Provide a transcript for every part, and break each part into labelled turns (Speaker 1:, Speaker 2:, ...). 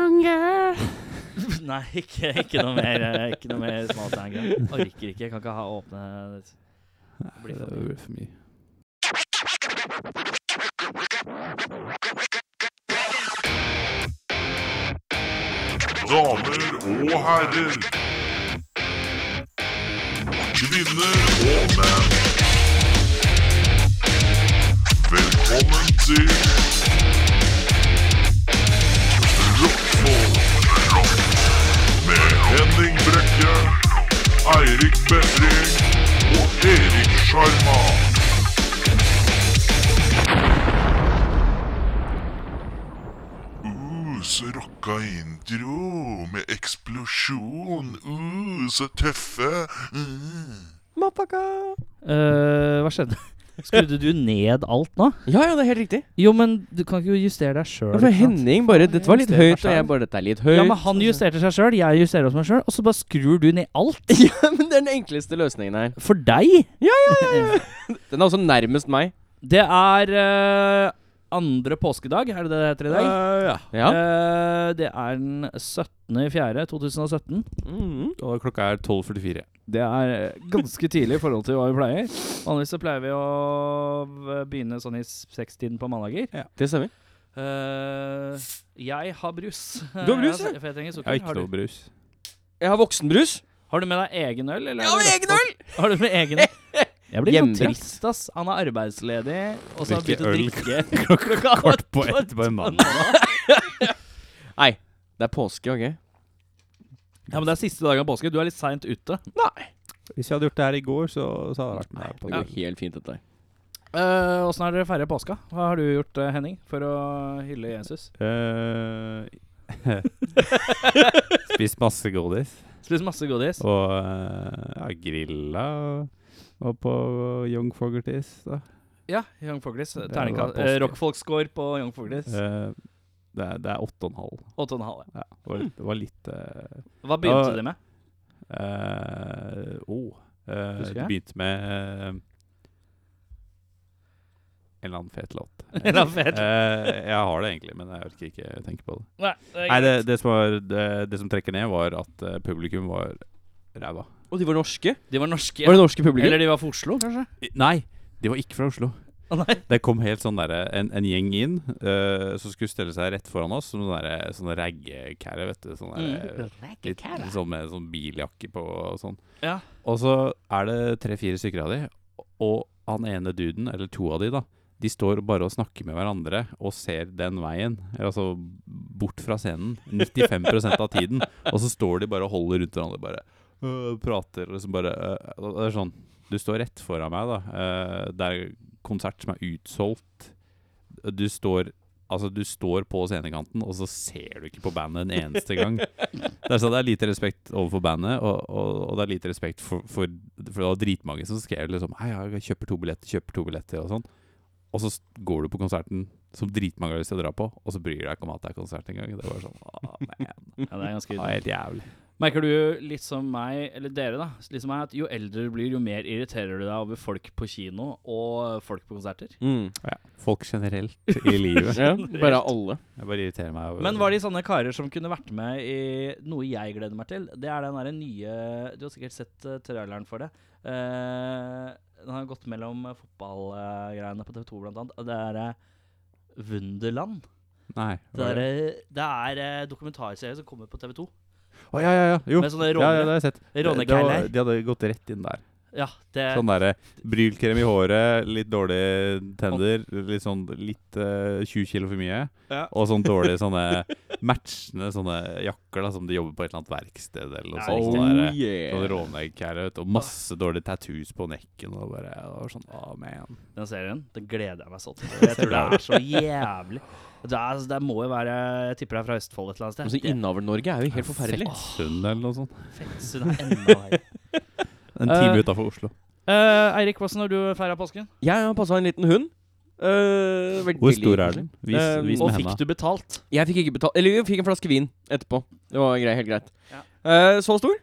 Speaker 1: Smaltanger.
Speaker 2: Nei, ikke, ikke noe mer eh, Ikke noe mer smaltanger. Orker ikke. Kan ikke ha åpne Det blir
Speaker 1: Det
Speaker 2: for
Speaker 1: blir for mye.
Speaker 3: Damer og herrer. Kvinner og menn. Velkommen til Rockfolk med Henning Brekke, Eirik Befring og Erik Sjarma. Uh, så rocka intro med eksplosjon. Uh, så tøffe. Mm.
Speaker 2: Eh, Hva skjedde? Skrudde du ned alt nå?
Speaker 4: Ja, ja, det er helt riktig.
Speaker 2: Jo, men du kan ikke justere deg
Speaker 4: Ja, for
Speaker 2: sjøl.
Speaker 4: Henning bare Dette var litt
Speaker 2: Justerer meg
Speaker 4: høyt, og jeg
Speaker 2: selv.
Speaker 4: bare Dette er litt høyt.
Speaker 2: Ja, men han justerte seg sjøl, jeg justerer oss meg sjøl, og så bare skrur du ned alt.
Speaker 4: Ja, men det er den enkleste løsningen her.
Speaker 2: For deg!
Speaker 4: Den er også nærmest meg.
Speaker 2: Det er eh, andre påskedag, er det det det heter i dag?
Speaker 4: Ja.
Speaker 2: Eh, det er den 17. i 4. 2017.
Speaker 4: Mhm.
Speaker 1: Og klokka er 12.44.
Speaker 2: Det er eh, ganske tidlig i forhold til hva vi pleier. Vanligvis så pleier vi å eh, begynne sånn i sekstiden på mandager.
Speaker 4: Det stemmer.
Speaker 2: Eh, jeg har brus.
Speaker 4: har brus, ja?
Speaker 2: Eh, For jeg trenger
Speaker 1: Jeg har
Speaker 2: sukker.
Speaker 1: ikke
Speaker 2: Har
Speaker 1: noe
Speaker 2: du,
Speaker 1: brus.
Speaker 4: Jeg har voksenbrus.
Speaker 2: har du med deg egen øl? Eller
Speaker 4: Jeg
Speaker 2: er
Speaker 4: har
Speaker 2: det
Speaker 4: egen øl!
Speaker 2: Har du med egen øl? Jeg blir så
Speaker 4: Hjemmebrent.
Speaker 2: trist, ass. Han er arbeidsledig, og så har han
Speaker 1: Drikker
Speaker 2: begynt å drikke klokka
Speaker 1: Kort på
Speaker 2: åtte.
Speaker 1: ett på en mandag.
Speaker 4: Nei, det er påske, OK?
Speaker 2: Ja, men Det er siste dagen av påske. Du er litt seint ute.
Speaker 1: Hvis jeg hadde gjort det her i går, så, så hadde det vært med.
Speaker 4: Det går helt fint, dette her.
Speaker 2: Eh, Åssen har dere feira påska? Hva har du gjort, eh, Henning, for å hylle Jesus?
Speaker 1: Eh, Spist masse godis.
Speaker 2: Spist masse godis.
Speaker 1: Og eh, ja, grilla. Og på Young Fogertis, da.
Speaker 2: Ja, Young Foglis.
Speaker 1: Det var
Speaker 2: Terningkast.
Speaker 1: påske.
Speaker 2: Eh, Rockfolk-score på Young Foglis.
Speaker 1: Eh, det, er, det er åtte og en halv.
Speaker 2: 8,5.
Speaker 1: Ja, det var litt, det var litt eh,
Speaker 2: Hva begynte
Speaker 1: Ja,
Speaker 2: de med?
Speaker 1: Eh, oh, eh, det
Speaker 2: Husker jeg?
Speaker 1: begynte med eh, en eller annen fet låt.
Speaker 2: En eller annen fet låt.
Speaker 1: Eh, jeg har det egentlig, men jeg orker ikke tenke på det.
Speaker 2: Nei, det
Speaker 1: Nei, det, det, som, var, det, det som trekker ned, var at eh, publikum var ræva.
Speaker 4: Og de var norske?
Speaker 2: De var norske.
Speaker 4: Var det norske publikum?
Speaker 2: Eller de var fra Oslo, kanskje?
Speaker 1: I- Nei, de var ikke fra Oslo.
Speaker 2: Å nei.
Speaker 1: Det kom helt sånn derre en, en gjeng inn eh, som skulle stelle seg rett foran oss, som sånne, derre- sånne raggekære, vet du.
Speaker 2: Mm,
Speaker 1: Sånne derre- Litt sånn med sånn biljakke på og sånn.
Speaker 2: Ja.
Speaker 1: Og så er det tre-fire stykker av de, og han ene duden, eller to av de da, de står bare og snakker med hverandre og ser den veien, eller altså bort fra scenen, 95 av tiden. Og så står de bare og holder rundt hverandre, bare øh, prater og liksom bare øh, og Det er sånn Du står rett foran meg, da. øh, det er konsert som er utsolgt. Du står Altså, du står på scenekanten, og så ser du ikke på bandet en eneste gang. Det er, sånn, det er lite respekt overfor bandet, og, og, og det er lite respekt for, for, for det var dritmange som skrev liksom Hei, ja, jeg kjøper to billetter, kjøper to billetter, og sånn. Og så s- går du på konserten som dritmange har lyst til å dra på, og så bryr du deg ikke om at det er konsert engang. Det var sånn Å, man.
Speaker 2: Ja, det er ganske
Speaker 1: Det var helt jævlig.
Speaker 2: Merker du litt som meg, eller dere, da, litt som meg, at jo eldre du blir, jo mer irriterer du deg over folk på kino og folk på konserter?
Speaker 4: Mm.
Speaker 1: Ja. Folk generelt i livet.
Speaker 4: Ja, bare alle.
Speaker 1: Jeg bare irriterer meg over
Speaker 2: Men var de sånne karer som kunne vært med i noe jeg gleder meg til? Det er den derre nye Du har sikkert sett eh, traileren for det. Eh, den har gått mellom fotballgreiene på TV2 blant annet. og Det er eh, Wunderland.
Speaker 1: Nei.
Speaker 2: Det
Speaker 1: var
Speaker 2: er,
Speaker 1: det-
Speaker 2: eh, det er eh, dokumentarserie som kommer på TV2.
Speaker 1: Å, ja, ja, ja. Jo.
Speaker 2: Med sånne
Speaker 1: Ja, ja, det
Speaker 2: råne,
Speaker 1: har jeg sett. Det- det var-
Speaker 2: rånekeiler.
Speaker 1: De hadde gått rett inn der.
Speaker 2: Ja, det,
Speaker 1: Sånn derre brylkrem i håret, litt dårlige tenner, litt sånn litt eh, 20 kilo for mye.
Speaker 2: Ja.
Speaker 1: Og sånn dårlige sånne matchende sånne jakker da som de jobber på et eller annet verksted eller noe
Speaker 2: Ja,
Speaker 1: sånt.
Speaker 2: riktig.
Speaker 1: Sånn derre- Sånn
Speaker 4: Oh, yeah.
Speaker 1: rånegg-kære, vet du, og masse dårlige tattoos på nekken. Og bare, det var sånn, å man
Speaker 2: den serien den gleder jeg meg sånn til. Jeg tror det er så jævlig. Det, er, altså, det må jo være Jeg tipper det er fra Østfold et eller annet
Speaker 4: Altså,
Speaker 2: sted.
Speaker 4: Innavl-Norge er jo helt forferdelig.
Speaker 1: Fettsund eller noe sånt.
Speaker 2: Det- Fettsund er enda verre.
Speaker 1: En time
Speaker 2: Eh,
Speaker 1: utafor Oslo.
Speaker 2: Eh, Eirik, hvordan har du feira påsken?
Speaker 4: Jeg har passa en liten hund. Eh, veldig
Speaker 1: Hvor stor er
Speaker 4: koselig.
Speaker 1: den? Vis,
Speaker 4: Eh,
Speaker 1: vis
Speaker 2: Og
Speaker 1: med
Speaker 2: fikk
Speaker 1: henda.
Speaker 2: du betalt?
Speaker 4: Jeg fikk ikke betalt Eller jeg fikk en flaske vin etterpå. Det var grei, helt greit.
Speaker 2: Ja.
Speaker 4: Eh, så stor.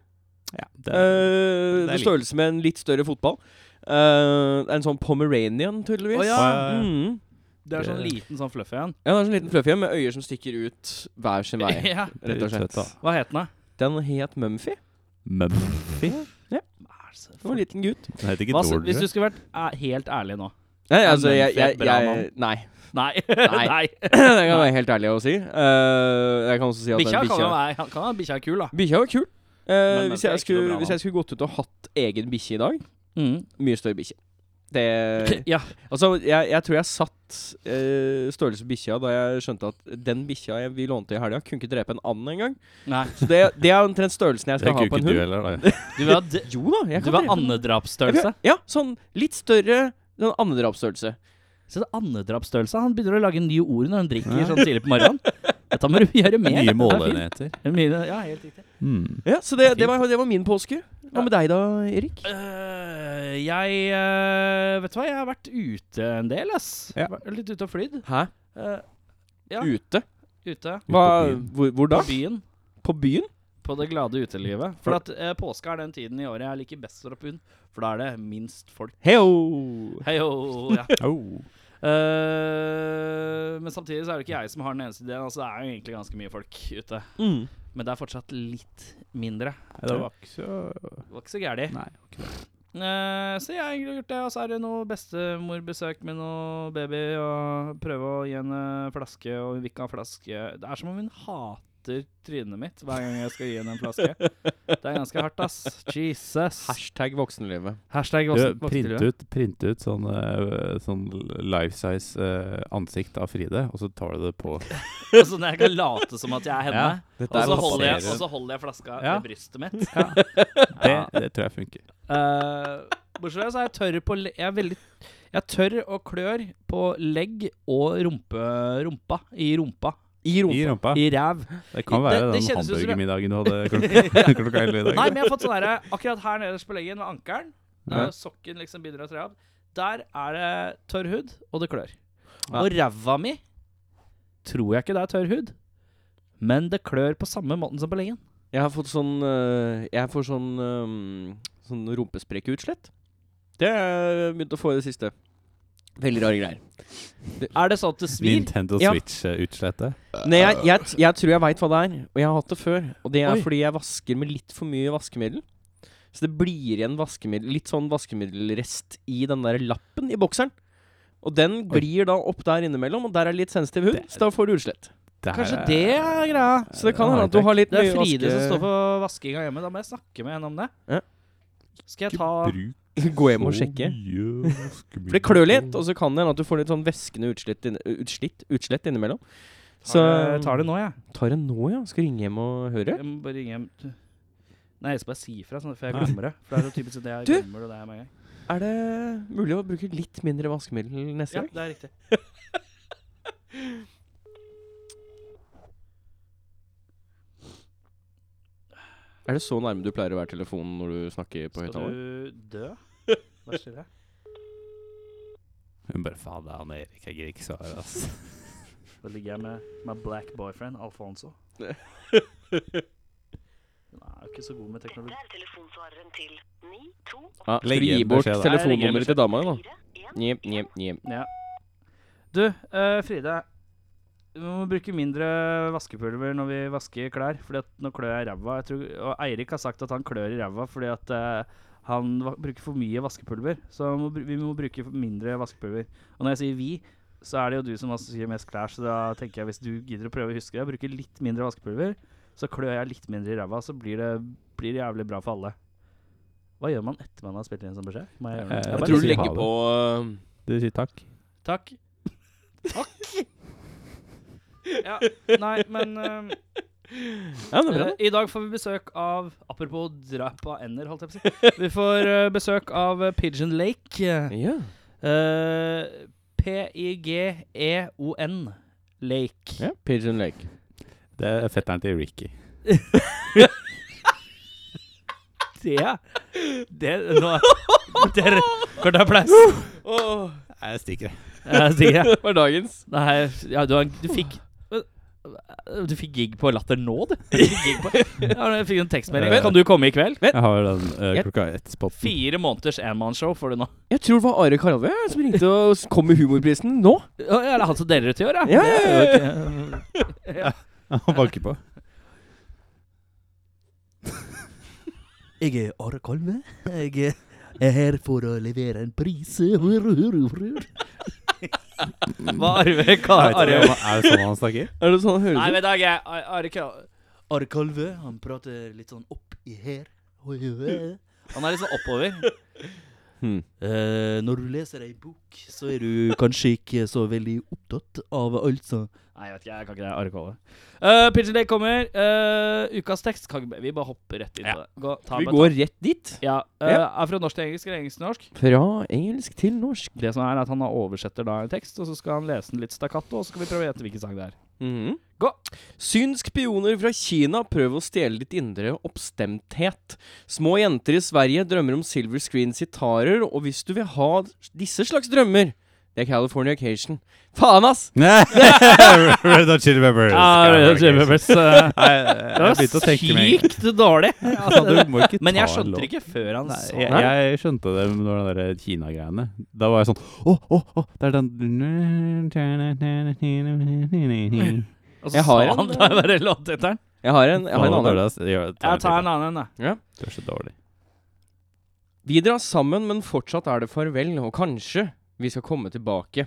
Speaker 1: Ja, det,
Speaker 4: Eh,
Speaker 1: det er
Speaker 4: størrelse med en litt større fotball. Eh, en sånn Pomeranian, tydeligvis.
Speaker 2: Å,
Speaker 1: Å,
Speaker 2: ja.
Speaker 1: ja, ja, ja.
Speaker 4: Mm.
Speaker 2: Det er sånn
Speaker 1: Det-
Speaker 2: liten sånn fluffy en.
Speaker 4: Ja, det er en sånn liten fluffy en med øyer som stikker ut hver sin vei.
Speaker 2: ja.
Speaker 4: Rett og slett.
Speaker 2: Hva het den, da?
Speaker 4: Den het Mumphy.
Speaker 1: Mumphy?
Speaker 2: Hva er det så-
Speaker 4: Det var en liten gutt.
Speaker 1: Den heter ikke
Speaker 2: Hva, s- hvis du
Speaker 1: Dorger.
Speaker 2: skulle vært æ- helt ærlig nå
Speaker 4: Nei, altså,
Speaker 2: Mumphy
Speaker 4: jeg, jeg,
Speaker 2: et bra
Speaker 4: jeg Nei.
Speaker 2: Nei.
Speaker 4: Nei. Det kan jeg være helt ærlig å si. Eh, jeg kan også si at
Speaker 2: Bikkja
Speaker 4: den
Speaker 2: kan jo være kan være- bikkja er kul, da.
Speaker 4: Bikkja var kul. Eh,
Speaker 2: Men Mumphy er
Speaker 4: hvis, jeg
Speaker 2: ikke noe
Speaker 4: skulle,
Speaker 2: bra
Speaker 4: hvis jeg skulle gått ut og hatt egen bikkje i dag Mye større bikkje.
Speaker 2: K- Mm.
Speaker 4: Det
Speaker 2: Ja.
Speaker 4: Altså, jeg, jeg tror jeg satt eh, størrelsen bikkja da jeg skjønte at den bikkja jeg- vi lånte i helga, kunne ikke drepe en and engang.
Speaker 2: Nei.
Speaker 4: Så det, det er omtrent størrelsen jeg
Speaker 1: Det
Speaker 4: skal ha
Speaker 1: kunne
Speaker 4: på
Speaker 1: ikke
Speaker 4: en
Speaker 1: du
Speaker 4: hund.
Speaker 1: heller, da.
Speaker 2: Du vil ha, d
Speaker 4: Jo da, jeg
Speaker 2: du vil ha
Speaker 4: kan drepe den. Jeg vil-
Speaker 2: andedrapsstørrelse.
Speaker 4: Ja, sånn litt større sånn andedrapsstørrelse.
Speaker 2: Se, det er andedrapsstørrelse. Han begynner å lage nye ord når han drikker sånn tidlig på morgenen. Dette må du gjøre mer.
Speaker 1: Nye
Speaker 2: dette er fint.
Speaker 1: måleenheter.
Speaker 2: Mye- Ja, helt riktig.
Speaker 1: Mm.
Speaker 4: Ja, så det, det, var, det var min påske. Hva med deg da, Erik?
Speaker 2: Øh, jeg øh, Vet du hva, jeg har vært ute en del, ass.
Speaker 1: Ja.
Speaker 2: Vært Litt ute og flydd.
Speaker 4: Hæ?
Speaker 2: Øh, ja,
Speaker 4: Ute?
Speaker 2: ute.
Speaker 4: Hva,
Speaker 1: byen.
Speaker 4: hvor, hvor da?
Speaker 2: På byen.
Speaker 4: På byen?
Speaker 2: På det glade utelivet. For at øh, påske er den tiden i året jeg liker best å dra på hund. For da er det minst folk.
Speaker 4: Heio!
Speaker 2: Hei, oh, ja.
Speaker 1: Oh.
Speaker 2: Øh, men samtidig så er det ikke jeg som har den eneste ideen. Altså, det er jo egentlig ganske mye folk ute.
Speaker 4: Mm.
Speaker 2: Men det er fortsatt litt mindre.
Speaker 1: Nei, det var ikke så
Speaker 2: Det var ikke så gærent.
Speaker 1: Nei. det var ikke det.
Speaker 2: Eh, så jeg har egentlig gjort det, og så er det noe bestemorbesøk med noe baby, og prøve å gi henne flaske, og hun vil ikke ha flaske. Det er som om hun hater trynet mitt hver gang jeg skal gi henne en flaske. Det er ganske hardt, ass. Jesus.
Speaker 4: Hashtag voksenlivet.
Speaker 2: Hashtag
Speaker 1: Du, print ut, print ut sånn, eh, sånn life size eh, ansikt av Fride, og så tar du det på
Speaker 2: Sånn at jeg kan late som at jeg er henne,
Speaker 4: Dette
Speaker 2: og,
Speaker 4: er
Speaker 2: så
Speaker 1: å
Speaker 2: holder jeg, altså,
Speaker 1: passere.
Speaker 2: og så holder jeg flaska
Speaker 1: Ja.
Speaker 2: ved brystet mitt.
Speaker 1: Det, det tror jeg funker.
Speaker 2: Eh, bortsett fra det, så er jeg tørr på le- Jeg er veldig Jeg tørr og klør på legg og rumpe, rumpa. I rumpa.
Speaker 1: I
Speaker 4: I rumpa.
Speaker 1: rumpa.
Speaker 2: I ræv.
Speaker 1: Det kan
Speaker 2: Det-
Speaker 1: være
Speaker 2: det
Speaker 1: den
Speaker 2: kjennes ut som jeg-
Speaker 1: hamburgermiddagen du hadde klokka klokka elleve i dag.
Speaker 2: Nei, men jeg har fått sånn derre Akkurat her nederst på leggen, ved ankelen,
Speaker 1: Ja.
Speaker 2: når sokken liksom begynner å tre av, der er det tørr hud, og det klør.
Speaker 4: Ja.
Speaker 2: Og ræva mi tror jeg ikke det er tørr hud, men det klør på samme måten som på leggen.
Speaker 4: Jeg har fått sånn øh, Jeg får sånn um, Sånn rumpesprekkeutslett. Det har jeg begynt å få i det siste. Veldig rare greier.
Speaker 2: Er det sånn at det svir?
Speaker 1: Nintendo
Speaker 4: Ja.
Speaker 1: Switch-utslettet.
Speaker 4: Nei, jeg, jeg, t- jeg tror jeg veit hva det er, og jeg har hatt det før. Og det er
Speaker 2: Oi.
Speaker 4: fordi jeg vasker med litt for mye vaskemiddel. Så det blir igjen vaskemiddel litt sånn vaskemiddelrest i den der lappen i bokseren. Og den
Speaker 1: Oi.
Speaker 4: glir da opp der innimellom, og der er litt sensitiv hud,
Speaker 1: Det-
Speaker 4: så da får du utslett.
Speaker 1: Det her
Speaker 2: Kanskje
Speaker 1: er-
Speaker 2: det er greia?
Speaker 4: Så det kan
Speaker 1: Ja,
Speaker 4: hende at du har litt
Speaker 2: Det
Speaker 4: mye
Speaker 2: er Fride som står
Speaker 4: vaske...
Speaker 2: for vaskinga hjemme. Da må jeg snakke med henne om det.
Speaker 4: Ja.
Speaker 2: Skal jeg
Speaker 1: Ikke
Speaker 2: ta
Speaker 1: bruk
Speaker 4: Gå hjem og
Speaker 2: Mm.
Speaker 1: så
Speaker 4: sjekke.
Speaker 1: mye vaskemiddel.
Speaker 4: For det klør litt, og så kan det hende at du får litt sånn væskende utslett, inn, utslitt, utslett innimellom. Så
Speaker 2: tar det, tar det nå, jeg.
Speaker 4: Tar det nå, ja. Skal ringe hjem og høre.
Speaker 2: Jeg må bare ringe hjem Nei, jeg skal bare si ifra, sånn, for jeg glemmer det. For det er så typisk det jeg
Speaker 4: Du!
Speaker 2: glemmer det der med en gang.
Speaker 4: Er det mulig å bruke litt mindre vaskemiddel neste
Speaker 2: Ja,
Speaker 4: gang?
Speaker 2: det er riktig.
Speaker 4: Er det så nærme du pleier å være telefonen når du snakker på
Speaker 2: Skal
Speaker 4: høyttaler?
Speaker 2: du dø? Hva skjer det?
Speaker 1: Hun bare Faen, det er han Erik. Jeg gir ikke svar, ass.
Speaker 2: Da ligger jeg med my black boyfriend, Alfonso. Hun er jo ikke så god med teknologi.
Speaker 5: Dette er telefonsvareren til 92
Speaker 4: Ja, skal
Speaker 1: Legg
Speaker 4: du gi
Speaker 1: igjen beskjed, da.
Speaker 2: Nei,
Speaker 4: bort
Speaker 2: legg igjen
Speaker 4: telefonnummeret til dama di, da?
Speaker 5: 4
Speaker 4: Njep, njep, njep.
Speaker 2: Ja. Du, eh, Fride. Vi må bruke mindre vaskepulver når vi vasker klær, Fordi at nå klør jeg i ræva. Jeg tror- Og Eirik har sagt at han klør i ræva fordi at eh, han va bruker for mye vaskepulver. Så må, br- vi må bruke for mindre vaskepulver. Og når jeg sier vi, så er det jo du som vasker mest klær, så da tenker jeg hvis du gidder å prøve å huske det, bruke litt mindre vaskepulver, så klør jeg litt mindre i ræva, så blir det, blir det jævlig bra for alle. Hva gjør man etter man har spilt inn en sånn beskjed? Må jeg gjøre noe?
Speaker 1: Eh,
Speaker 2: Jeg
Speaker 1: jeg
Speaker 2: bare
Speaker 1: tror du
Speaker 2: sier
Speaker 1: legger
Speaker 2: ha det.
Speaker 1: på,
Speaker 2: um,
Speaker 1: Du sier takk.
Speaker 2: Takk. Takk. ja, nei, men eh,
Speaker 4: Ja, det er bra.
Speaker 2: eh, I dag får vi besøk av Apropos drap av ender, holdt jeg på å si. Vi får eh, besøk av eh, Pigeon Lake. eh,
Speaker 4: Ja.
Speaker 2: eh, P-I-G-E-O-N E Lake.
Speaker 4: ja. Pigeon Lake.
Speaker 1: Det er fetteren til Ricky.
Speaker 2: Det, det nå, Dere Kort applaus.
Speaker 1: Jeg stikker, jeg.
Speaker 2: Jeg stikker, jeg.
Speaker 4: Det var dagens.
Speaker 2: Nei, ja, du, har- du fikk Du fikk gig på Latter nå, du? Du fikk gig på- Ja, jeg fikk en tekstmelding. Kan du komme i kveld?
Speaker 1: Jeg har den eh,
Speaker 4: Jeg-
Speaker 1: klokka ett-spotten.
Speaker 2: Fire måneders enmannsshow får du nå.
Speaker 4: Jeg tror det var Are Karalve som ringte og s- kom med humorprisen nå.
Speaker 2: Å, ja, det er han som deler ut i år,
Speaker 4: Ja, ja, ja, ja.
Speaker 2: Det er jo ikke-
Speaker 1: Han banker på.
Speaker 6: Jeg er Are Kalve. Jeg er her for å levere en pris. Hurru, hurru, hurru.
Speaker 2: Hva Arve Kar...
Speaker 1: Er
Speaker 2: Arve.
Speaker 1: det sånn han snakker?
Speaker 4: Er det sånn han høres
Speaker 2: Nei,
Speaker 4: ut?
Speaker 2: vet da ikke. Ar- Arve Kar...
Speaker 6: Are Kalve, han prater litt sånn opp i her. Oi, oi, oi.
Speaker 2: Han er litt sånn oppover.
Speaker 4: Hmm.
Speaker 6: Eh, når du leser ei bok, så er du kanskje ikke så veldig opptatt av alt som
Speaker 2: Nei, jeg vet ikke. Jeg kan ikke det. Arve Kar. Uh, Pigeon Lake kommer. Eh, ukas tekst kan ikke Vi bare hopper rett inn på det. Gå, ta
Speaker 4: Vi
Speaker 2: med-
Speaker 4: går rett dit.
Speaker 2: Ja. eh, er fra norsk til engelsk eller engelsk til norsk?
Speaker 4: Fra engelsk til norsk.
Speaker 2: Det som er er at Han oversetter da en tekst, og så skal han lese den litt stakkato, og så skal vi prøve å gjette hvilken sang det er.
Speaker 4: Mm-hmm.
Speaker 2: Gå.
Speaker 4: Syns spioner fra Kina prøver å stjele ditt indre oppstemthet. Små jenter i Sverige drømmer om silver screen sitarer, og hvis du vil ha disse slags drømmer Det er California Cation. Faen, ass!
Speaker 1: Red Hot Chili Peppers. Nei,
Speaker 2: Det
Speaker 1: Eh, jeg
Speaker 2: var
Speaker 1: begynte å tenke meg
Speaker 2: sykt dårlig.
Speaker 1: altså, du må ikke
Speaker 2: Men jeg
Speaker 1: ta en
Speaker 2: skjønte
Speaker 1: låt.
Speaker 2: det ikke før han sa
Speaker 1: Jeg,
Speaker 4: Nei.
Speaker 1: jeg skjønte det når den der Kina-greiene Da var jeg sånn Å, å, å, det er den
Speaker 2: Og
Speaker 4: Jeg
Speaker 2: så
Speaker 4: har
Speaker 2: sa han
Speaker 4: en,
Speaker 2: da var det låttittelen.
Speaker 4: Jeg har en, jeg har en
Speaker 1: Faen,
Speaker 4: annen.
Speaker 1: dårlig, ass. Det gjør- det
Speaker 2: Jeg tar en
Speaker 1: er-
Speaker 2: annen en, da.
Speaker 1: det er så dårlig.
Speaker 4: Vi drar sammen, men fortsatt er det farvel, og kanskje vi skal komme tilbake.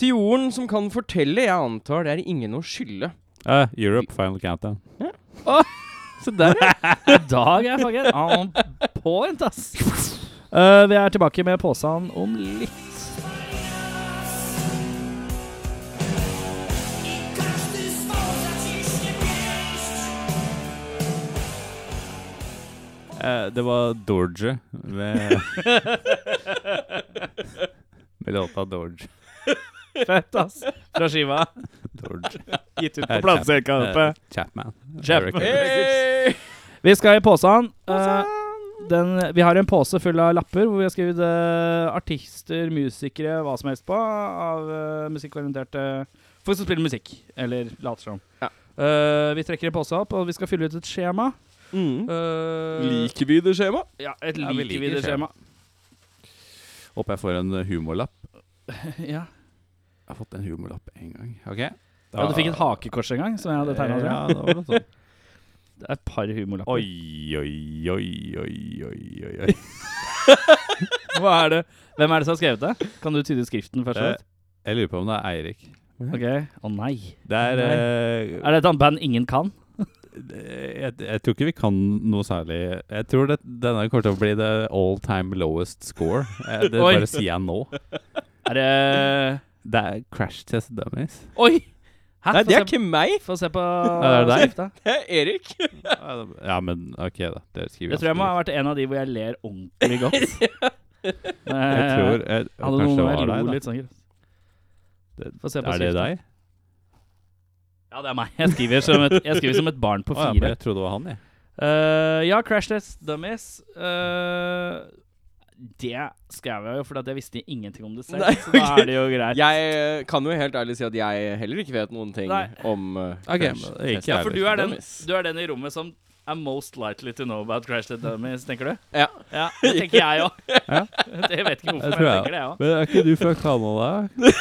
Speaker 4: Til jorden som kan fortelle, jeg antar det er ingen å skylde.
Speaker 1: Eh, Europe, final countdown.
Speaker 4: Se der, ja.
Speaker 2: I dag er fucking on point, ass. Eh, vi er tilbake med påsan om litt.
Speaker 1: Eh, det var Dorje med Med låta Dorje.
Speaker 2: Fett, ass. Fra skiva.
Speaker 1: Dorje.
Speaker 2: Gitt ut
Speaker 1: Eh,
Speaker 2: på plateselka.
Speaker 1: Eh, Chapman.
Speaker 2: Chapman.
Speaker 1: Eric-
Speaker 2: Vi skal i påsan. Eh, den, vi har en pose full av lapper hvor vi har skrevet eh, artister, musikere, hva som helst på. Av eh, musikkorienterte folk som spiller musikk. Eller later som.
Speaker 4: Ja.
Speaker 2: Eh, vi trekker en pose opp, og vi skal fylle ut et skjema.
Speaker 4: Mm.
Speaker 2: Eh,
Speaker 4: Liker vi det skjemaet?
Speaker 2: Ja, et
Speaker 1: Ja, vi liker
Speaker 2: likevidde-skjema.
Speaker 1: Håper jeg får en humorlapp.
Speaker 2: Ja.
Speaker 1: Jeg har fått en humorlapp en gang. Ok
Speaker 2: ja, du fikk et hakekors en gang, som jeg hadde tegna.
Speaker 1: Ja, det var noe sånt.
Speaker 2: Det er et par humorlapper.
Speaker 1: Oi, oi, oi, oi, oi, oi, oi.
Speaker 2: Hva er det? Hvem er det som har skrevet det? Kan du tyde skriften først?
Speaker 1: Eh,
Speaker 2: og
Speaker 1: Jeg lurer på om det er Eirik.
Speaker 2: fremst? Ok. Å nei.
Speaker 1: Det er eh,
Speaker 2: Er det et annet band ingen kan?
Speaker 1: jeg, jeg tror ikke vi kan noe særlig Jeg tror det, denne kommer til å bli the all time lowest score. Eh, Det
Speaker 2: Oi.
Speaker 1: bare sier jeg nå.
Speaker 2: Er det
Speaker 1: Det er Crash Test Dummies.
Speaker 2: Oi! Hæ?
Speaker 4: Nei,
Speaker 2: Få
Speaker 4: det
Speaker 2: se
Speaker 4: er ikke meg.
Speaker 2: Få se på
Speaker 1: det er deg.
Speaker 2: skrifta.
Speaker 4: Det er Erik.
Speaker 1: Ja, men OK, da. Det skriver
Speaker 2: Jeg tror jeg må ha vært en av de hvor jeg ler ordentlig godt.
Speaker 1: Jeg tror jeg,
Speaker 2: Hadde
Speaker 1: Kanskje
Speaker 2: noen
Speaker 1: det
Speaker 2: jeg
Speaker 1: var
Speaker 2: lo
Speaker 1: deg,
Speaker 2: litt sånn
Speaker 1: Det-
Speaker 2: Få se
Speaker 1: da.
Speaker 2: på
Speaker 1: Er det
Speaker 2: skriften.
Speaker 1: deg?
Speaker 2: Ja, det er meg. Jeg skriver som et, jeg skriver som et barn på
Speaker 1: Å, ja, men
Speaker 2: fire.
Speaker 1: jeg trodde det var han, jeg.
Speaker 2: Eh, ja, Crash Test Dummies. Eh, det skrev jeg jo fordi at jeg visste ingenting om det selv.
Speaker 4: Nei,
Speaker 2: så da
Speaker 4: ok.
Speaker 2: er det jo greit.
Speaker 4: Jeg eh, kan jo helt ærlig si at jeg heller ikke vet noen ting
Speaker 2: Nei.
Speaker 4: om eh,
Speaker 1: Ok,
Speaker 4: Crash
Speaker 1: men
Speaker 4: Test.
Speaker 1: ikke jeg.
Speaker 2: ja, for du er, den,
Speaker 4: Dummies.
Speaker 2: du er den i rommet som er most likely to know about Crash Test Dummies, tenker du?
Speaker 4: Ja.
Speaker 2: Ja, Det tenker jeg òg.
Speaker 1: Ja.
Speaker 2: Jeg vet ikke
Speaker 1: Jeg
Speaker 2: hvorfor,
Speaker 1: tror
Speaker 2: men jeg
Speaker 1: jeg-
Speaker 2: tenker det, jeg òg.
Speaker 1: Men er ikke du fra Canada? Du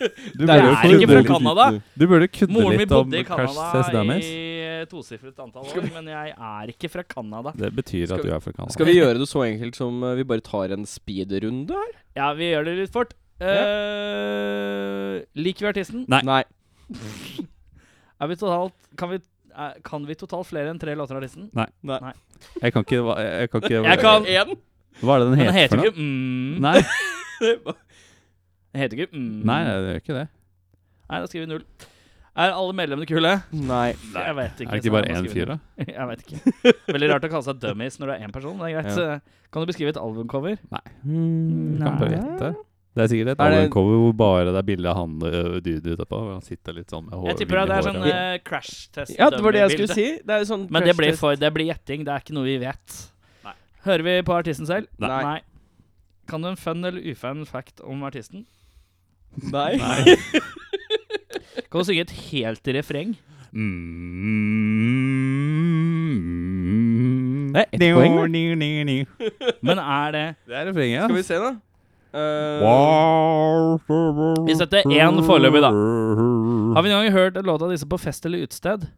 Speaker 4: Det er
Speaker 1: burde jo
Speaker 4: ikke
Speaker 1: kunne
Speaker 4: fra
Speaker 1: litt-
Speaker 2: Canada.
Speaker 1: Du burde kunne
Speaker 2: Moren min
Speaker 1: litt om
Speaker 2: bodde i
Speaker 1: Crash Test
Speaker 2: Canada
Speaker 1: Dummies.
Speaker 2: i tosifret antall år, men jeg er ikke fra Canada.
Speaker 1: Det betyr
Speaker 4: Skal
Speaker 1: at
Speaker 4: vi-
Speaker 1: du er fra Canada.
Speaker 4: Skal vi gjøre det så enkelt som eh, vi bare tar en speedrunde her?
Speaker 2: Ja, vi gjør det litt fort. Eh, liker vi artisten?
Speaker 1: Nei.
Speaker 4: Nei.
Speaker 2: Er vi totalt Kan vi, er, kan vi totalt flere enn tre låter av artisten?
Speaker 1: Jeg kan ikke, hva- jeg kan ikke hva-
Speaker 2: Jeg kan-
Speaker 4: En.
Speaker 1: Hva er det den
Speaker 2: Den
Speaker 1: heter,
Speaker 2: heter
Speaker 1: for noe?
Speaker 2: ikke mm.
Speaker 1: Nei,
Speaker 2: Den heter ikke mm.
Speaker 1: nei, det gjør ikke det.
Speaker 2: Nei, da skriver vi null. Er alle medlemmene kule?
Speaker 4: Nei.
Speaker 2: Jeg vet
Speaker 1: Er det
Speaker 2: ikke.
Speaker 1: ikke
Speaker 2: så
Speaker 1: bare
Speaker 2: da
Speaker 1: én
Speaker 2: skriver vi
Speaker 1: fyr, da?
Speaker 2: null. Jeg vet ikke. Veldig rart å kalle seg dummies når du er én person. men Det er greit. Eh, Kan du beskrive et albumcover?
Speaker 1: Mm, kan bare
Speaker 2: Nei.
Speaker 1: gjette. Det er sikkert et
Speaker 4: Er det-
Speaker 1: albumcover hvor bare det er bilde av han øh, dude utapå. hvor Han sitter litt sånn med hår
Speaker 2: Jeg tipper at det er sånn
Speaker 1: vinner håret.
Speaker 2: eh, crash test.
Speaker 4: Ja, det var det jeg
Speaker 2: dummy-bilde.
Speaker 4: skulle si. Det er jo sånn
Speaker 2: Men det
Speaker 4: Crash
Speaker 2: blir,
Speaker 4: Test.
Speaker 2: for, det blir gjetting. Det er ikke noe vi vet. Hører vi på artisten selv?
Speaker 4: Nei.
Speaker 2: Kan du en fun eller ufun fact om artisten?
Speaker 4: Nei.
Speaker 2: Kan du synge et helt refreng?
Speaker 1: Mm.
Speaker 4: Det er ett poeng, da.
Speaker 2: Men er det
Speaker 1: Det er refrenget,
Speaker 4: Skal vi se, da. Eh,
Speaker 2: Vi setter én foreløpig, da. Har vi noen gang hørt en låt av disse på fest eller utested?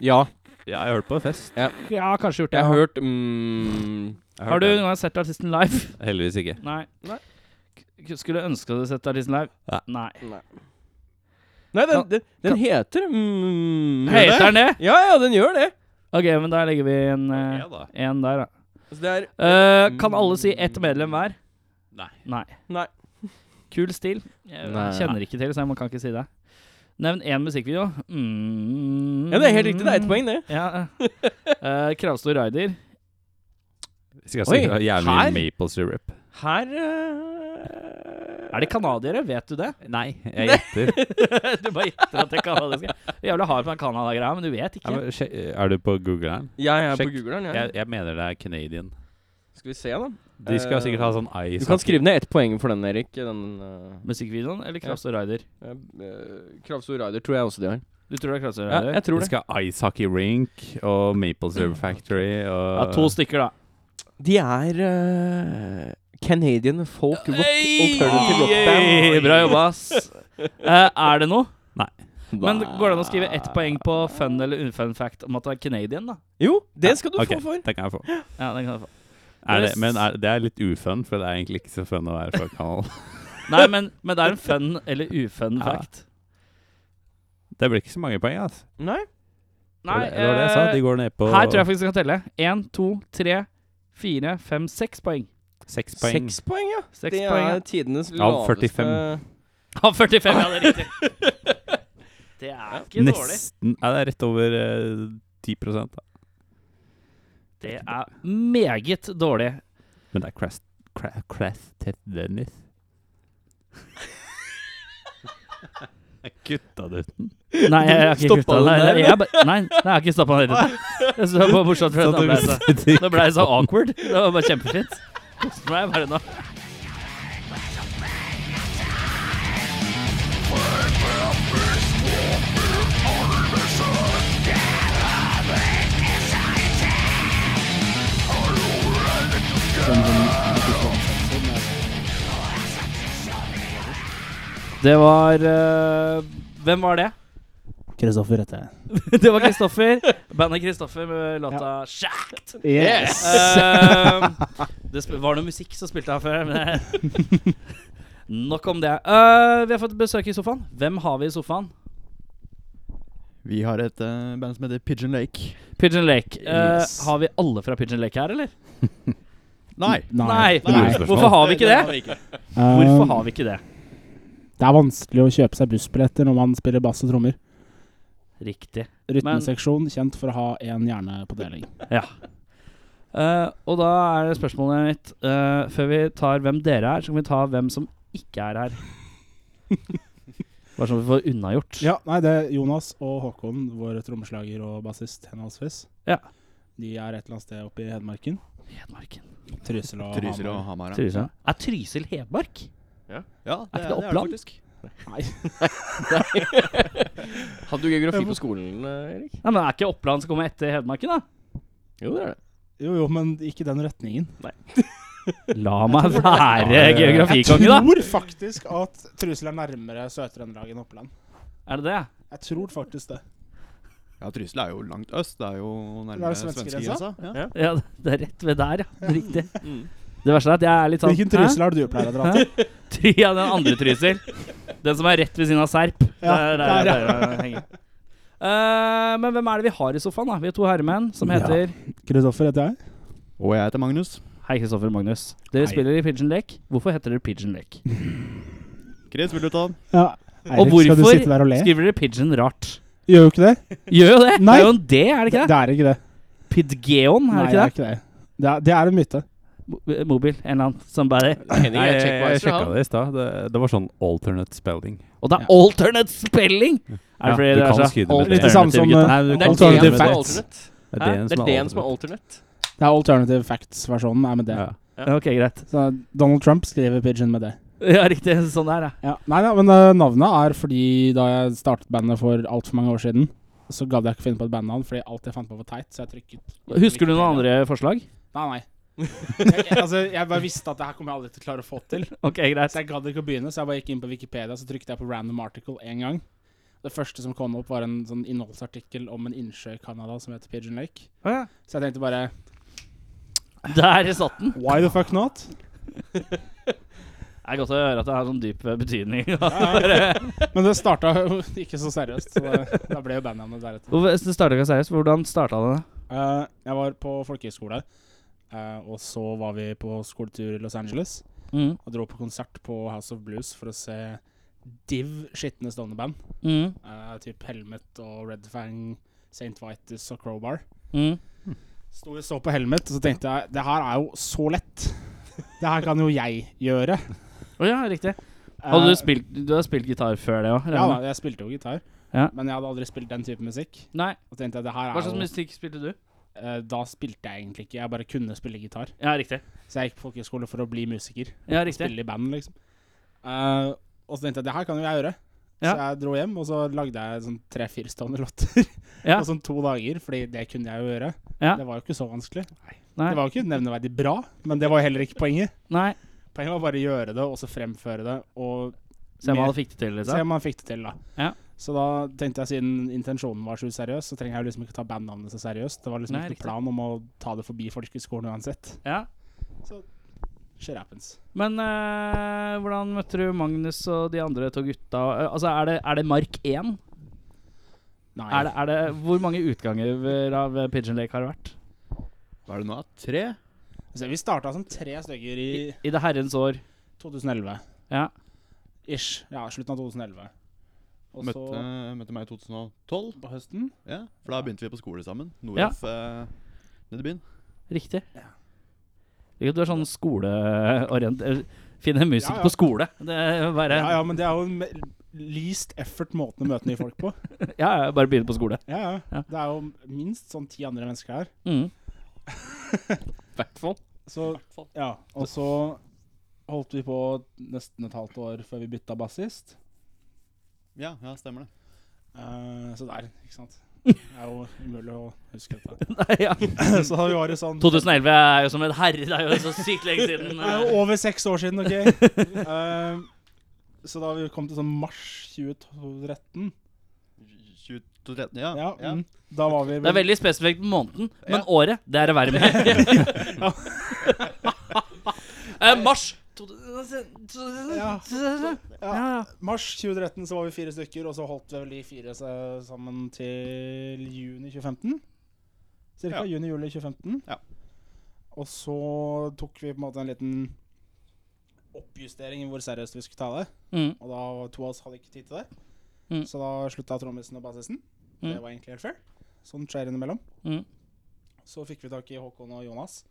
Speaker 4: ja.
Speaker 1: Eh, Ja, jeg har hørt på fest.
Speaker 2: Ja, kanskje gjort
Speaker 4: Jeg har hørt mm,
Speaker 1: Jeg
Speaker 2: Har du
Speaker 1: hørt
Speaker 2: noen gang sett artisten live?
Speaker 1: den. Heldigvis ikke.
Speaker 2: Nei.
Speaker 4: Nei.
Speaker 2: K- Skulle ønske du hadde sett artisten live?
Speaker 1: Nei.
Speaker 2: Nei.
Speaker 4: Nei, den,
Speaker 2: Kan-
Speaker 4: den, den heter mm,
Speaker 2: Heter den det?
Speaker 4: Ja, ja, den gjør det.
Speaker 2: Ok, men da legger vi en, eh,
Speaker 1: da.
Speaker 2: en der, da.
Speaker 4: Altså, det er
Speaker 2: Eh, kan alle si ett medlem hver?
Speaker 1: Nei.
Speaker 2: Nei.
Speaker 4: Nei.
Speaker 2: Kul stil. Jeg
Speaker 4: Nei.
Speaker 2: kjenner ikke til, så jeg må- kan ikke si det. Nevn én musikkvideo. Mm.
Speaker 4: Ja, det er helt riktig. Det er ett poeng, det.
Speaker 2: Ja. Eh, Kravstor Raider.
Speaker 1: Skal jeg
Speaker 4: Oi,
Speaker 1: si gjerne mye
Speaker 4: her?
Speaker 1: maple syrup?
Speaker 4: Her
Speaker 2: Er det canadiere? Vet du det?
Speaker 1: Nei, jeg gjetter.
Speaker 2: du bare gjetter at det er canadiske. Jævla hard på den Canada-greia, men du vet
Speaker 1: Ja,
Speaker 2: ikke.
Speaker 1: men sjek- Er du på Googleren?
Speaker 4: Jeg er
Speaker 1: Sjekk.
Speaker 4: på Googleren, jeg.
Speaker 1: Jeg, jeg mener det er Canadian.
Speaker 4: Skal vi se, da.
Speaker 1: De skal
Speaker 4: Eh,
Speaker 1: sikkert ha sånn ice
Speaker 4: Du kan skrive ned ett poeng for den, Erik. Den eh,
Speaker 2: Musikkvideoen eller Kravstor Raider?
Speaker 4: eh, Kravstor Rider tror jeg også de har.
Speaker 2: Du tror det er Kravstor
Speaker 4: Ja,
Speaker 2: Raider?
Speaker 4: jeg tror
Speaker 1: De
Speaker 4: det.
Speaker 1: skal ha ice hockey rink og Maple Syrup Factory og
Speaker 2: Ja, to stykker, da.
Speaker 4: De er eh, Canadian folk rock alternative rock
Speaker 2: Hey,
Speaker 4: band.
Speaker 2: Bra jobba, ass. Eh, er det noe?
Speaker 1: Nei.
Speaker 2: Men går det an å skrive ett poeng på fun eller unfun fact om at det er Canadian, da?
Speaker 4: Jo, det skal du
Speaker 1: Ok,
Speaker 4: få for.
Speaker 1: Det kan jeg få.
Speaker 2: Ja, den kan jeg få.
Speaker 1: Er det, men er, det er litt ufun, for det er egentlig ikke så fun å være fra Canada.
Speaker 2: Nei, men, men det er en fun eller ufun
Speaker 1: Ja.
Speaker 2: fact.
Speaker 1: Det blir ikke så mange poeng, altså.
Speaker 4: Nei.
Speaker 1: Det var det- det var det jeg sa. De går ned på
Speaker 2: eh, her tror jeg faktisk jeg kan telle. Én, to, tre, fire, fem, seks poeng.
Speaker 1: seks poeng.
Speaker 4: Seks poeng, ja.
Speaker 2: Seks
Speaker 4: Det
Speaker 2: poeng.
Speaker 4: er tidenes
Speaker 1: Av
Speaker 4: laveste
Speaker 1: 45.
Speaker 2: Ja, 45, ja, det er riktig. Det er ikke dårlig.
Speaker 1: Nesten Ja, det er rett over eh, 10 da.
Speaker 2: Det er meget dårlig.
Speaker 1: Men det er Crash cra Crash Test Dennis. Gutta duten.
Speaker 2: Nei, jeg har ikke
Speaker 4: Stoppa
Speaker 2: kutta
Speaker 4: den
Speaker 2: Nei,
Speaker 4: der,
Speaker 2: jeg,
Speaker 4: eller?
Speaker 2: ba- nei, nei, jeg har ikke stoppa den. der. Jeg så bare bortsett fra at da ble jeg så- da ble jeg så awkward. Det var bare kjempefint. Koste meg bare nå. Det var eh, Hvem var det?
Speaker 7: Kristoffer heter jeg.
Speaker 2: Det var Kristoffer. Bandet Kristoffer med låta Shacked.
Speaker 7: Yes!
Speaker 2: Ehm, det sp var noe musikk som spilte her før, men Nok om det. Eh, vi har fått besøk i sofaen. Hvem har vi i sofaen?
Speaker 7: Vi har et eh, band som heter Pigeon Lake.
Speaker 2: Pigeon Lake. Eh,
Speaker 7: Yes.
Speaker 2: Har vi alle fra Pigeon Lake her, eller?
Speaker 7: Nei.
Speaker 2: Nei.
Speaker 1: Nei.
Speaker 2: Hvorfor har vi ikke det? Hvorfor
Speaker 7: Um,
Speaker 2: har vi ikke det?
Speaker 7: det er vanskelig å kjøpe seg bussbilletter når man spiller bass og trommer.
Speaker 2: Riktig.
Speaker 7: Rytmeseksjon kjent for å ha én hjerne på deling.
Speaker 2: Eh, og da er det spørsmålet mitt eh, Før vi tar hvem dere er, så kan vi ta hvem som ikke er her. Bare sånn at vi får unnagjort.
Speaker 7: Ja, nei, det er Jonas og Håkon, vår trommeslager og bassist henholdsvis.
Speaker 2: Ja.
Speaker 7: De er et eller annet sted oppe i Hedmarken.
Speaker 2: Hedmarken.
Speaker 7: Trysil og
Speaker 8: Trysil og
Speaker 7: Hamar.
Speaker 8: Hamar. ja.
Speaker 2: Trysil. Er Trysil Hedmark?
Speaker 8: Ja,
Speaker 2: Er ikke det
Speaker 8: det
Speaker 2: Oppland?
Speaker 8: faktisk.
Speaker 4: Hadde du geografi på skolen, eh, Erik?
Speaker 2: Nei, men er ikke Oppland som kommer etter Hedmarken, da?
Speaker 4: Jo, det er det.
Speaker 7: Jo, jo, men ikke den retningen.
Speaker 2: La meg være geografikonge,
Speaker 7: Jeg
Speaker 2: da!
Speaker 7: tror faktisk at Trysil er nærmere Sør-Trøndelag enn Oppland.
Speaker 2: Er det det?
Speaker 7: Jeg tror faktisk det.
Speaker 8: Ja, Trysil er jo langt øst. Det er jo
Speaker 7: Det er jo
Speaker 8: nærmere
Speaker 7: svenskegrensa.
Speaker 8: svenskegrensa. Ja. Mm.
Speaker 2: Ja, det er rett ved der, ja. Riktig. Det verste er at jeg er litt sånn
Speaker 7: Hvilken
Speaker 2: hæ?
Speaker 7: Trysil er det du pleier å dra til?
Speaker 2: Try- Ja, den andre Trysil. Den som er rett ved siden av Serp.
Speaker 7: Ja,
Speaker 2: Der, der,
Speaker 7: der, ja.
Speaker 2: der, der, henger. Eh, men hvem er det vi har i sofaen? da? Vi har to herremenn som heter
Speaker 7: Kristoffer heter jeg.
Speaker 2: altså?
Speaker 8: Og jeg heter Magnus.
Speaker 2: Hei, Kristoffer og Magnus. Dere spiller i Pigeon Lake. Hvorfor heter dere Pigeon Lake?
Speaker 8: Chris, vil du ta den?
Speaker 7: Ja.
Speaker 2: Og
Speaker 7: Eirik, skal du
Speaker 2: hvorfor
Speaker 7: sitte der og le?
Speaker 2: skriver dere Pigeon rart?
Speaker 7: Gjør jo ikke det.
Speaker 2: Gjør jo det!
Speaker 7: Nei.
Speaker 2: Det er jo en D, er det ikke det?
Speaker 7: Det er ikke det.
Speaker 2: Pidgeon, er
Speaker 7: Nei,
Speaker 2: det ikke det?
Speaker 7: ikke det. Det er, det er en myte.
Speaker 2: Mo- mobil, en eller annen somebody.
Speaker 4: Henning
Speaker 1: Nei, jeg,
Speaker 4: er
Speaker 1: jeg
Speaker 4: checkmeister,
Speaker 1: sjekka
Speaker 4: han.
Speaker 1: det i stad. Det, det var sånn alternate spelling.
Speaker 2: Og det er alternate spelling! Er
Speaker 1: Ja,
Speaker 2: det fordi
Speaker 1: du
Speaker 2: det er
Speaker 1: kan
Speaker 2: så
Speaker 1: skrive det med det
Speaker 7: Litt det
Speaker 2: alternative
Speaker 7: samme som
Speaker 2: gutter?
Speaker 7: eh,
Speaker 1: du kan
Speaker 4: Men det er det som
Speaker 7: Alternative
Speaker 4: er
Speaker 7: facts.
Speaker 4: alternate.
Speaker 1: Det er
Speaker 2: Hæ?
Speaker 4: Det er det som er
Speaker 1: alternate.
Speaker 4: alternate.
Speaker 7: Det er alternative facts-versjonen er med det.
Speaker 1: Ja.
Speaker 2: Ok, greit.
Speaker 7: Så Donald Trump skriver pigeon med det.
Speaker 2: Ja, riktig. Sånn der, ja.
Speaker 7: Ja. Nei da, men eh, navnet er fordi da jeg startet bandet for altfor mange år siden, så gadd jeg ikke finne på et bandnavn fordi alt jeg fant på var teit, så jeg trykket.
Speaker 2: Husker du noen andre forslag?
Speaker 7: Nei, nei. jeg, altså, jeg bare visste at det her kommer jeg aldri til å klare å få til.
Speaker 2: Ok, greit.
Speaker 7: Så jeg gadd ikke å begynne, så jeg bare gikk inn på Wikipedia så trykte jeg på random article én gang. Det første som kom opp, var en sånn innholdsartikkel om en innsjø i Canada som heter Pigeon Lake. Så jeg tenkte bare
Speaker 2: Der satt den.
Speaker 7: Why the fuck not?
Speaker 2: Det er godt å høre at det har sånn dyp eh, betydning.
Speaker 7: Men det starta jo ikke så seriøst, så det, da ble jo bandnavnet deretter.
Speaker 2: Hvorfor- Det startet ikke seriøst. Hvordan starta det?
Speaker 7: Eh, jeg var på folkehøyskole, eh, og så var vi på skoletur i Los Angeles.
Speaker 2: Mm.
Speaker 7: Og dro på konsert på House of Blues for å se div skitne stående band.
Speaker 2: Mm.
Speaker 7: Eh, typ Helmet og Red Fang, St. Vitus og Crowbar.
Speaker 2: Mm.
Speaker 7: Sto og så på Helmet, og så tenkte jeg det her er jo så lett. Det her kan jo jeg gjøre.
Speaker 2: Å ja, riktig.
Speaker 7: Eh,
Speaker 2: Hadde du, spilt, du har spilt gitar før det òg?
Speaker 7: Ja da, jeg spilte jo gitar,
Speaker 2: Ja.
Speaker 7: men jeg hadde aldri spilt den type musikk.
Speaker 2: Nei.
Speaker 7: Og tenkte jeg det her
Speaker 2: Hva
Speaker 7: er
Speaker 2: slags
Speaker 7: jo
Speaker 2: musikk spilte du?
Speaker 7: Eh, Da spilte jeg egentlig ikke, jeg bare kunne spille gitar.
Speaker 2: Ja, riktig.
Speaker 7: Så jeg gikk på folkehøyskole for å bli musiker.
Speaker 2: Ja, riktig.
Speaker 7: Spille i band, liksom. Eh, og så tenkte jeg det her kan jo jeg gjøre. Så jeg dro hjem, og så lagde jeg sånn tre-fire stående låter
Speaker 2: Ja.
Speaker 7: på sånn to dager. Fordi det kunne jeg jo gjøre.
Speaker 2: Ja.
Speaker 7: Det var jo ikke så vanskelig.
Speaker 2: Nei.
Speaker 7: Det var jo ikke nevneverdig bra, men det var jo heller ikke poenget.
Speaker 2: Nei.
Speaker 7: Poenget var bare å gjøre det, og så fremføre det, og
Speaker 2: Se om
Speaker 7: Mer-
Speaker 2: han fikk det til,
Speaker 7: se
Speaker 2: liksom.
Speaker 7: om man fikk det til, da.
Speaker 2: Ja.
Speaker 7: Så da tenkte jeg, siden intensjonen var så useriøs, så trenger jeg jo liksom ikke ta bandnavnet så seriøst. Det var liksom
Speaker 2: Nei,
Speaker 7: ikke
Speaker 2: riktig.
Speaker 7: noen plan om å ta det forbi folkehøyskolen uansett.
Speaker 2: Ja.
Speaker 7: Shit happens.
Speaker 2: Men eh, hvordan møtte du Magnus og de andre to gutta? Eh, Altså, er det, er det Mark 1?
Speaker 7: Nei.
Speaker 2: Er det, er det, hvor mange utganger av eh, Pigeon Lake har det vært?
Speaker 8: Hva er det nå? Tre?
Speaker 7: Altså, vi starta som tre stykker i
Speaker 2: I det herrens år.
Speaker 7: 2011.
Speaker 2: Ja.
Speaker 7: Ish. Ja, slutten av 2011. Og så
Speaker 8: Møtte, møtte meg i 2012.
Speaker 7: på høsten
Speaker 8: Ja, For da begynte vi på skole sammen.
Speaker 2: Ja.
Speaker 8: Noraf eh, nede i byen.
Speaker 2: Riktig. Ikke at Du er sånn skoleorient... eh, Finne musikk
Speaker 7: Ja, ja.
Speaker 2: på skole. Det er bare,
Speaker 7: Ja, ja, men det er jo en me- least effort-måten å møte nye folk på.
Speaker 2: ja, ja, bare begynne på skole.
Speaker 7: Ja, ja.
Speaker 2: Ja.
Speaker 7: Det er jo minst sånn ti andre mennesker her.
Speaker 2: Mm.
Speaker 7: Så, ja, og så holdt vi på nesten et halvt år før vi bytta bassist.
Speaker 8: Ja, ja, stemmer det.
Speaker 7: Eh, så der, ikke sant. Det er jo umulig å huske dette.
Speaker 2: Nei, ja.
Speaker 7: så da vi var jo sånn
Speaker 2: 2011 er jo som en herre. Det er jo så sykt lenge siden. eh.
Speaker 7: Det er jo over seks år siden, OK? Eh, så da vi kom til sånn mars 2013
Speaker 8: 2013, ja.
Speaker 7: Ja, Mm, da var vi
Speaker 2: Det er veldig spesifikt på måneden, men
Speaker 8: Ja.
Speaker 2: året, det er det verre med. eh, mars
Speaker 7: ja,
Speaker 2: ja,
Speaker 7: ja.
Speaker 2: ja.
Speaker 7: Mars 2013 så var vi fire stykker, og så holdt vi vel de fire seg sammen til juni 2015. Cirka
Speaker 8: Ja.
Speaker 7: juni-juli 2015.
Speaker 8: Ja.
Speaker 7: Og så tok vi på en måte en liten oppjustering i hvor seriøst vi skulle ta det.
Speaker 2: Mm.
Speaker 7: Og da var to av oss hadde ikke tid til det.
Speaker 2: Mm.
Speaker 7: Så da slutta trommisen og bassisten. Det
Speaker 2: Mm.
Speaker 7: var egentlig helt fair. Sånn skjer innimellom.
Speaker 2: Mm.
Speaker 7: Så fikk vi tak i Håkon og Jonas,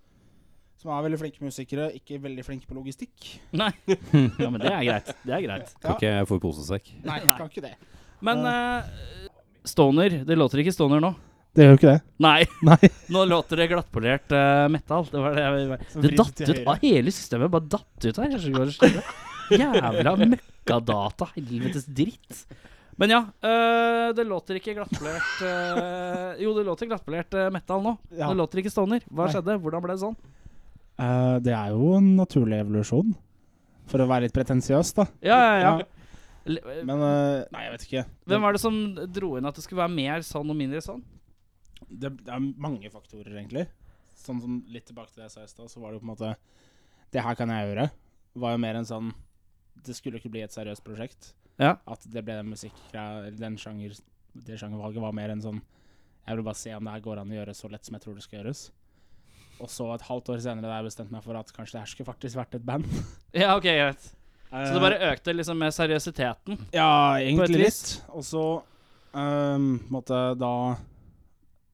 Speaker 7: som er veldig flinke musikere, ikke veldig flinke på logistikk.
Speaker 2: Nei. ja, men det er greit. Det er greit.
Speaker 1: Kan ikke jeg få i posesekk?
Speaker 7: Nei,
Speaker 2: Nei.
Speaker 7: kan ikke det.
Speaker 2: Men eh, Stoner Det låter ikke Stoner nå.
Speaker 7: Det gjør jo ikke det.
Speaker 2: Nei.
Speaker 7: Nei.
Speaker 2: Nå låter det glattpolert uh, metal. Det var det jeg
Speaker 7: Som
Speaker 2: Det
Speaker 7: vridd
Speaker 2: datt
Speaker 7: til
Speaker 2: ut
Speaker 7: høyre.
Speaker 2: av hele systemet. Bare datt ut her. Jeg skjønner ikke hva det skjer. Jævla møkkadata. Helvetes dritt. Men ja, øh, det låter ikke glattpolert øh, Jo, det låter glattpolert øh, metal nå.
Speaker 7: Ja.
Speaker 2: Det låter ikke stoner. Hva
Speaker 7: Nei.
Speaker 2: skjedde? Hvordan ble det sånn?
Speaker 7: Eh, det er jo en naturlig evolusjon. For å være litt pretensiøs, da.
Speaker 2: Ja, ja, ja.
Speaker 7: Ja.
Speaker 2: Le-
Speaker 7: Men eh, Nei, jeg vet ikke.
Speaker 2: Hvem var det som dro inn at det skulle være mer sånn og mindre sånn?
Speaker 7: Det, det er mange faktorer, egentlig. Sånn som Litt tilbake til det jeg sa i stad, så var det jo på en måte Det her kan jeg gjøre. Var jo mer en sånn Det skulle ikke bli et seriøst prosjekt.
Speaker 2: Ja.
Speaker 7: At det ble den musikkgreia eller Den sjanger Det sjangervalget var mer en sånn Jeg vil bare se om det her går an å gjøre så lett som jeg tror det skal gjøres. Og så et halvt år senere da jeg bestemte meg for at kanskje det her skulle faktisk vært et band.
Speaker 2: Ja, ok, greit. Så
Speaker 7: Eh.
Speaker 2: det bare økte liksom med seriøsiteten.
Speaker 7: Ja,
Speaker 2: et
Speaker 7: egentlig
Speaker 2: vis.
Speaker 7: litt. Og så um, måtte da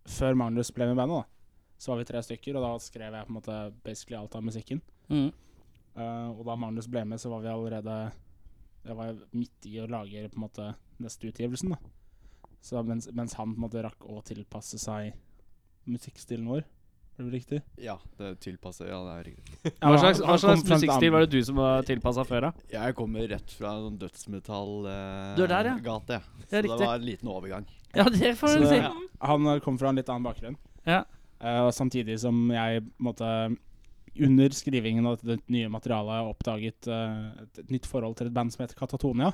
Speaker 7: Før Magnus ble med i bandet, da, så var vi tre stykker, og da skrev jeg på en måte basically alt av musikken.
Speaker 2: Mm.
Speaker 7: Eh, og da Magnus ble med, så var vi allerede Jeg var midt i å lage på en måte neste utgivelsen, da. Så mens, mens han på en måte rakk å tilpasse seg musikkstilen vår, Er det riktig?
Speaker 8: Ja, det tilpasser Ja, det er riktig.
Speaker 7: Ja,
Speaker 2: hva slags,
Speaker 7: han-
Speaker 2: hva
Speaker 7: han
Speaker 2: slags
Speaker 7: kom frem til
Speaker 2: musikkstil
Speaker 7: andre.
Speaker 2: var det du som var tilpassa før, da?
Speaker 8: Jeg kommer rett fra en sånn dødsmetall-gate,
Speaker 2: Du er der, ja.
Speaker 8: jeg.
Speaker 2: Ja,
Speaker 8: Så
Speaker 2: riktig.
Speaker 8: det var en liten overgang.
Speaker 2: Ja, det får
Speaker 7: Så
Speaker 2: du si.
Speaker 7: det- Han eh, kom fra en litt annen bakgrunn.
Speaker 2: Ja.
Speaker 7: Eh, og samtidig som jeg på en måte, under skrivingen av dette nye materialet oppdaget eh, et, et nytt forhold til et band som heter Katatonia.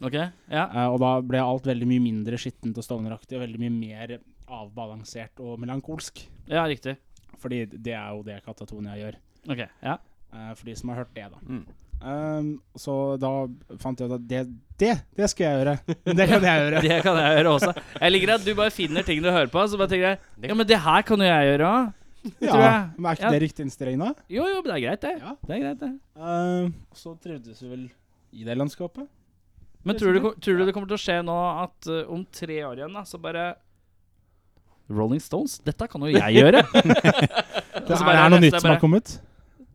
Speaker 2: Ok, ja.
Speaker 7: Eh, og da ble alt veldig mye mindre skittent og stovneraktig, og veldig mye mer avbalansert og melankolsk.
Speaker 2: ja, riktig.
Speaker 7: Fordi det er jo det Katatonia gjør.
Speaker 2: Ok, ja.
Speaker 7: Eh, for de som har hørt det, da.
Speaker 8: Mm.
Speaker 7: Ehm, så da fant jeg ut at det, det, det skal jeg gjøre. Det kan jeg gjøre.
Speaker 2: Det kan jeg gjøre også. Jeg liker at du bare finner ting du hører på, så bare tenker jeg Ja, men det her kan jo jeg gjøre òg.
Speaker 7: ja,
Speaker 2: tror jeg.
Speaker 7: men er ikke
Speaker 2: Ja.
Speaker 7: det riktig innstilling nå?
Speaker 2: Jo, jo, men det er greit, det.
Speaker 7: Ja.
Speaker 2: Det er greit, det.
Speaker 7: Ehm, så trivdes vi vel i det landskapet.
Speaker 2: Men tror du, tror du det kommer til å skje nå at uh, om tre år igjen, da, så bare Rolling Stones? Dette kan jo jeg gjøre!
Speaker 7: Det
Speaker 2: så
Speaker 7: er,
Speaker 2: bare
Speaker 7: er noe
Speaker 2: neste
Speaker 7: nytt som
Speaker 2: bare-
Speaker 7: har kommet.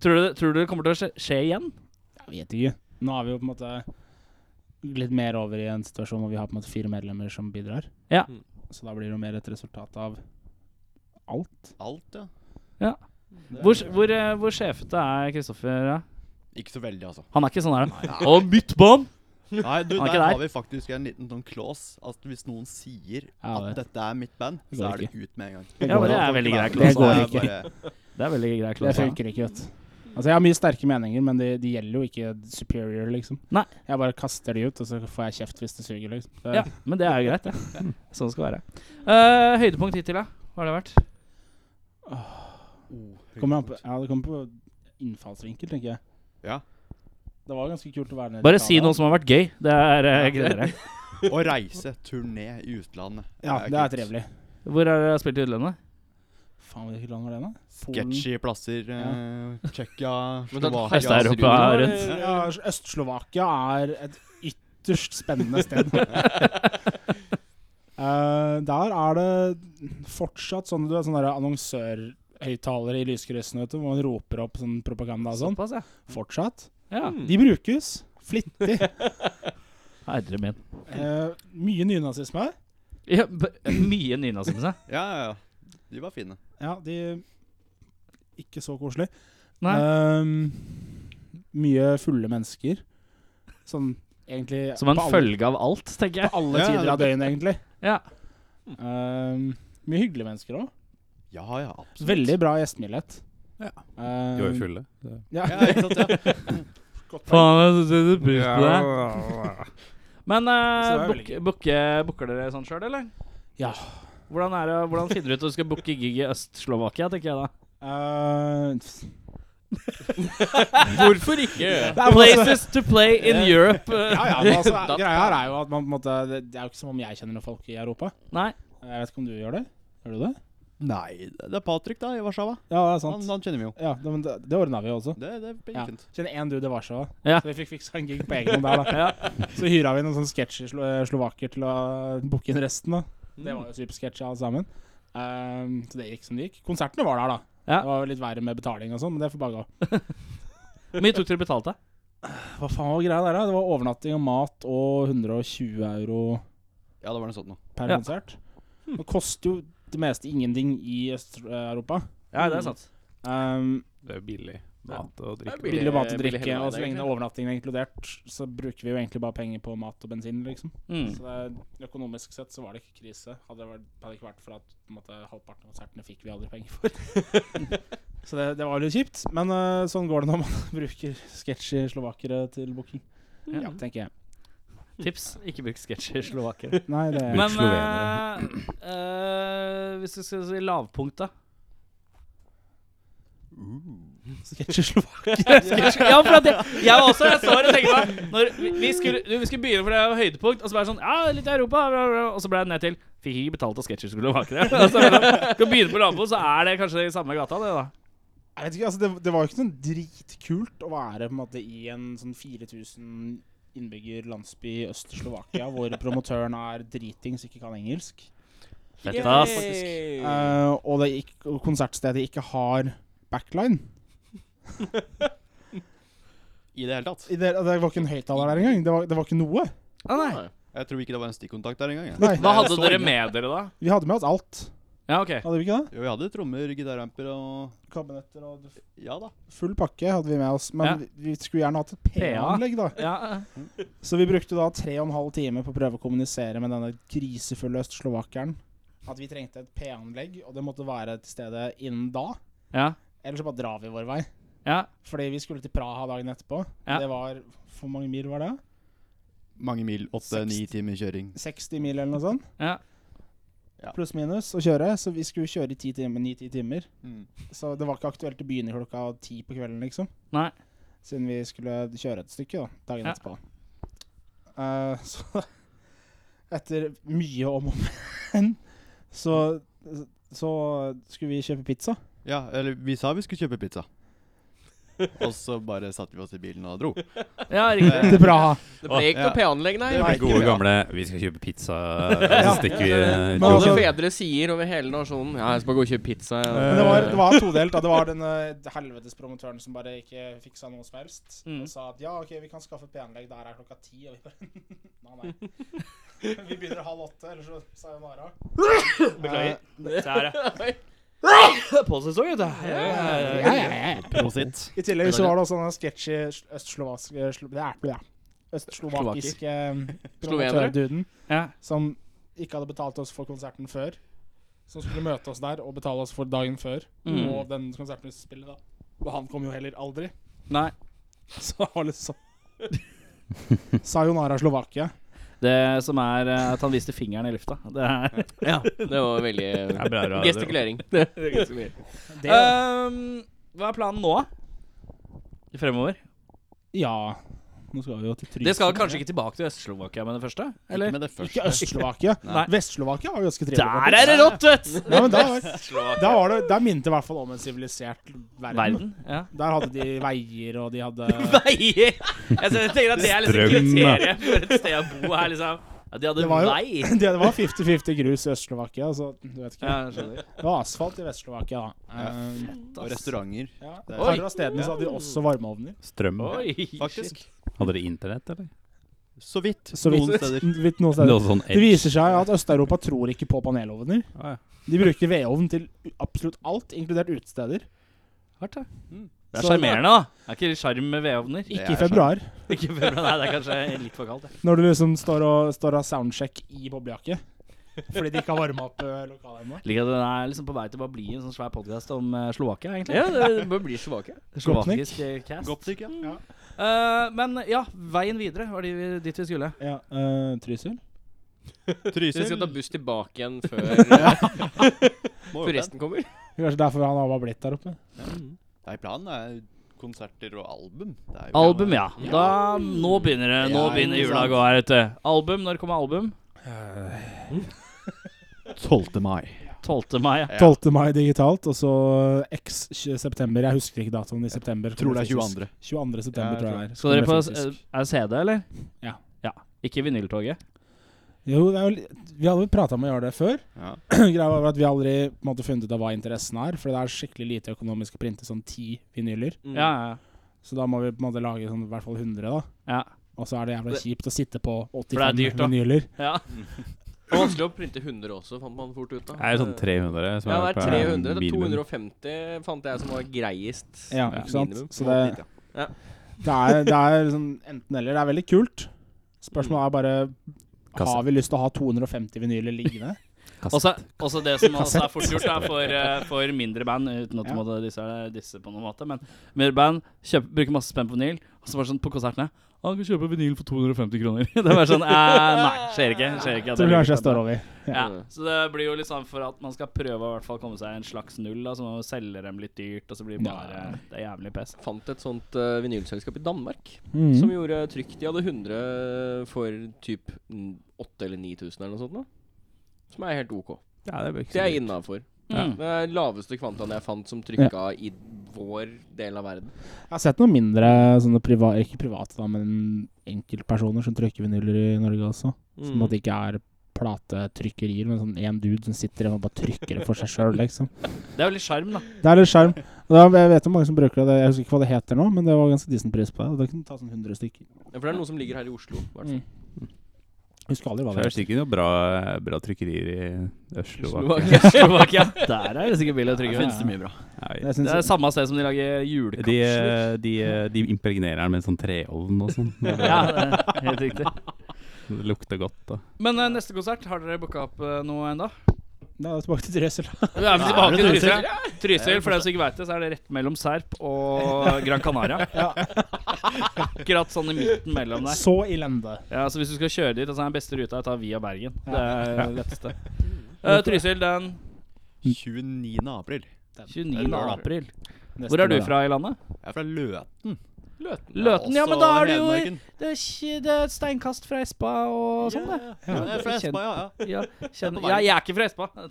Speaker 2: tror, du, tror du det kommer til å skje, skje igjen?
Speaker 7: Jeg vet ikke. Nå er vi jo på en måte litt mer over i en situasjon hvor vi har på en måte fire medlemmer som bidrar.
Speaker 2: Ja.
Speaker 4: Mm.
Speaker 7: Så da blir det jo mer et resultat av alt.
Speaker 8: Alt, ja.
Speaker 2: Ja.
Speaker 8: Det er-
Speaker 2: Hvor, hvor, uh, hvor sjefete er Kristoffer? da?
Speaker 8: Ikke så veldig, altså.
Speaker 2: Han er ikke sånn her, da. Å, bytt bånd!
Speaker 8: Nei, du,
Speaker 2: Han er
Speaker 8: der
Speaker 2: ikke der.
Speaker 8: har vi faktisk en liten sånn clause at hvis noen sier
Speaker 7: Ja,
Speaker 8: at
Speaker 7: det-
Speaker 8: dette er mitt band,
Speaker 7: det
Speaker 8: så
Speaker 7: går
Speaker 8: er det ut med en gang.
Speaker 2: Ja, men det er veldig grei
Speaker 7: Det går
Speaker 8: Det er
Speaker 7: ikke.
Speaker 8: bare-
Speaker 2: Det er veldig grei
Speaker 7: Det
Speaker 2: klart.
Speaker 7: funker ikke, vet du. Altså, jeg har mye sterke meninger, men de, de gjelder jo ikke superior, liksom.
Speaker 2: Nei.
Speaker 7: Jeg bare kaster de ut, og så får jeg kjeft hvis det suger, liksom. Det,
Speaker 2: Ja, men det er jo greit, det. Sånn skal det være. Uh, høydepunkt hittil, da? Hva har det vært?
Speaker 8: oh,
Speaker 7: kommer an på, ja, det kommer på innfallsvinkel, tenker jeg.
Speaker 8: Ja.
Speaker 7: Det var ganske kult å være nede i
Speaker 2: Bare
Speaker 7: Italia.
Speaker 2: si noe som har vært gøy. Det er uh, greiere.
Speaker 8: Å reise turné i utlandet.
Speaker 7: Ja, det er
Speaker 8: kult.
Speaker 7: trivelig.
Speaker 2: Hvor har dere spilt i utlandet?
Speaker 7: Faen, hvilket land var det, da? Polen.
Speaker 8: Sketchy plasser. eh, Tsjekkia,
Speaker 4: Men da-
Speaker 8: Slovakia
Speaker 2: Øst-Europa
Speaker 8: Serbia.
Speaker 2: er rundt.
Speaker 7: Ja, Øst-Slovakia er et ytterst spennende sted. Eh, der er det fortsatt sånn du er sånne der annonsørhøyttalere i lyskryssene, vet du, hvor man roper opp sånn propaganda og sånn.
Speaker 2: Såpass, Mm. ja.
Speaker 7: Fortsatt.
Speaker 2: ja.
Speaker 4: Hmm.
Speaker 7: De brukes flittig.
Speaker 2: Herre min.
Speaker 7: Eh, mye nynazisme.
Speaker 2: Ja, b mye nynazisme. sa jeg.
Speaker 8: Ja, ja, ja. De var fine.
Speaker 7: Ja, de Ikke så koselig.
Speaker 2: Nei.
Speaker 7: Ehm, mye fulle mennesker. Sånn egentlig
Speaker 2: Som en
Speaker 7: på alle-
Speaker 2: følge av alt, tenker jeg.
Speaker 7: På alle
Speaker 8: Ja,
Speaker 7: tider av
Speaker 8: det-
Speaker 7: døgnet, egentlig.
Speaker 2: Ja.
Speaker 7: Ehm, mye hyggelige mennesker òg.
Speaker 8: Ja, ja, absolutt.
Speaker 7: Veldig bra gjestmildhet.
Speaker 1: Ja.
Speaker 7: Ehm,
Speaker 1: De var jo fulle.
Speaker 7: Ja.
Speaker 8: Ja, ikke sant, ja.
Speaker 2: Faen, jeg setter pris på det. Men
Speaker 7: Så det
Speaker 2: uh,
Speaker 7: er veldig
Speaker 2: book- booke- booker dere sånn sjøl, eller?
Speaker 7: Ja.
Speaker 2: Hvordan, er det, hvordan finner du ut at du skal booke gig i Øst-Slovakia, tenker jeg da?
Speaker 7: Ehm,
Speaker 4: Hvorfor ikke?
Speaker 7: det er masse-
Speaker 2: Places to play in Europe.
Speaker 7: ja, ja, men altså, greia her er jo at man på en måte Det det er jo ikke som om jeg kjenner noen folk i Europa.
Speaker 2: Nei.
Speaker 7: Jeg vet ikke om du gjør det? Gjør du det?
Speaker 8: Nei, det er Patrick, da, i Warszawa.
Speaker 7: Ja, det er
Speaker 8: Han,
Speaker 7: sant.
Speaker 8: han kjenner vi jo.
Speaker 7: Ja, det, men det, det ordna vi jo også.
Speaker 8: Det, det blir
Speaker 7: Ja.
Speaker 8: fint.
Speaker 7: Kjenner én dude i Warszawa.
Speaker 2: Ja.
Speaker 7: Så vi fikk fiksa en gig på egen hånd der, da. Så hyra vi noen sånne sketsjer slo eh, slovaker til å booke inn resten, da. Det var jo supersketsjer alle sammen. Ehm, så det gikk som det gikk. Konsertene var der, da.
Speaker 2: Ja.
Speaker 7: Det var jo litt verre med betaling og sånn, men det får bare gå.
Speaker 2: Hvor mye tok dere betalt, da?
Speaker 7: Hva faen var greia der, da? Det var overnatting og mat og 120 euro
Speaker 8: Ja, det var noe sånt noe.
Speaker 7: per
Speaker 2: Ja.
Speaker 7: konsert. Det koster jo det meste ingenting i Øst-Europa.
Speaker 2: Ja,
Speaker 7: Mm.
Speaker 2: det er sant.
Speaker 7: Ehm,
Speaker 1: Det er jo billig mat og drikke.
Speaker 7: billig mat og
Speaker 4: billig hele
Speaker 7: drikke, og så
Speaker 4: veien,
Speaker 7: lenge
Speaker 4: egentlig.
Speaker 7: overnattingen er inkludert, så bruker vi jo egentlig bare penger på mat og bensin, liksom.
Speaker 2: Mm.
Speaker 7: Så det, er- økonomisk sett så var det ikke krise. Hadde det, vært, hadde det ikke vært for at på en måte, halvparten av konsertene fikk vi aldri penger for. så det, det var litt kjipt. Men eh, sånn går det når man bruker sketsjer slovakere til booking. Mm.
Speaker 2: Ja.
Speaker 7: Ja, tenker jeg.
Speaker 2: Tips ikke bruk sketsjer i Slovakia.
Speaker 7: Nei, det
Speaker 1: Bruk
Speaker 2: Men
Speaker 1: slovenere.
Speaker 2: eh, eh, hvis du skal si lavpunkt, da?
Speaker 7: sketsjer slovakere.
Speaker 2: ja, for at jeg, jeg var også Jeg står og tenker meg når vi, vi, skulle, du, vi skulle begynne for det var høydepunkt, og så bare sånn Ja, litt Europa, bla, bla, bla, og så ble jeg ned til Fikk ikke betalt av sketsjer skulle bake det. Og så bare sånn, Skal begynne på lavpunkt, så er det kanskje det i samme gata, det, da.
Speaker 7: Jeg vet ikke, altså, det, det var jo ikke sånn dritkult å være på en måte i en sånn 4000 innbygger landsby i Øst-Slovakia, hvor promotøren er driting som ikke kan engelsk.
Speaker 2: Fett, ass.
Speaker 7: Eh, og det gikk, og konsertstedet ikke har backline.
Speaker 8: I det hele tatt.
Speaker 7: I det, det var ikke en høyttaler der engang. Det var, det var ikke noe.
Speaker 2: Ah, nei.
Speaker 8: Jeg tror ikke det var en stikkontakt der engang. jeg.
Speaker 7: Nei.
Speaker 2: Hva hadde dere med dere, da?
Speaker 7: Vi hadde med oss alt.
Speaker 2: Ja, ok.
Speaker 7: Hadde vi ikke det?
Speaker 8: Jo, vi hadde trommer, gitaramper og
Speaker 7: Kabinetter og
Speaker 8: Ja da.
Speaker 7: Full pakke hadde vi med oss, men
Speaker 2: Ja.
Speaker 7: vi- vi skulle gjerne hatt et PA-anlegg, da.
Speaker 2: Ja,
Speaker 7: Så vi brukte da tre og en halv time på å prøve å kommunisere med denne grisefulle østslovakeren at vi trengte et PA-anlegg, og det måtte være til stede innen da.
Speaker 2: ja,
Speaker 7: Ellers så bare drar vi vår vei.
Speaker 2: ja.
Speaker 7: Fordi vi skulle til Praha dagen etterpå.
Speaker 2: Ja.
Speaker 7: Det var Hvor mange mil var det?
Speaker 8: Mange mil. Åtte-ni timer kjøring.
Speaker 7: 60 mil eller noe sånt?
Speaker 2: Ja.
Speaker 8: Ja.
Speaker 7: Pluss minus å kjøre. Så vi skulle kjøre i 10 timer, 9-10 timer.
Speaker 8: Mm.
Speaker 7: Så det var ikke aktuelt å begynne klokka ti på kvelden, liksom.
Speaker 2: Nei.
Speaker 7: Siden vi skulle kjøre et stykke da, dagen
Speaker 2: Ja.
Speaker 7: etterpå. Eh, så etter mye om og men, så, så skulle vi kjøpe pizza.
Speaker 8: Ja, eller vi sa vi skulle kjøpe pizza. og så bare satte vi oss i bilen og dro.
Speaker 2: ja riktig.
Speaker 7: Til Praha.
Speaker 4: Det ble ikke
Speaker 8: ja.
Speaker 4: noe P-anlegg, nei.
Speaker 8: Det ble
Speaker 1: Gode
Speaker 8: Ja.
Speaker 1: gamle 'vi skal kjøpe pizza', og så stikker vi eh,
Speaker 7: Men
Speaker 4: Alle
Speaker 7: altså-
Speaker 4: fedre sier over hele nasjonen Ja, jeg skal bare gå og kjøpe pizza.
Speaker 7: Men det var, det var todelt. da. Det var den eh, helvetes promotøren som bare ikke fiksa noe som helst.
Speaker 2: Mm.
Speaker 7: Og sa at ja, OK, vi kan skaffe P-anlegg. Der er klokka ti. Og vi bare Nei, nei. Vi begynner halv åtte, eller så sa hun Nara. Beklager.
Speaker 2: Påsesong, vet du. Ja, ja, ja.
Speaker 8: Prosit.
Speaker 7: I tillegg så var det også den sketsjy eh, østslovakiske Østslovakiske
Speaker 4: Slovenere?
Speaker 7: promotørduden
Speaker 2: Ja.
Speaker 7: eh, som ikke hadde betalt oss for konserten før. Som skulle møte oss der og betale oss for dagen før.
Speaker 2: Mm.
Speaker 7: Og den konserten vi skulle spille da. Og han kom jo heller aldri.
Speaker 2: Nei.
Speaker 7: Så det var litt sånn Sayonara Slovakia.
Speaker 2: Det som er eh, at han viste fingeren i lufta. Det er
Speaker 4: Ja, det var veldig gestikulering.
Speaker 7: Det,
Speaker 2: Ehm, Hva er planen nå, da? Fremover?
Speaker 7: ja Nå skal vi jo til Trysil.
Speaker 2: Det skal kanskje ikke tilbake til Øst-Slovakia med det første?
Speaker 8: Eller? Ikke med det første.
Speaker 7: Ikke Øst-Slovakia.
Speaker 2: Nei.
Speaker 7: Vest-Slovakia var jo ganske trivelig.
Speaker 2: Der er det rått, vet du!
Speaker 7: Ja, men da, da, var det, da minnet det i hvert fall om en sivilisert verden.
Speaker 2: Verden. Ja.
Speaker 7: Der hadde de veier, og de hadde
Speaker 2: Veier! Jeg ser- jeg tenker at det er liksom
Speaker 1: Strøm, da.
Speaker 2: kriteriet for et sted å bo her, liksom. Ja, de
Speaker 7: Det
Speaker 2: hadde
Speaker 7: var jo-
Speaker 2: vei.
Speaker 7: Det var 50-50 grus i Øst-Slovakia, så du vet ikke.
Speaker 2: Ja, jeg skjønner.
Speaker 7: Det var asfalt i Vest-Slovakia, da. Um,
Speaker 8: Og restauranter.
Speaker 7: ja. Et
Speaker 8: Det er-
Speaker 7: par av stedene så hadde de også varmeovner.
Speaker 2: Mm.
Speaker 1: strøm.
Speaker 2: Oi,
Speaker 8: Faktisk.
Speaker 1: Hadde dere internett, eller?
Speaker 8: Så vidt.
Speaker 7: Så vidt,
Speaker 8: Noen steder.
Speaker 7: vidt noen
Speaker 1: Det,
Speaker 7: steder.
Speaker 1: var sånn
Speaker 7: Det
Speaker 1: edge.
Speaker 7: viser seg at Øst-Europa tror ikke på panelovner.
Speaker 1: Ah, ja.
Speaker 7: De bruker vedovn til u- absolutt alt, inkludert utesteder.
Speaker 2: Hardt, da.
Speaker 8: Mm.
Speaker 2: Det er sjarmerende, da. Det er ikke sjarm med vedovner.
Speaker 8: Det
Speaker 7: Ikke
Speaker 8: er
Speaker 7: i februar,
Speaker 2: Ikke februar, nei, det er kanskje litt for kaldt. det.
Speaker 7: når du liksom står og, står og har soundcheck i boblejakke. Fordi de ikke har varma opp eh, lokalet ennå.
Speaker 2: Ligger at den er liksom på vei til å bare bli en sånn svær podkast om eh, Slovakia, egentlig.
Speaker 4: Ja, det bør bli svake.
Speaker 2: Slovakisk eh, cast.
Speaker 8: Goptic, ja.
Speaker 2: Eh, men ja, veien videre var de vi- dit vi skulle.
Speaker 7: Ja, eh, Trysil.
Speaker 4: Så vi skal ta
Speaker 8: Trysil.
Speaker 4: buss tilbake igjen før
Speaker 8: Må jo den.
Speaker 4: turisten kommer.
Speaker 7: Det er Kanskje derfor han har bare blitt der oppe.
Speaker 8: Nei, planen er konserter og album. Det er jo
Speaker 2: Album, ja. Da, nå begynner det. Nå
Speaker 8: Ja,
Speaker 2: begynner
Speaker 8: ikke
Speaker 2: jula å
Speaker 8: sant.
Speaker 2: gå her ute. Album, når kommer album?
Speaker 8: 12. mai.
Speaker 2: 12. mai.
Speaker 8: Ja.
Speaker 7: 12. mai digitalt, og så eh, x september. Jeg husker ikke datoen i september.
Speaker 8: Tror det er
Speaker 7: fysisk.
Speaker 8: 22.
Speaker 7: 22. september,
Speaker 8: Ja,
Speaker 7: tror
Speaker 8: jeg tror
Speaker 7: jeg. er.
Speaker 2: Skal dere på
Speaker 7: Fysisk.
Speaker 2: eh, Er det CD, eller?
Speaker 7: Ja.
Speaker 2: ja. Ikke vinyltoget?
Speaker 7: Jo, det er jo, li- vi hadde jo prata om å gjøre det før.
Speaker 8: Ja.
Speaker 7: Greia var at vi aldri på en måte, funnet ut av hva interessen er, for det er skikkelig lite økonomisk å printe sånn ti vinyler.
Speaker 4: Mm.
Speaker 2: Ja, ja,
Speaker 7: Så da må vi på en måte lage sånn i hvert fall 100, da.
Speaker 2: ja.
Speaker 7: Og så er det jævla
Speaker 4: Det-
Speaker 7: kjipt å sitte på
Speaker 2: det er
Speaker 7: 85
Speaker 2: dyrt, da.
Speaker 7: vinyler.
Speaker 2: ja.
Speaker 4: Det var vanskelig å printe 100 også, fant man fort ut. da
Speaker 1: Det er sånn 300 som
Speaker 4: Ja, det er
Speaker 1: på
Speaker 4: 300. Det er
Speaker 1: minimum.
Speaker 4: 250 fant jeg som var greiest.
Speaker 7: Ja, ikke sant?
Speaker 4: Minimum.
Speaker 7: Så det- Det er, det er sånn enten-eller. Det er veldig kult.
Speaker 4: Mm.
Speaker 7: Spørsmålet er bare
Speaker 1: Kassett.
Speaker 7: Har vi lyst til å ha 250 vinyler liggende?
Speaker 1: Kassett.
Speaker 2: Også, også det som også er fort gjort da, for, eh, for mindre band, uten at du
Speaker 7: Ja.
Speaker 2: må disse, disse på noen måte, men mindre band kjøp, bruker masse spenn på vinyl, og så bare sånn på konsertene «Å, du kan kjøpe vinyl for 250 kroner. Det er bare sånn eh, Nei, skjer ikke. Skjer ikke at
Speaker 7: Tror
Speaker 2: det
Speaker 7: kanskje
Speaker 2: blir
Speaker 7: jeg står over.
Speaker 2: ja, Så det blir jo litt sånn for at man skal prøve å i hvert fall komme seg en slags null, da, så man selger dem litt dyrt, og så blir det bare Det er jævlig pes.
Speaker 4: Fant et sånt eh, vinylselskap i Danmark
Speaker 2: Mm.
Speaker 7: Mhm.
Speaker 4: som gjorde trykk. De hadde 100 for typ 8000 eller 9000 eller noe sånt. Da. Som er helt OK.
Speaker 1: Ja, det blir ikke
Speaker 4: Det
Speaker 1: så
Speaker 4: er
Speaker 1: dyrt.
Speaker 4: innafor.
Speaker 2: Mm.
Speaker 4: Det er laveste kvantaen jeg fant som trykka i vår del av verden.
Speaker 7: Jeg har sett noen mindre sånne priva ikke private, da, men enkeltpersoner som trykker vinyler i Norge også.
Speaker 4: Mm.
Speaker 7: Som at det ikke er platetrykkerier, men sånn én dude som sitter hjemme og bare trykker det for seg sjøl, liksom.
Speaker 2: Det er jo litt sjarm, da.
Speaker 7: Det er litt sjarm. Og da- Jeg vet om mange som bruker det, jeg husker ikke hva det heter nå, men det var ganske decent pris på det. og Det kunne ta sånn 100 stykker.
Speaker 4: Ja, for det er noe som ligger her i Oslo. i hvert fall.
Speaker 7: Husker aldri hva
Speaker 1: Det
Speaker 7: det
Speaker 1: er
Speaker 7: er.
Speaker 1: sikkert noen bra, bra trykkerier i Øslovakia.
Speaker 2: Slovakia. Der er det sikkert billig å
Speaker 7: Ja.
Speaker 2: trygge.
Speaker 8: finnes det mye bra.
Speaker 1: Nei.
Speaker 7: Det
Speaker 2: Det er
Speaker 7: synes jeg,
Speaker 2: samme sted som de lager julekapsler.
Speaker 1: De, eh, de, eh, de impregnerer den med en sånn treovn og sånn.
Speaker 2: ja, det er helt riktig.
Speaker 1: Det lukter godt. da
Speaker 2: Men eh, neste konsert, har dere booka opp eh, noe ennå?
Speaker 7: da er det tilbake til Drøsel.
Speaker 2: Vi er tilbake til Trysil. Trysil, for den som ikke veit det, så er det rett mellom Serp og Gran Canaria. Akkurat sånn i midten mellom der.
Speaker 7: Så elende.
Speaker 2: Ja, så hvis du skal kjøre dit, så er den beste ruta å ta via Bergen. Det er det letteste. Eh, Trysil den
Speaker 8: 29. april.
Speaker 2: 29. april.
Speaker 7: Neste
Speaker 2: Hvor er du
Speaker 7: lørdag.
Speaker 2: fra i landet?
Speaker 8: Jeg er fra Løten.
Speaker 2: Løten. Ja, men da er du jo i-
Speaker 8: Hedmarken.
Speaker 2: Det er, ikke- det er et steinkast fra Espa og sånn, det.
Speaker 8: Ja, jeg er fra Espa, ja. ja.
Speaker 2: Ja, kjenner, ja, jeg er ikke fra Espa.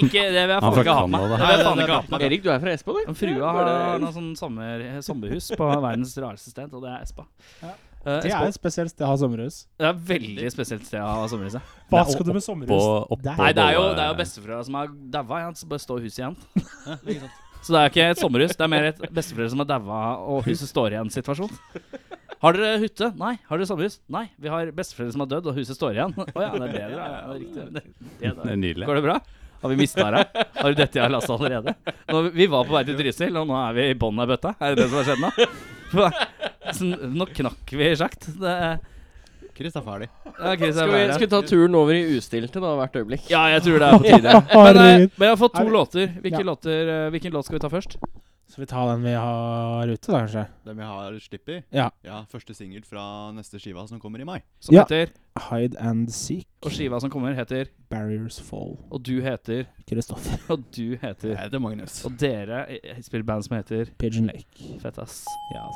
Speaker 2: ikke, det vil jeg
Speaker 1: Han
Speaker 2: faen
Speaker 1: fra
Speaker 2: ikke ha med.
Speaker 1: Canada.
Speaker 2: Det vil jeg faen ikke ha med.
Speaker 4: Erik, du er fra Espa, du?
Speaker 2: Men Frua har noe sånn sommer, sommerhus på verdens rareste sted, og det er Espa.
Speaker 7: Ja.
Speaker 2: Eh,
Speaker 7: Det er
Speaker 2: Espa.
Speaker 7: et spesielt sted å ha sommerhus.
Speaker 2: Det er et veldig spesielt sted å ha sommerhuset.
Speaker 7: Hva
Speaker 1: Nei,
Speaker 7: skal du med
Speaker 1: På,
Speaker 7: sommerhus?
Speaker 1: oppå
Speaker 7: Nei,
Speaker 2: Nei, det er jo,
Speaker 1: Bolle-
Speaker 2: det er jo bestefrøa som har daua. Ja, så bare står huset igjen. Så det er ikke et sommerhus, det er mer et bestefrø som har daua og huset står igjen-situasjon. Har dere hytte? Nei. Har dere sommerhus? Nei. Vi har besteforeldre som har dødd, og huset står igjen. Å ja, det er bedre. Ja, ja, det er riktig. Det- det er det.
Speaker 1: Det er nydelig.
Speaker 2: Går det bra? Har vi mista deg? Har du dette jeg har lasta allerede? Nå, vi var på vei til Trysil, og nå er vi i bånn av bøtta. Er det det som har skjedd nå? Sånn, Nå knakk vi i sjakt. Det er-
Speaker 8: Chris er ferdig.
Speaker 2: Ja, Chris er
Speaker 4: Skal vi,
Speaker 2: ferdig.
Speaker 4: skal vi ta turen over i ustilte da, hvert øyeblikk?
Speaker 2: Ja, jeg tror det er på tide. Men, eh,
Speaker 7: Herregud.
Speaker 2: men jeg har fått
Speaker 7: Er
Speaker 2: to
Speaker 7: det-
Speaker 2: låter. Hvilke
Speaker 7: Ja.
Speaker 2: låter eh, Hvilken låt skal vi ta først?
Speaker 7: Skal vi ta den vi har ute, da, kanskje?
Speaker 8: Den vi har slipp i.
Speaker 7: Ja.
Speaker 8: ja første singel fra neste skiva som kommer i mai.
Speaker 2: Som
Speaker 7: Ja.
Speaker 2: heter
Speaker 7: Hide and seek.
Speaker 2: Og skiva som kommer, heter
Speaker 7: Barriers fall.
Speaker 2: Og du heter
Speaker 7: Kristoffer.
Speaker 2: Og du heter
Speaker 8: heter Magnus.
Speaker 2: Og dere eh, spiller band som heter
Speaker 7: Pigeon Lake.
Speaker 2: Fett, ass.
Speaker 7: Ja.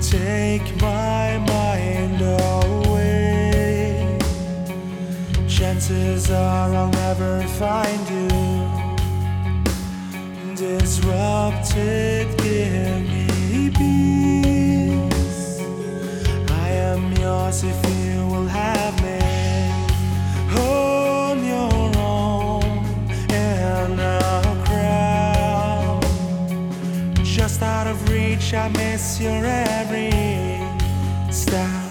Speaker 9: Take my mind away. Chances are I'll never find you. Disrupted, give me peace. I am yours if you will have me. On your own in a crowd. Just out of reach, I miss your every step.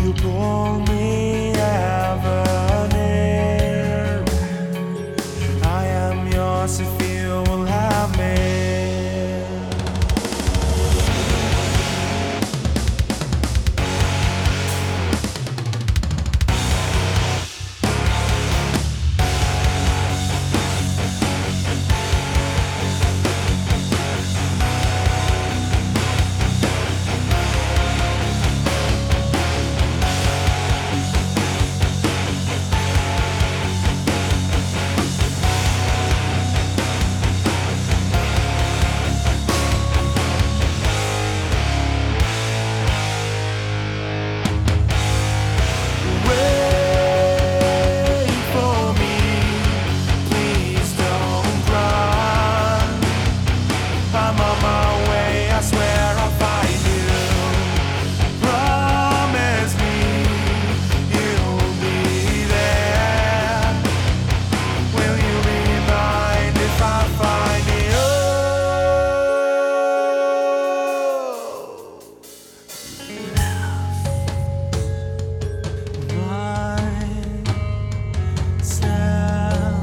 Speaker 9: You pull me ever near. I am yours if you will have me. Wait for me, please don't run. I'm on my way, I swear I'll find you. Promise me you'll be there. Will you be mine if I find you? Myself,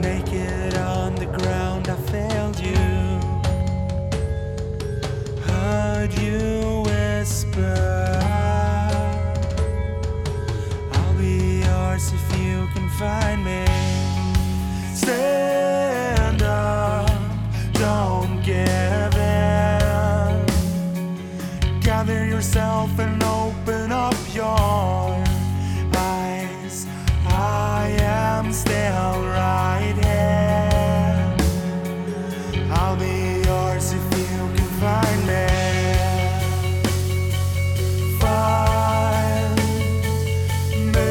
Speaker 9: naked on the ground, I failed you. Heard you whisper, "I'll be yours if you can find me." Stand up, don't give in gather yourself and open up your eyes. I am still right here. I'll be yours if you can find me. Find me.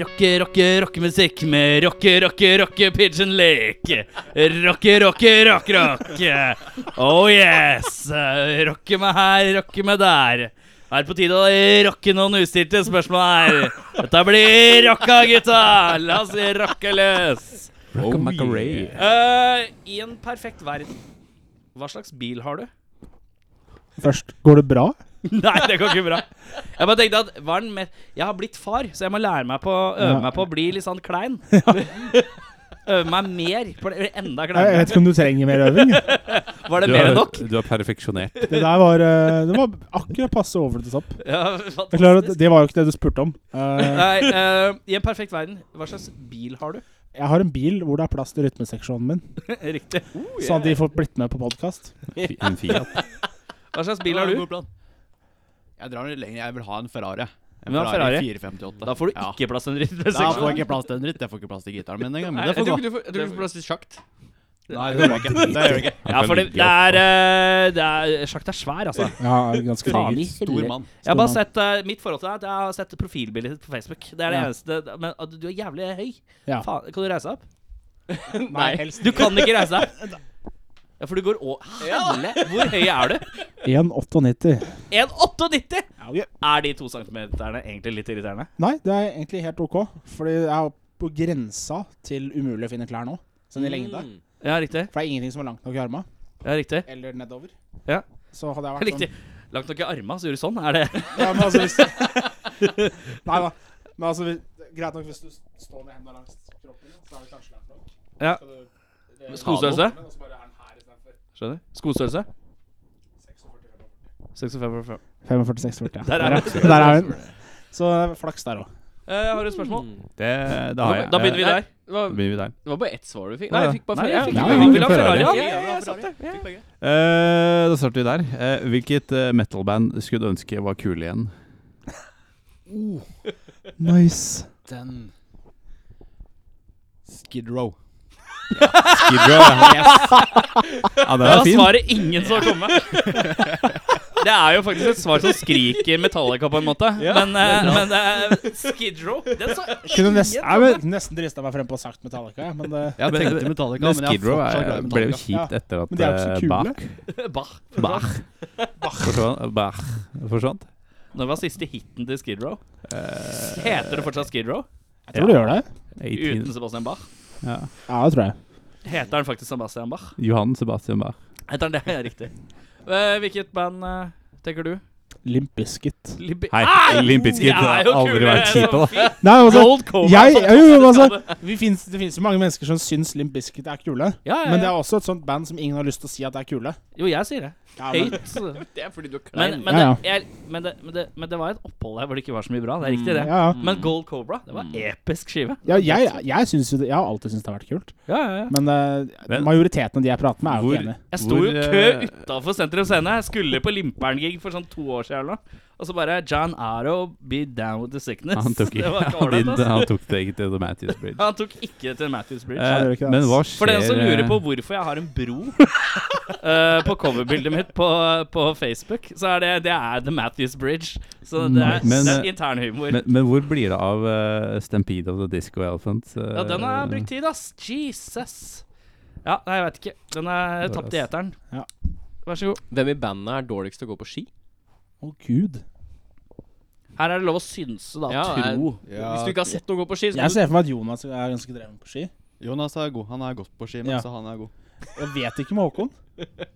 Speaker 2: Rocke, rocke, rockemusikk med rocke, rocke, rocke Pigeon Lake. Rocke, rocke, rock, rock. Oh yes. Rocke meg her, rocke meg der. Er det på tide å rocke noen ustilte spørsmål her. Dette blir rocka, gutta! La oss rocke løs.
Speaker 1: Rock oh, yeah.
Speaker 2: Eh, I en perfekt verden, hva slags bil har du?
Speaker 7: Først, går det bra?
Speaker 2: Nei, det går ikke bra. Jeg bare tenkte at hva er den mer Jeg har blitt far, så jeg må lære meg på øve
Speaker 7: Ja.
Speaker 2: meg på å bli litt sånn klein. øve meg mer. For det blir enda
Speaker 7: Jeg
Speaker 2: kleinere.
Speaker 7: vet ikke om du trenger mer øving.
Speaker 2: Var det
Speaker 1: Du
Speaker 2: mer
Speaker 1: er,
Speaker 2: enn nok?
Speaker 1: du er perfeksjonert.
Speaker 7: Det der var, eh, det var akkurat passe overflyttes opp.
Speaker 2: Ja,
Speaker 7: Det er klart at
Speaker 2: fantastisk.
Speaker 7: det var jo ikke det du spurte om. Eh,
Speaker 2: Nei, eh, I en perfekt verden, hva slags bil har du?
Speaker 7: jeg har en bil hvor det er plass til rytmeseksjonen min,
Speaker 2: Riktig.
Speaker 7: så hadde de fått blitt med på podkast.
Speaker 1: Fi- En Fiat.
Speaker 2: Hva slags bil har du?
Speaker 8: Jeg drar litt lenger. Jeg vil ha en Ferrari.
Speaker 2: Du
Speaker 8: En
Speaker 2: vil ha en
Speaker 8: Ferrari
Speaker 2: Ferrari?
Speaker 8: 458.
Speaker 2: Da får du
Speaker 8: Ja.
Speaker 2: ikke plass til en
Speaker 8: Da får jeg
Speaker 2: rytmeseksjon.
Speaker 8: ikke plass til en dritt. Jeg får ikke plass til gitaren min engang.
Speaker 2: Nei,
Speaker 8: Men det
Speaker 2: jeg
Speaker 8: får
Speaker 2: tror
Speaker 8: gå.
Speaker 2: ikke du får- jeg tror ikke du får plass
Speaker 8: til sjakt. Nei,
Speaker 2: Nei,
Speaker 8: det gjør jeg ikke. Det gjør jeg ikke.
Speaker 2: Ja, for det, det er, eh, det er Sjakk er svær, altså.
Speaker 7: Ja, ganske
Speaker 2: Faen
Speaker 7: diger.
Speaker 2: i
Speaker 8: Stor
Speaker 2: helvete.
Speaker 8: mann.
Speaker 2: Jeg har bare
Speaker 7: mann.
Speaker 2: sett eh, Mitt forhold til deg er at jeg har sett profilbildet ditt på Facebook. Det er det
Speaker 7: Ja.
Speaker 2: eneste Men at du er jævlig høy.
Speaker 7: Ja.
Speaker 2: Faen, kan du reise deg opp?
Speaker 7: Nei, helst
Speaker 2: Du kan ikke reise deg. Ja, for du går å... Helle! Hvor høy er du?
Speaker 7: 1,98.
Speaker 2: 1,98!
Speaker 7: Ja, vi-
Speaker 2: Er de to centimeterne egentlig litt irriterende?
Speaker 7: Nei, det er egentlig helt ok. Fordi jeg er på grensa til umulig å finne klær nå. Sånn i lengde.
Speaker 2: Ja, riktig.
Speaker 7: For det er ingenting som er langt nok i arma.
Speaker 2: Ja, riktig.
Speaker 7: Eller nedover.
Speaker 2: Ja.
Speaker 7: Så hadde jeg vært
Speaker 2: riktig. Langt nok i arma, så gjør du sånn. Er det
Speaker 7: sånn ja, men altså, hvis... Nei da. Men altså, hvis- det er greit nok hvis du s- står med hendene langs kroppen, så er det kanskje langt nok.
Speaker 2: Ja.
Speaker 7: Skal du- det-
Speaker 2: Skostørrelse?
Speaker 7: Og så bare er den her istedenfor.
Speaker 2: Skjønner. Skostørrelse? 46,45.
Speaker 7: 45-46, ja.
Speaker 2: Der er
Speaker 7: hun. Der er hun. Så det er flaks der òg.
Speaker 2: Eh, har du et spørsmål?
Speaker 1: Det, da har jeg.
Speaker 2: Da begynner vi
Speaker 1: Eh,
Speaker 2: der.
Speaker 4: Det var,
Speaker 1: Da begynner vi der.
Speaker 4: det var bare ett svar du fikk. Nei, jeg fikk bare
Speaker 2: Nei,
Speaker 4: Ferrari.
Speaker 2: jeg fikk
Speaker 7: Ja,
Speaker 2: ikke
Speaker 7: ja,
Speaker 2: vi vil ha
Speaker 1: ja,
Speaker 2: Ferrari.
Speaker 4: ja,
Speaker 2: ja.
Speaker 4: ja,
Speaker 2: Ja,
Speaker 4: ja,
Speaker 2: jeg satt det. Ja.
Speaker 1: Eh, da starter vi der. Eh, hvilket eh, metalband skulle du ønske var kule igjen?
Speaker 7: Nice.
Speaker 8: Den Skid
Speaker 1: Skid
Speaker 8: Row.
Speaker 1: Row. Yes. Ja, den er
Speaker 2: Det var
Speaker 1: fin.
Speaker 2: svaret ingen så komme. Det er jo faktisk et svar som skriker Metallica på en måte. men eh, men eh, Skid Row Den så
Speaker 7: Kunne nesten, jeg vet, nesten drista meg frem på å ha sagt Metallica, jeg, men eh, det
Speaker 8: Jeg
Speaker 1: Men-
Speaker 8: tenkte Metallica,
Speaker 1: Men
Speaker 8: men jeg er
Speaker 1: Skid Row
Speaker 8: fortsatt
Speaker 1: er-
Speaker 8: glad i
Speaker 1: ble jo
Speaker 8: Metallica.
Speaker 1: kjipt
Speaker 7: Ja.
Speaker 1: etter at
Speaker 7: Men de er jo ikke så
Speaker 1: eh,
Speaker 7: kule.
Speaker 1: Bach
Speaker 2: Bah.
Speaker 1: Bach forsvant. Bach forsvant.
Speaker 2: Når var siste hiten til Skid Row? Heter det fortsatt Skid Row?
Speaker 7: Jeg tror du gjør det.
Speaker 1: 18.
Speaker 2: Uten Sebastian Bach?
Speaker 1: Ja.
Speaker 7: Ja, det tror jeg.
Speaker 2: Heter han faktisk Sebastian Bach?
Speaker 1: Johan Sebastian Bach.
Speaker 2: Heter han det? Ja, Riktig. Eh, hvilket band eh, tenker du? Ah!
Speaker 7: Limp Bizkit.
Speaker 2: Libi
Speaker 1: Hei, Limp Bizkit har aldri vært kjipe, da.
Speaker 7: Nei, altså,
Speaker 2: Gold Cobra.
Speaker 7: jeg,
Speaker 2: altså.
Speaker 7: jo, jo, altså vi finnes, Det finnes jo mange mennesker som syns Limp Bizkit er kule.
Speaker 2: Ja, ja,
Speaker 7: Men det
Speaker 2: ja.
Speaker 7: er også et sånt band som ingen har lyst til å si at det er kule.
Speaker 2: Jo, jeg sier det.
Speaker 7: Ja, men,
Speaker 2: Høyt.
Speaker 4: Det er fordi du er klein.
Speaker 2: Men, men,
Speaker 7: Ja, ja.
Speaker 2: Det, jeg, men, det, men, det, men det var et opphold her hvor det ikke var så mye bra. Det er riktig, det.
Speaker 7: ja, Mm. ja.
Speaker 2: Men Gold Cobra, det var
Speaker 1: Mm.
Speaker 2: episk skive.
Speaker 7: ja jeg, jeg, synes jo det, jeg har alltid syntes det har vært kult.
Speaker 2: Ja, ja, ja.
Speaker 7: Men eh,
Speaker 1: Men-
Speaker 7: majoriteten av de jeg prater med, er jo
Speaker 1: Hvor-
Speaker 7: ikke enig.
Speaker 2: Jeg sto
Speaker 1: Hvor,
Speaker 2: jo i kø
Speaker 1: eh,
Speaker 2: utafor Sentrum Scene. Jeg skulle på Limper'n-gig for sånn to år siden. eller noe. Og så bare John Arrow, be down with the sickness.
Speaker 1: Han tok,
Speaker 2: det
Speaker 1: ikke,
Speaker 2: var ikke
Speaker 1: han,
Speaker 2: ålreit,
Speaker 1: didn't-
Speaker 2: altså.
Speaker 1: han tok det ikke til The Matthews Bridge.
Speaker 2: Han tok ikke til Matthews Bridge.
Speaker 1: Eh,
Speaker 7: gjør ikke det,
Speaker 1: men hva skjer
Speaker 2: for den som lurer
Speaker 1: eh,
Speaker 2: på hvorfor jeg har en bro eh, på coverbildet mitt på, eh, på Facebook, så er det det er The Matthews Bridge. Så det er,
Speaker 7: Nice.
Speaker 1: Men,
Speaker 2: det er
Speaker 1: eh,
Speaker 2: internhumor.
Speaker 1: men, men hvor blir det av eh, Stampede of the Disco Elephant? eh,
Speaker 2: Ja, den har brukt tid, ass. Jesus. Ja, nei, jeg vet ikke. Den er
Speaker 1: Det var
Speaker 2: tapt i
Speaker 1: ass.
Speaker 2: eteren.
Speaker 7: Ja.
Speaker 2: Vær så god.
Speaker 4: Hvem i bandet er dårligst til å gå på ski?
Speaker 7: Å, gud.
Speaker 2: Her er det lov å synse, da.
Speaker 4: jeg-
Speaker 2: tro.
Speaker 4: Hvis du ikke har sett noen gå på ski, så
Speaker 7: Jeg
Speaker 4: kan du
Speaker 7: ser for meg at Jonas er ganske dreven på ski.
Speaker 8: Jonas er god. Han er godt på ski, men
Speaker 7: Ja.
Speaker 8: så han er god.
Speaker 7: Jeg vet ikke med Håkon.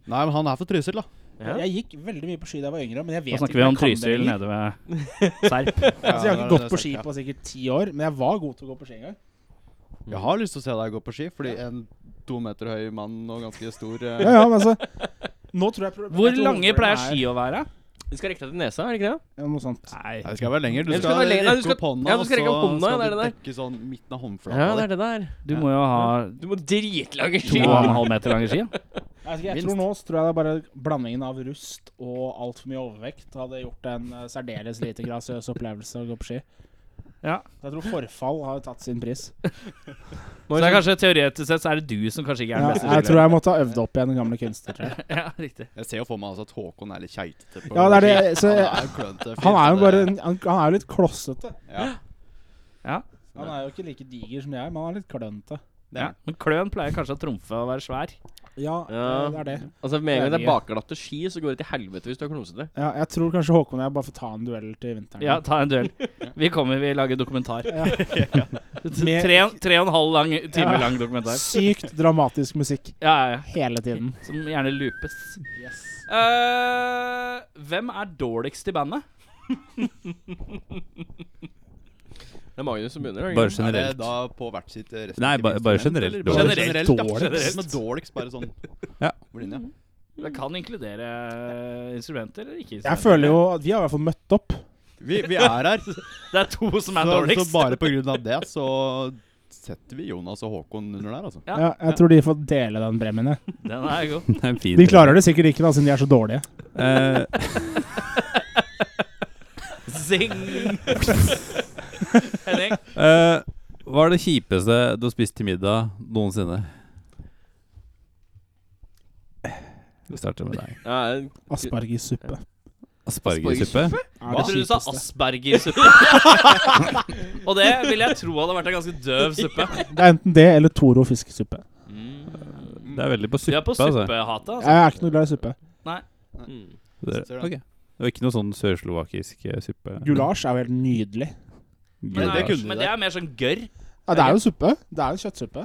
Speaker 8: Nei, men han er fra Trysil, da.
Speaker 2: Ja.
Speaker 7: Jeg gikk veldig mye på ski da jeg var yngre, men jeg vet
Speaker 2: Da
Speaker 7: ikke
Speaker 2: snakker vi om
Speaker 7: jeg kan det
Speaker 2: Trysil
Speaker 7: lenger.
Speaker 2: nede ved Serp.
Speaker 7: Altså, jeg har
Speaker 8: Ja, det er
Speaker 7: ikke gått
Speaker 8: det
Speaker 7: på
Speaker 8: jeg
Speaker 7: ski
Speaker 8: har sagt,
Speaker 7: på sikkert ti år, men jeg var god til å gå på ski en gang.
Speaker 8: ja. Jeg har lyst til å se deg gå på ski, fordi en to meter høy mann og ganske stor eh,
Speaker 7: Ja, ja, men altså Nå tror jeg pro- jeg
Speaker 2: Hvor
Speaker 7: tror
Speaker 2: lange
Speaker 7: hovedproblemet
Speaker 2: pleier
Speaker 7: er-
Speaker 2: ski å være?
Speaker 4: Du skal rekke deg til nesa, er det ikke det?
Speaker 7: Ja, Noe sånt.
Speaker 2: Nei.
Speaker 8: Nei, det skal være lenger. Du
Speaker 4: Eller
Speaker 8: skal,
Speaker 4: skal det være lenger? Nei,
Speaker 8: rekke
Speaker 4: du skal-
Speaker 8: opp hånda,
Speaker 4: ja, du skal rekke opp
Speaker 8: og
Speaker 4: hånda,
Speaker 8: så
Speaker 4: ja, det er
Speaker 8: skal du
Speaker 4: det
Speaker 8: dekke sånn midten av håndflata.
Speaker 4: Ja,
Speaker 8: di.
Speaker 4: det er det der.
Speaker 2: Du må jo ha
Speaker 4: Du må dritlange
Speaker 2: to
Speaker 4: ski.
Speaker 2: og en halv meter lange ski. ja.
Speaker 7: Jeg, vet ikke, altså, jeg
Speaker 8: Minst.
Speaker 7: tror nå så tror jeg det er bare blandingen av rust og altfor mye overvekt hadde gjort en eh, særdeles lite grasiøs opplevelse å gå på ski.
Speaker 2: Ja.
Speaker 7: Så jeg tror forfall har tatt sin pris.
Speaker 2: Så det er kanskje teoretisk sett så er det du som kanskje ikke er
Speaker 7: Ja,
Speaker 2: den beste.
Speaker 7: jeg tror
Speaker 2: skiløperen.
Speaker 7: jeg måtte ha øvd opp igjen den gamle kunstner. Tror jeg.
Speaker 2: Ja, riktig.
Speaker 8: Jeg ser jo for meg altså, at Håkon er litt keitete. på
Speaker 7: Ja, det er det,
Speaker 8: ski.
Speaker 7: så-
Speaker 8: han er jo klønete. fyr,
Speaker 7: Han er
Speaker 8: så
Speaker 7: jo bare
Speaker 8: det-
Speaker 7: en- han, han er jo litt klossete.
Speaker 8: ja.
Speaker 2: Ja.
Speaker 7: Han er jo ikke like diger som jeg, men han er litt klønete.
Speaker 2: Ja. Men kløn pleier kanskje å trumfe å være svær.
Speaker 7: Ja, eh,
Speaker 4: Ja.
Speaker 7: det er det.
Speaker 4: Altså Med en gang det er
Speaker 7: Veldig.
Speaker 4: bakglatte ski, så går det til helvete hvis du er klumsete.
Speaker 7: Ja, jeg tror kanskje Håkon og jeg bare får ta en duell til vinteren.
Speaker 2: Ja, ta en duell. Vi kommer, vi lager dokumentar.
Speaker 7: Med-
Speaker 2: Tre, tre og en halv lang, time
Speaker 7: Ja.
Speaker 2: lang dokumentar.
Speaker 7: Sykt dramatisk musikk
Speaker 2: Ja, ja, ja.
Speaker 7: hele tiden.
Speaker 2: Som gjerne loopes.
Speaker 7: Yes.
Speaker 2: Eh, hvem er dårligst i bandet?
Speaker 4: Det er Magnus som begynner. er det
Speaker 1: Bare
Speaker 4: ikke?
Speaker 8: Er det
Speaker 1: generelt.
Speaker 8: da på hvert sitt eh, respektive
Speaker 1: Nei, ba- bare
Speaker 8: instrument,
Speaker 1: generelt
Speaker 8: eller
Speaker 1: dårligst.
Speaker 8: Bare generelt,
Speaker 2: dårligst.
Speaker 7: Generelt
Speaker 8: ja. Som er dårligst, bare sånn.
Speaker 1: Ja.
Speaker 8: Blind, ja.
Speaker 2: Det kan inkludere eh, instrumenter eller ikke.
Speaker 7: Jeg føler jo at vi har i hvert fall møtt opp.
Speaker 8: Vi, vi er her,
Speaker 2: Det er to som er
Speaker 8: så, så
Speaker 2: dårligst.
Speaker 8: bare på grunn av det så setter vi Jonas og Håkon under der, altså.
Speaker 2: Ja.
Speaker 7: Ja, jeg tror de får dele den bremmen. jeg.
Speaker 2: Den er god.
Speaker 1: Det er en fin
Speaker 7: De klarer det sikkert ikke, da, siden de er så dårlige.
Speaker 1: Eh,
Speaker 2: Zing! Henning?
Speaker 1: eh, hva er det kjipeste du har spist til middag noensinne? Vi starter med deg.
Speaker 4: Ja, det er-
Speaker 7: Aspargesuppe.
Speaker 1: Aspargesuppe?
Speaker 7: Er
Speaker 2: Jeg
Speaker 7: det
Speaker 2: trodde du sa
Speaker 7: kjipeste.
Speaker 2: aspergersuppe. Og det ville jeg tro hadde vært en ganske døv suppe.
Speaker 7: Det er enten det eller Toro fiskesuppe.
Speaker 1: Det er veldig på
Speaker 2: Vi
Speaker 1: suppe,
Speaker 2: er på
Speaker 1: altså.
Speaker 2: suppehatet, altså.
Speaker 7: Jeg er ikke noe glad i suppe.
Speaker 4: mm.
Speaker 1: Det er- ok. Det var ikke noe sånn sørslovakisk eh, suppe?
Speaker 7: Gulasj er jo helt nydelig.
Speaker 2: Men
Speaker 1: Gulasj.
Speaker 2: det,
Speaker 8: kunne
Speaker 2: er,
Speaker 8: du
Speaker 2: men
Speaker 8: der.
Speaker 2: det er mer sånn gørr.
Speaker 7: Ja, det er jo suppe. Det er jo kjøttsuppe.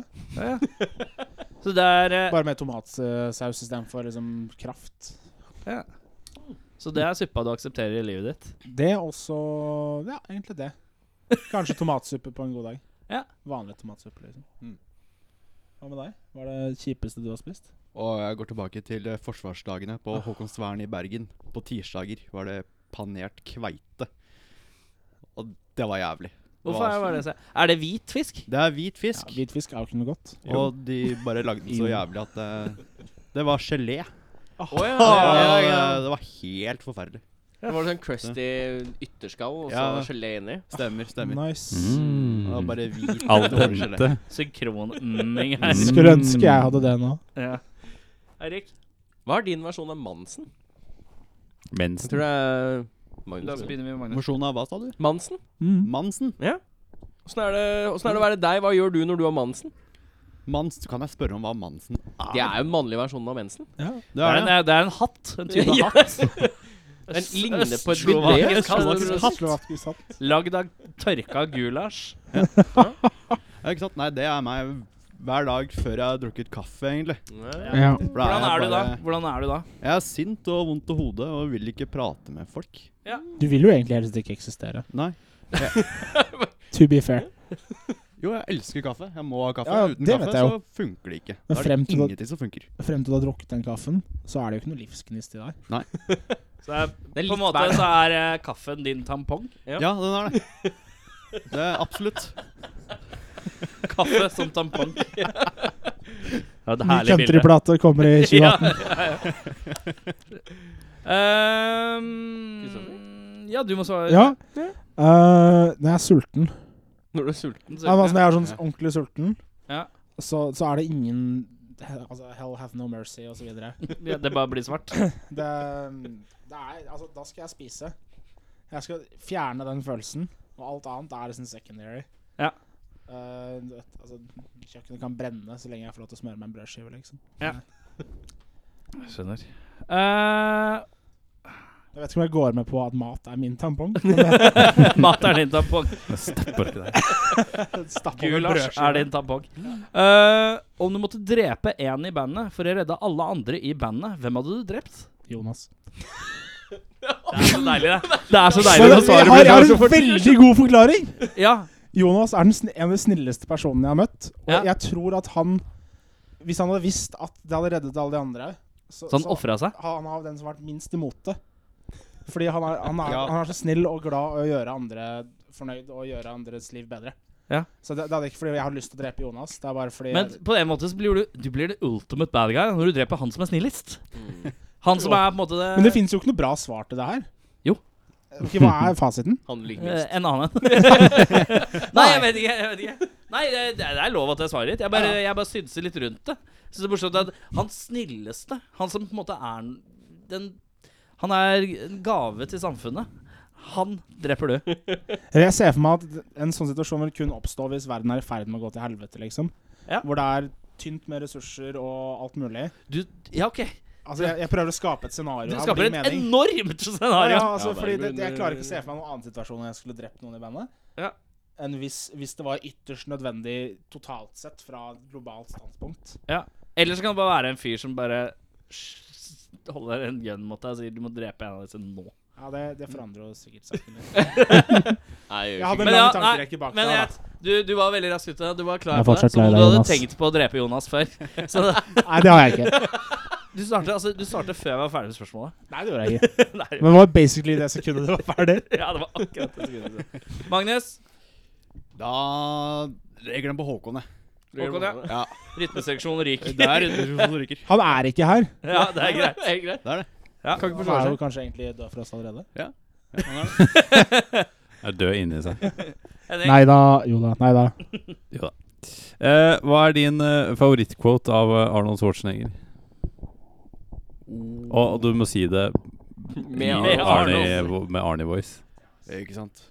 Speaker 2: Så det er, eh,
Speaker 7: Bare med tomatsaus istedenfor liksom kraft.
Speaker 2: så det er suppa du aksepterer i livet ditt.
Speaker 7: Det er også Ja, egentlig det. Kanskje tomatsuppe på en god dag.
Speaker 2: Ja.
Speaker 7: Vanlig tomatsuppe, liksom.
Speaker 8: Mm.
Speaker 7: Hva med deg? Hva er det kjipeste du har spist?
Speaker 8: Og jeg går tilbake til eh, forsvarsdagene på
Speaker 2: Ah.
Speaker 8: Håkonsvern i Bergen. På tirsdager var det panert kveite. Og det var jævlig.
Speaker 2: Hvorfor er det, bare det jeg sier? er det hvit fisk?
Speaker 8: Det er hvit
Speaker 7: Ja,
Speaker 8: fisk,
Speaker 7: Hvitfisk er jo ikke noe godt.
Speaker 8: og de bare lagde den så jævlig at det, det var gelé.
Speaker 2: Å ja,
Speaker 8: Og,
Speaker 2: ja, ja,
Speaker 8: eh, Det var helt forferdelig.
Speaker 4: Det var sånn crusty ytterskall og så
Speaker 8: Ja.
Speaker 4: gelé inni.
Speaker 8: Stemmer, stemmer.
Speaker 7: Nice.
Speaker 8: Det var
Speaker 1: Mm.
Speaker 8: bare hvit
Speaker 1: Al
Speaker 8: dårlig gelé.
Speaker 1: dente.
Speaker 2: ja. Synkronmming her.
Speaker 7: Skulle ønske jeg hadde det nå.
Speaker 2: Ja. Eirik,
Speaker 4: Hva er din versjon av Mansen?
Speaker 1: Mens
Speaker 4: Jeg tror det er
Speaker 2: da
Speaker 4: Magnus.
Speaker 2: begynner vi med Magnus.
Speaker 8: Versjonen av hva, sa du?
Speaker 4: Mansen?
Speaker 8: Mansen?
Speaker 4: Åssen er, det- åssen er det å være deg? Hva gjør du når du har Mansen?
Speaker 8: Mans, kan jeg spørre om hva Mansen
Speaker 2: Ah.
Speaker 8: er?
Speaker 4: Det er jo den mannlige versjonen av mensen.
Speaker 8: Det
Speaker 2: Det er,
Speaker 8: er det.
Speaker 2: en, det er en hatt. En type
Speaker 4: Ja.
Speaker 2: hatt.
Speaker 4: Den ligner på et
Speaker 2: Østslovakisk
Speaker 4: bidé.
Speaker 2: hatt.
Speaker 4: Hatt.
Speaker 7: Slovakisk hatt.
Speaker 2: Lagd av tørka gulasj.
Speaker 8: Ja, ikke sant? Nei, det er meg hver dag før jeg har drukket kaffe, egentlig.
Speaker 4: Ja.
Speaker 7: Ja.
Speaker 8: For da
Speaker 2: Hvordan
Speaker 8: jeg
Speaker 2: er du da?
Speaker 8: bare-
Speaker 2: Hvordan er du da?
Speaker 8: Jeg er sint og vondt i hodet og vil ikke prate med folk.
Speaker 7: Du vil jo egentlig helst ikke eksistere.
Speaker 8: Nei.
Speaker 7: To be fair.
Speaker 8: Jo, jeg elsker kaffe. Jeg må ha kaffe.
Speaker 7: Ja,
Speaker 8: Uten
Speaker 7: det
Speaker 8: kaffe
Speaker 7: vet jeg
Speaker 8: så funker det ikke.
Speaker 7: Men
Speaker 8: Da er
Speaker 7: frem
Speaker 8: det
Speaker 7: til at-
Speaker 8: ingenting som funker.
Speaker 7: Frem til du har drukket den kaffen, så er det jo ikke noe livsgnist i deg.
Speaker 2: Så er,
Speaker 4: er
Speaker 2: på
Speaker 4: litt
Speaker 2: en måte
Speaker 4: bedre.
Speaker 2: så er eh, kaffen din tampong.
Speaker 4: Ja.
Speaker 8: Ja, den er det. Det er absolutt.
Speaker 2: Kaffe som tampong. Ja, det er
Speaker 7: Ny
Speaker 2: herlig bilde.
Speaker 7: countryplate kommer i 2018.
Speaker 2: Ehm, ja, du må svare.
Speaker 7: Ja. Uh, når jeg er sulten
Speaker 4: Når du er sulten.
Speaker 2: Den
Speaker 7: ja, men altså, Når jeg er sånn
Speaker 8: Ja.
Speaker 7: ordentlig sulten,
Speaker 2: Ja.
Speaker 7: så, så er det ingen altså, Hell have no mercy, og så videre.
Speaker 2: Ja, det bare blir svart.
Speaker 7: Det, det er, altså, da skal jeg spise. Jeg skal fjerne den følelsen. Og alt annet er liksom secondary.
Speaker 2: Ja.
Speaker 7: Eh, du vet, altså, kjøkkenet kan brenne så lenge jeg får lov til å smøre meg en brødskive. Liksom.
Speaker 2: Skjønner. Eh,
Speaker 7: Jeg vet ikke om jeg går med på at mat er min tampong. Men jeg
Speaker 2: mat er din tampong.
Speaker 1: stapper ikke der.
Speaker 7: stapper over en
Speaker 2: Gulasj
Speaker 7: brødskive.
Speaker 2: er din tampong. Eh, om du måtte drepe én i bandet for å redde alle andre i bandet, hvem hadde du drept?
Speaker 7: Jonas.
Speaker 2: Det er så deilig, det. Det er så
Speaker 7: Jeg
Speaker 2: deilig når svaret
Speaker 7: har,
Speaker 2: blir
Speaker 7: jeg har
Speaker 2: klart så
Speaker 7: en
Speaker 2: fort.
Speaker 7: veldig god forklaring!
Speaker 2: Ja,
Speaker 7: Jonas er den sn en av de snilleste personene jeg har møtt. Og
Speaker 2: Ja.
Speaker 7: jeg tror at han Hvis han hadde visst at det hadde reddet alle de andre
Speaker 2: så han ofra seg.
Speaker 7: han er den som har vært minst imot det. Fordi han er, han, er,
Speaker 8: Ja.
Speaker 7: han er så snill og glad å gjøre andre fornøyd og gjøre andres liv bedre.
Speaker 2: Ja.
Speaker 7: Så det, det er ikke fordi jeg har lyst til å drepe Jonas. Det er bare fordi
Speaker 2: Men på en måte så blir du Du blir the ultimate bad guy når du dreper han som er snillest.
Speaker 7: Mm.
Speaker 2: Han som er på en måte det,
Speaker 7: Men det fins jo ikke noe bra svar til det her.
Speaker 2: Jo.
Speaker 7: Ok, hva er fasiten?
Speaker 4: Han ligger
Speaker 2: eh,
Speaker 4: minst.
Speaker 2: En annen Nei, jeg vet ikke. Jeg vet ikke. Nei, det, det er lov at jeg svarer litt. Jeg bare, jeg bare synser litt rundt det. Så det er morsomt at han snilleste, han som på en måte er den Han er en gave til samfunnet. Han dreper du.
Speaker 7: Eller Jeg ser for meg at en sånn situasjon vil kun oppstå hvis verden er i ferd med å gå til helvete, liksom.
Speaker 2: Ja.
Speaker 7: Hvor det er tynt med ressurser og alt mulig.
Speaker 2: du ja, OK.
Speaker 7: Altså, jeg, jeg prøver å skape et scenario.
Speaker 2: Du
Speaker 7: her,
Speaker 2: skaper
Speaker 7: det
Speaker 2: et
Speaker 7: gir mening.
Speaker 2: enormt
Speaker 7: ja,
Speaker 2: scenario.
Speaker 7: ja,
Speaker 4: Ja,
Speaker 7: altså,
Speaker 4: det er
Speaker 7: fordi det,
Speaker 4: jo
Speaker 7: det, Jeg
Speaker 4: en-
Speaker 7: klarer ikke å se for meg noen annen situasjon enn jeg skulle drept noen i bandet.
Speaker 2: Ja.
Speaker 7: Enn hvis, hvis det var ytterst nødvendig totalt sett fra et globalt standpunkt.
Speaker 2: Eller så kan det bare være en fyr som bare s- holder en gun mot deg og sier du må drepe en av disse nå.
Speaker 7: Ja, det, det forandrer jo sikkert saken litt.
Speaker 4: Nei,
Speaker 7: Jeg hadde en
Speaker 2: Men ja,
Speaker 7: lang
Speaker 2: nei,
Speaker 7: tankerekke bak
Speaker 2: men
Speaker 7: der.
Speaker 2: jeg, du, du var veldig rask ute. Du var
Speaker 7: Jeg
Speaker 2: klar på
Speaker 7: er
Speaker 2: det.
Speaker 7: fortsatt
Speaker 2: Som
Speaker 7: lei
Speaker 2: om du
Speaker 7: deg,
Speaker 2: hadde
Speaker 7: Jonas.
Speaker 2: tenkt på å drepe Jonas før. Så
Speaker 7: da. Nei, det har jeg ikke.
Speaker 2: du startet, altså, du startet før jeg var ferdig med spørsmålet.
Speaker 7: Nei, det gjorde jeg ikke.
Speaker 2: Nei,
Speaker 7: Men det var basically det sekundet det var ferdig.
Speaker 2: ja, det var akkurat det sekundet. siden. Magnus,
Speaker 8: Da legger den på Håkon, jeg.
Speaker 2: Håkon, ja.
Speaker 8: Ja,
Speaker 2: rytmeseksjon ryker.
Speaker 8: det er som ryker.
Speaker 7: Han er ikke her.
Speaker 2: Ja, det er greit.
Speaker 4: det er greit.
Speaker 8: Det er det.
Speaker 4: Kan ikke
Speaker 7: Han
Speaker 4: forsvare
Speaker 7: er
Speaker 4: seg.
Speaker 7: jo kanskje egentlig død for oss allerede.
Speaker 8: Ja, han er det.
Speaker 1: Er død inni seg.
Speaker 2: Henning,
Speaker 7: Nei da. Jo da. Nei da.
Speaker 1: Jo da. Eh, hva er din eh, favorittquote av eh, Arnold Schwarzenegger? Og du må si det i
Speaker 4: Med
Speaker 1: Arnie, med Arnie-voice.
Speaker 8: Det er Ikke sant?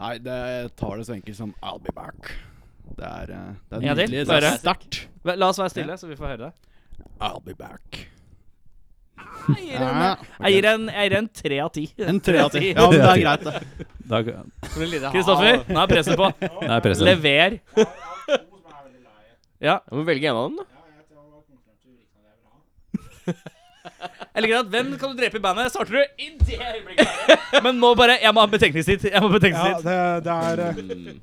Speaker 8: Nei, det jeg tar det så enkelt som I'll be back. Det er, eh, det
Speaker 2: Ja,
Speaker 8: er
Speaker 2: det-
Speaker 8: nydelig. Det
Speaker 2: bare-
Speaker 8: er sterkt.
Speaker 2: vent, la oss være stille, så vi får høre det.
Speaker 8: I'll be back.
Speaker 2: Jeg gir en,
Speaker 8: Ja,
Speaker 2: jeg gir en, jeg gir en tre av ti.
Speaker 8: En tre av ti. Ja, men det er greit, det.
Speaker 1: Da, g-
Speaker 2: Kristoffer, nå er presset på.
Speaker 1: det er presset.
Speaker 2: Lever. Ja.
Speaker 4: Jeg må velge en av dem, da.
Speaker 2: Jeg liker at Hvem kan du drepe i bandet? Starter du i det øyeblikket? Men nå bare Jeg må ha betenkningstid. Jeg må ha
Speaker 7: Ja,
Speaker 2: betenkningstid.
Speaker 7: det, det er eh,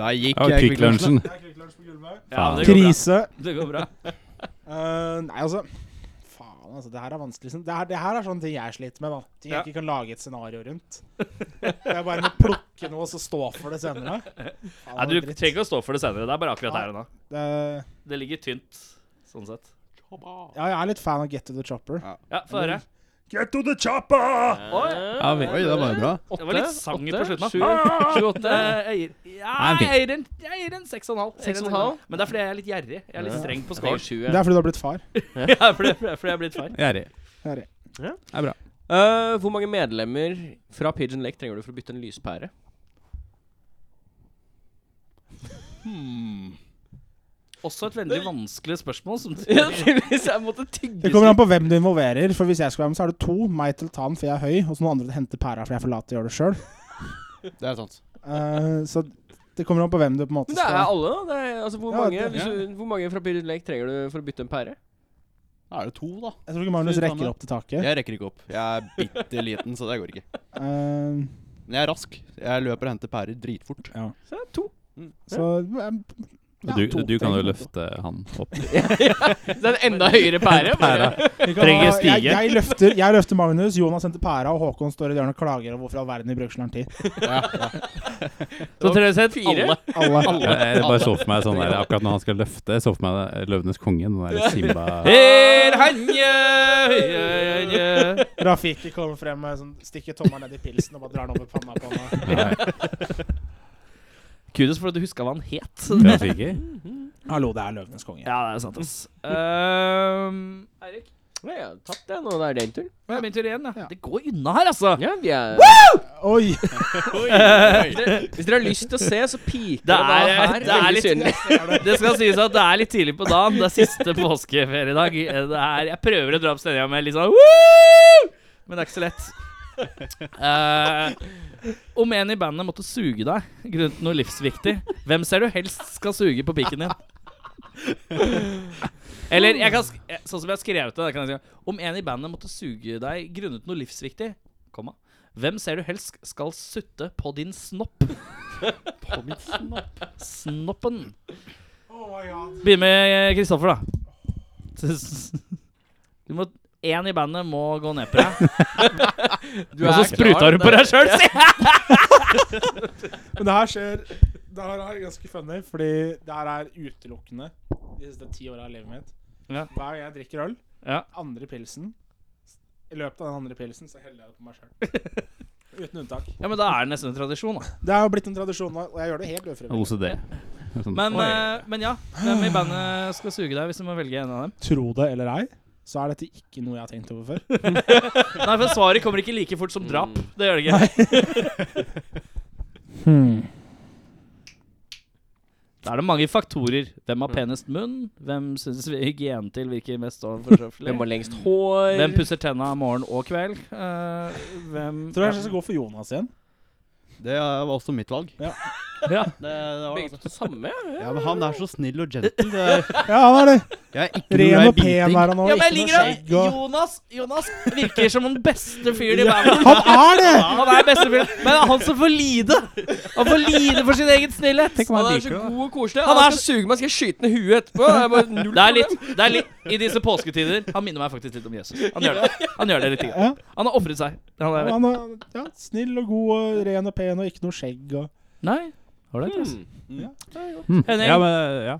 Speaker 8: Der gikk
Speaker 1: Ja,
Speaker 8: eh,
Speaker 1: Quick Lunchen.
Speaker 2: Ja, men det går bra.
Speaker 7: krise.
Speaker 2: Det går bra.
Speaker 7: Eh, nei, altså Faen, altså. Det her er vanskelig. liksom. Det her, det her er sånne ting jeg sliter med. da Ting jeg
Speaker 2: Ja.
Speaker 7: ikke kan lage et scenario rundt. Jeg bare må plukke noe og så stå for det senere. Faen,
Speaker 2: Nei, du
Speaker 7: dritt.
Speaker 2: trenger ikke å stå for det senere. Det er bare akkurat her og nå.
Speaker 7: det,
Speaker 2: Det ligger tynt, sånn sett.
Speaker 7: Ja, jeg er litt fan av Get to the Chopper.
Speaker 2: Ja, få høre.
Speaker 7: Get to the chopper!
Speaker 1: Ja, vi-
Speaker 8: Oi, det var jo bra.
Speaker 2: Det var litt sang på slutten.
Speaker 4: Sju,
Speaker 2: da.
Speaker 4: sju, åtte.
Speaker 2: Eh, Jeg gir, ja,
Speaker 1: Nei, fint.
Speaker 2: jeg gir en, jeg gir en seks og en halv. Jeg gir en
Speaker 4: Seks og en halv?
Speaker 2: Men det er fordi jeg er litt gjerrig. Jeg er litt streng på
Speaker 4: Jeg
Speaker 2: scoren.
Speaker 4: sju,
Speaker 7: Det
Speaker 4: jeg.
Speaker 7: er fordi du har blitt far.
Speaker 2: Ja, fordi, fordi jeg er blitt far.
Speaker 1: Gjerrig.
Speaker 7: Gjerrig.
Speaker 1: Det
Speaker 4: Ja.
Speaker 1: er bra.
Speaker 4: Øh, hvor mange medlemmer fra Pigeon Lake trenger du for å bytte en lyspære?
Speaker 2: Også et veldig vanskelig spørsmål. Som
Speaker 4: Ja, tydeligvis. Jeg måtte tygge
Speaker 7: Det kommer an på hvem du involverer. For Hvis jeg skal være med, så er det to. Meg til å ta den, for jeg er høy. Og så noen andre til å hente pæra, for jeg er for lat til å gjøre det sjøl.
Speaker 8: Det er sant.
Speaker 7: så det kommer an på hvem du på en måte
Speaker 4: Men det er
Speaker 7: skal
Speaker 4: alle, da. Det er, altså, hvor,
Speaker 7: Ja,
Speaker 4: mange,
Speaker 7: det-
Speaker 4: hvis du, hvor mange fra Pigeon Lake trenger du for å bytte en pære?
Speaker 8: Da er det to, da.
Speaker 7: Jeg tror ikke Magnus
Speaker 8: Skal vi ta med?
Speaker 7: rekker opp til taket.
Speaker 8: Jeg rekker ikke opp. Jeg er bitte liten, så det går ikke.
Speaker 7: Eh,
Speaker 8: Men jeg er rask. Jeg løper og henter pærer dritfort.
Speaker 4: Så det er to.
Speaker 7: så eh, ja,
Speaker 1: Du,
Speaker 7: to
Speaker 1: du kan jo
Speaker 7: trenger to.
Speaker 1: løfte han opp.
Speaker 4: Så det er en enda høyere pære. Bare.
Speaker 7: Vi kan
Speaker 2: Trenger
Speaker 7: ha-
Speaker 2: stige.
Speaker 7: Jeg, jeg, løfter, jeg løfter Magnus, Jonas henter pæra, og Håkon står i døren og klager over hvorfor i all verden vi bruker så lang tid.
Speaker 2: Så tre sett
Speaker 4: Fire.
Speaker 2: Alle.
Speaker 7: Alle.
Speaker 1: Jeg, jeg bare så for meg sånn der akkurat når han skal løfte. Jeg så for meg det- eh, Løvenes konge. Den der Simba
Speaker 2: Her hanje, hanje.
Speaker 7: Rafiki kommer frem med sånn, stikker tommelen ned i pilsen og bare drar den over panna på meg.
Speaker 1: Ja,
Speaker 2: Kudos for at du huska hva han het.
Speaker 1: Mm. Rafiki.
Speaker 7: Hallo, det er Løvenes konge.
Speaker 2: Ja, det er sant, ass. Ehm, Eirik,
Speaker 4: Nei, jeg har tatt det nå. Det er din tur.
Speaker 2: det er min tur igjen.
Speaker 7: Ja.
Speaker 2: Ja. Det går unna her, altså.
Speaker 4: Ja, vi er
Speaker 7: Oi!
Speaker 4: Hvis dere har lyst til å se, så piker
Speaker 2: Det
Speaker 4: det, da
Speaker 2: er-
Speaker 4: her.
Speaker 2: det er
Speaker 4: veldig
Speaker 2: litt-
Speaker 4: synlig.
Speaker 2: Det skal sies at det er litt tidlig på dagen. Det er siste påskeferiedag. Det er, jeg prøver å dra opp stemninga med litt sånn Woo! Men det er ikke så lett. Eh, om en i bandet måtte suge deg grunnet noe livsviktig, hvem ser du helst skal suge på pikken din? Eller jeg kan, sk- eh, sånn som jeg har skrevet det, da kan jeg si Om en i bandet måtte suge deg grunnet noe livsviktig, komma, hvem ser du helst skal sutte på din snopp?
Speaker 8: På min snopp.
Speaker 2: Snoppen. Begynn med Kristoffer, da. Du må Én i bandet må gå ned på deg,
Speaker 4: Du
Speaker 2: og så spruta du på deg sjøl!
Speaker 7: Men det her skjer Det her er ganske funny, fordi det her er utelukkende de siste ti åra av livet mitt.
Speaker 2: Ja.
Speaker 7: Hver gang jeg drikker øl,
Speaker 2: Ja.
Speaker 7: andre pilsen I løpet av den andre pilsen så heller jeg det på meg sjøl. Uten unntak.
Speaker 2: Ja, men da er det nesten en tradisjon, da.
Speaker 7: Det er jo blitt en tradisjon nå, og jeg gjør det helt ufrivillig.
Speaker 1: OCD. Sånn.
Speaker 2: Men, eh, men ja, hvem i bandet skal suge deg hvis du må velge en av dem?
Speaker 7: Tro det eller ei, så er dette ikke noe jeg har tenkt over før.
Speaker 2: Nei, for svaret kommer ikke like fort som drap.
Speaker 4: Mm.
Speaker 2: Det gjør det ikke.
Speaker 7: Mm.
Speaker 2: Da er det mange faktorer. Hvem
Speaker 4: Mm.
Speaker 2: har penest munn? Hvem syns vi hygienen til virker mest overfortreffelig?
Speaker 4: Hvem har lengst hår?
Speaker 2: Hvem pusser tenna morgen og kveld? Eh, hvem
Speaker 7: Tror jeg jeg skal gå for Jonas igjen.
Speaker 8: Det er- var også mitt valg.
Speaker 2: Ja.
Speaker 8: Det, det var,
Speaker 4: Begge to samme, ja.
Speaker 8: ja, men han er så snill og gentle. Det er,
Speaker 7: Ja, han er det.
Speaker 8: jeg er ikke
Speaker 7: Ren
Speaker 8: noe
Speaker 7: og pen
Speaker 8: biting.
Speaker 7: er han nå.
Speaker 2: Ja, men jeg
Speaker 7: ikke
Speaker 2: liker
Speaker 7: noe
Speaker 2: at
Speaker 7: skjegg og-
Speaker 2: Jonas, Jonas virker som den beste fyren i verden.
Speaker 7: Han er det!
Speaker 2: Han er beste fyren, men det er han som får lide. Han får lide for sin egen snillhet.
Speaker 7: Tenk om han
Speaker 4: Han er
Speaker 7: liker
Speaker 4: så
Speaker 7: det.
Speaker 4: god og koselig.
Speaker 2: Han
Speaker 4: Han,
Speaker 2: er
Speaker 4: skal suge meg, skal jeg skyte ned huet etterpå. Det er bare null
Speaker 2: Det er litt,
Speaker 4: problem.
Speaker 2: det er litt I disse påsketider Han minner meg faktisk litt om Jesus. Han gjør det Han gjør det litt.
Speaker 7: Ja.
Speaker 2: Han har ofret seg. Han er,
Speaker 7: Han er ja, snill og god og ren og pen og ikke noe skjegg og
Speaker 2: nei, har det ikke.
Speaker 7: Mm.
Speaker 1: Hm.
Speaker 2: Henning?
Speaker 1: Ja, men, ja.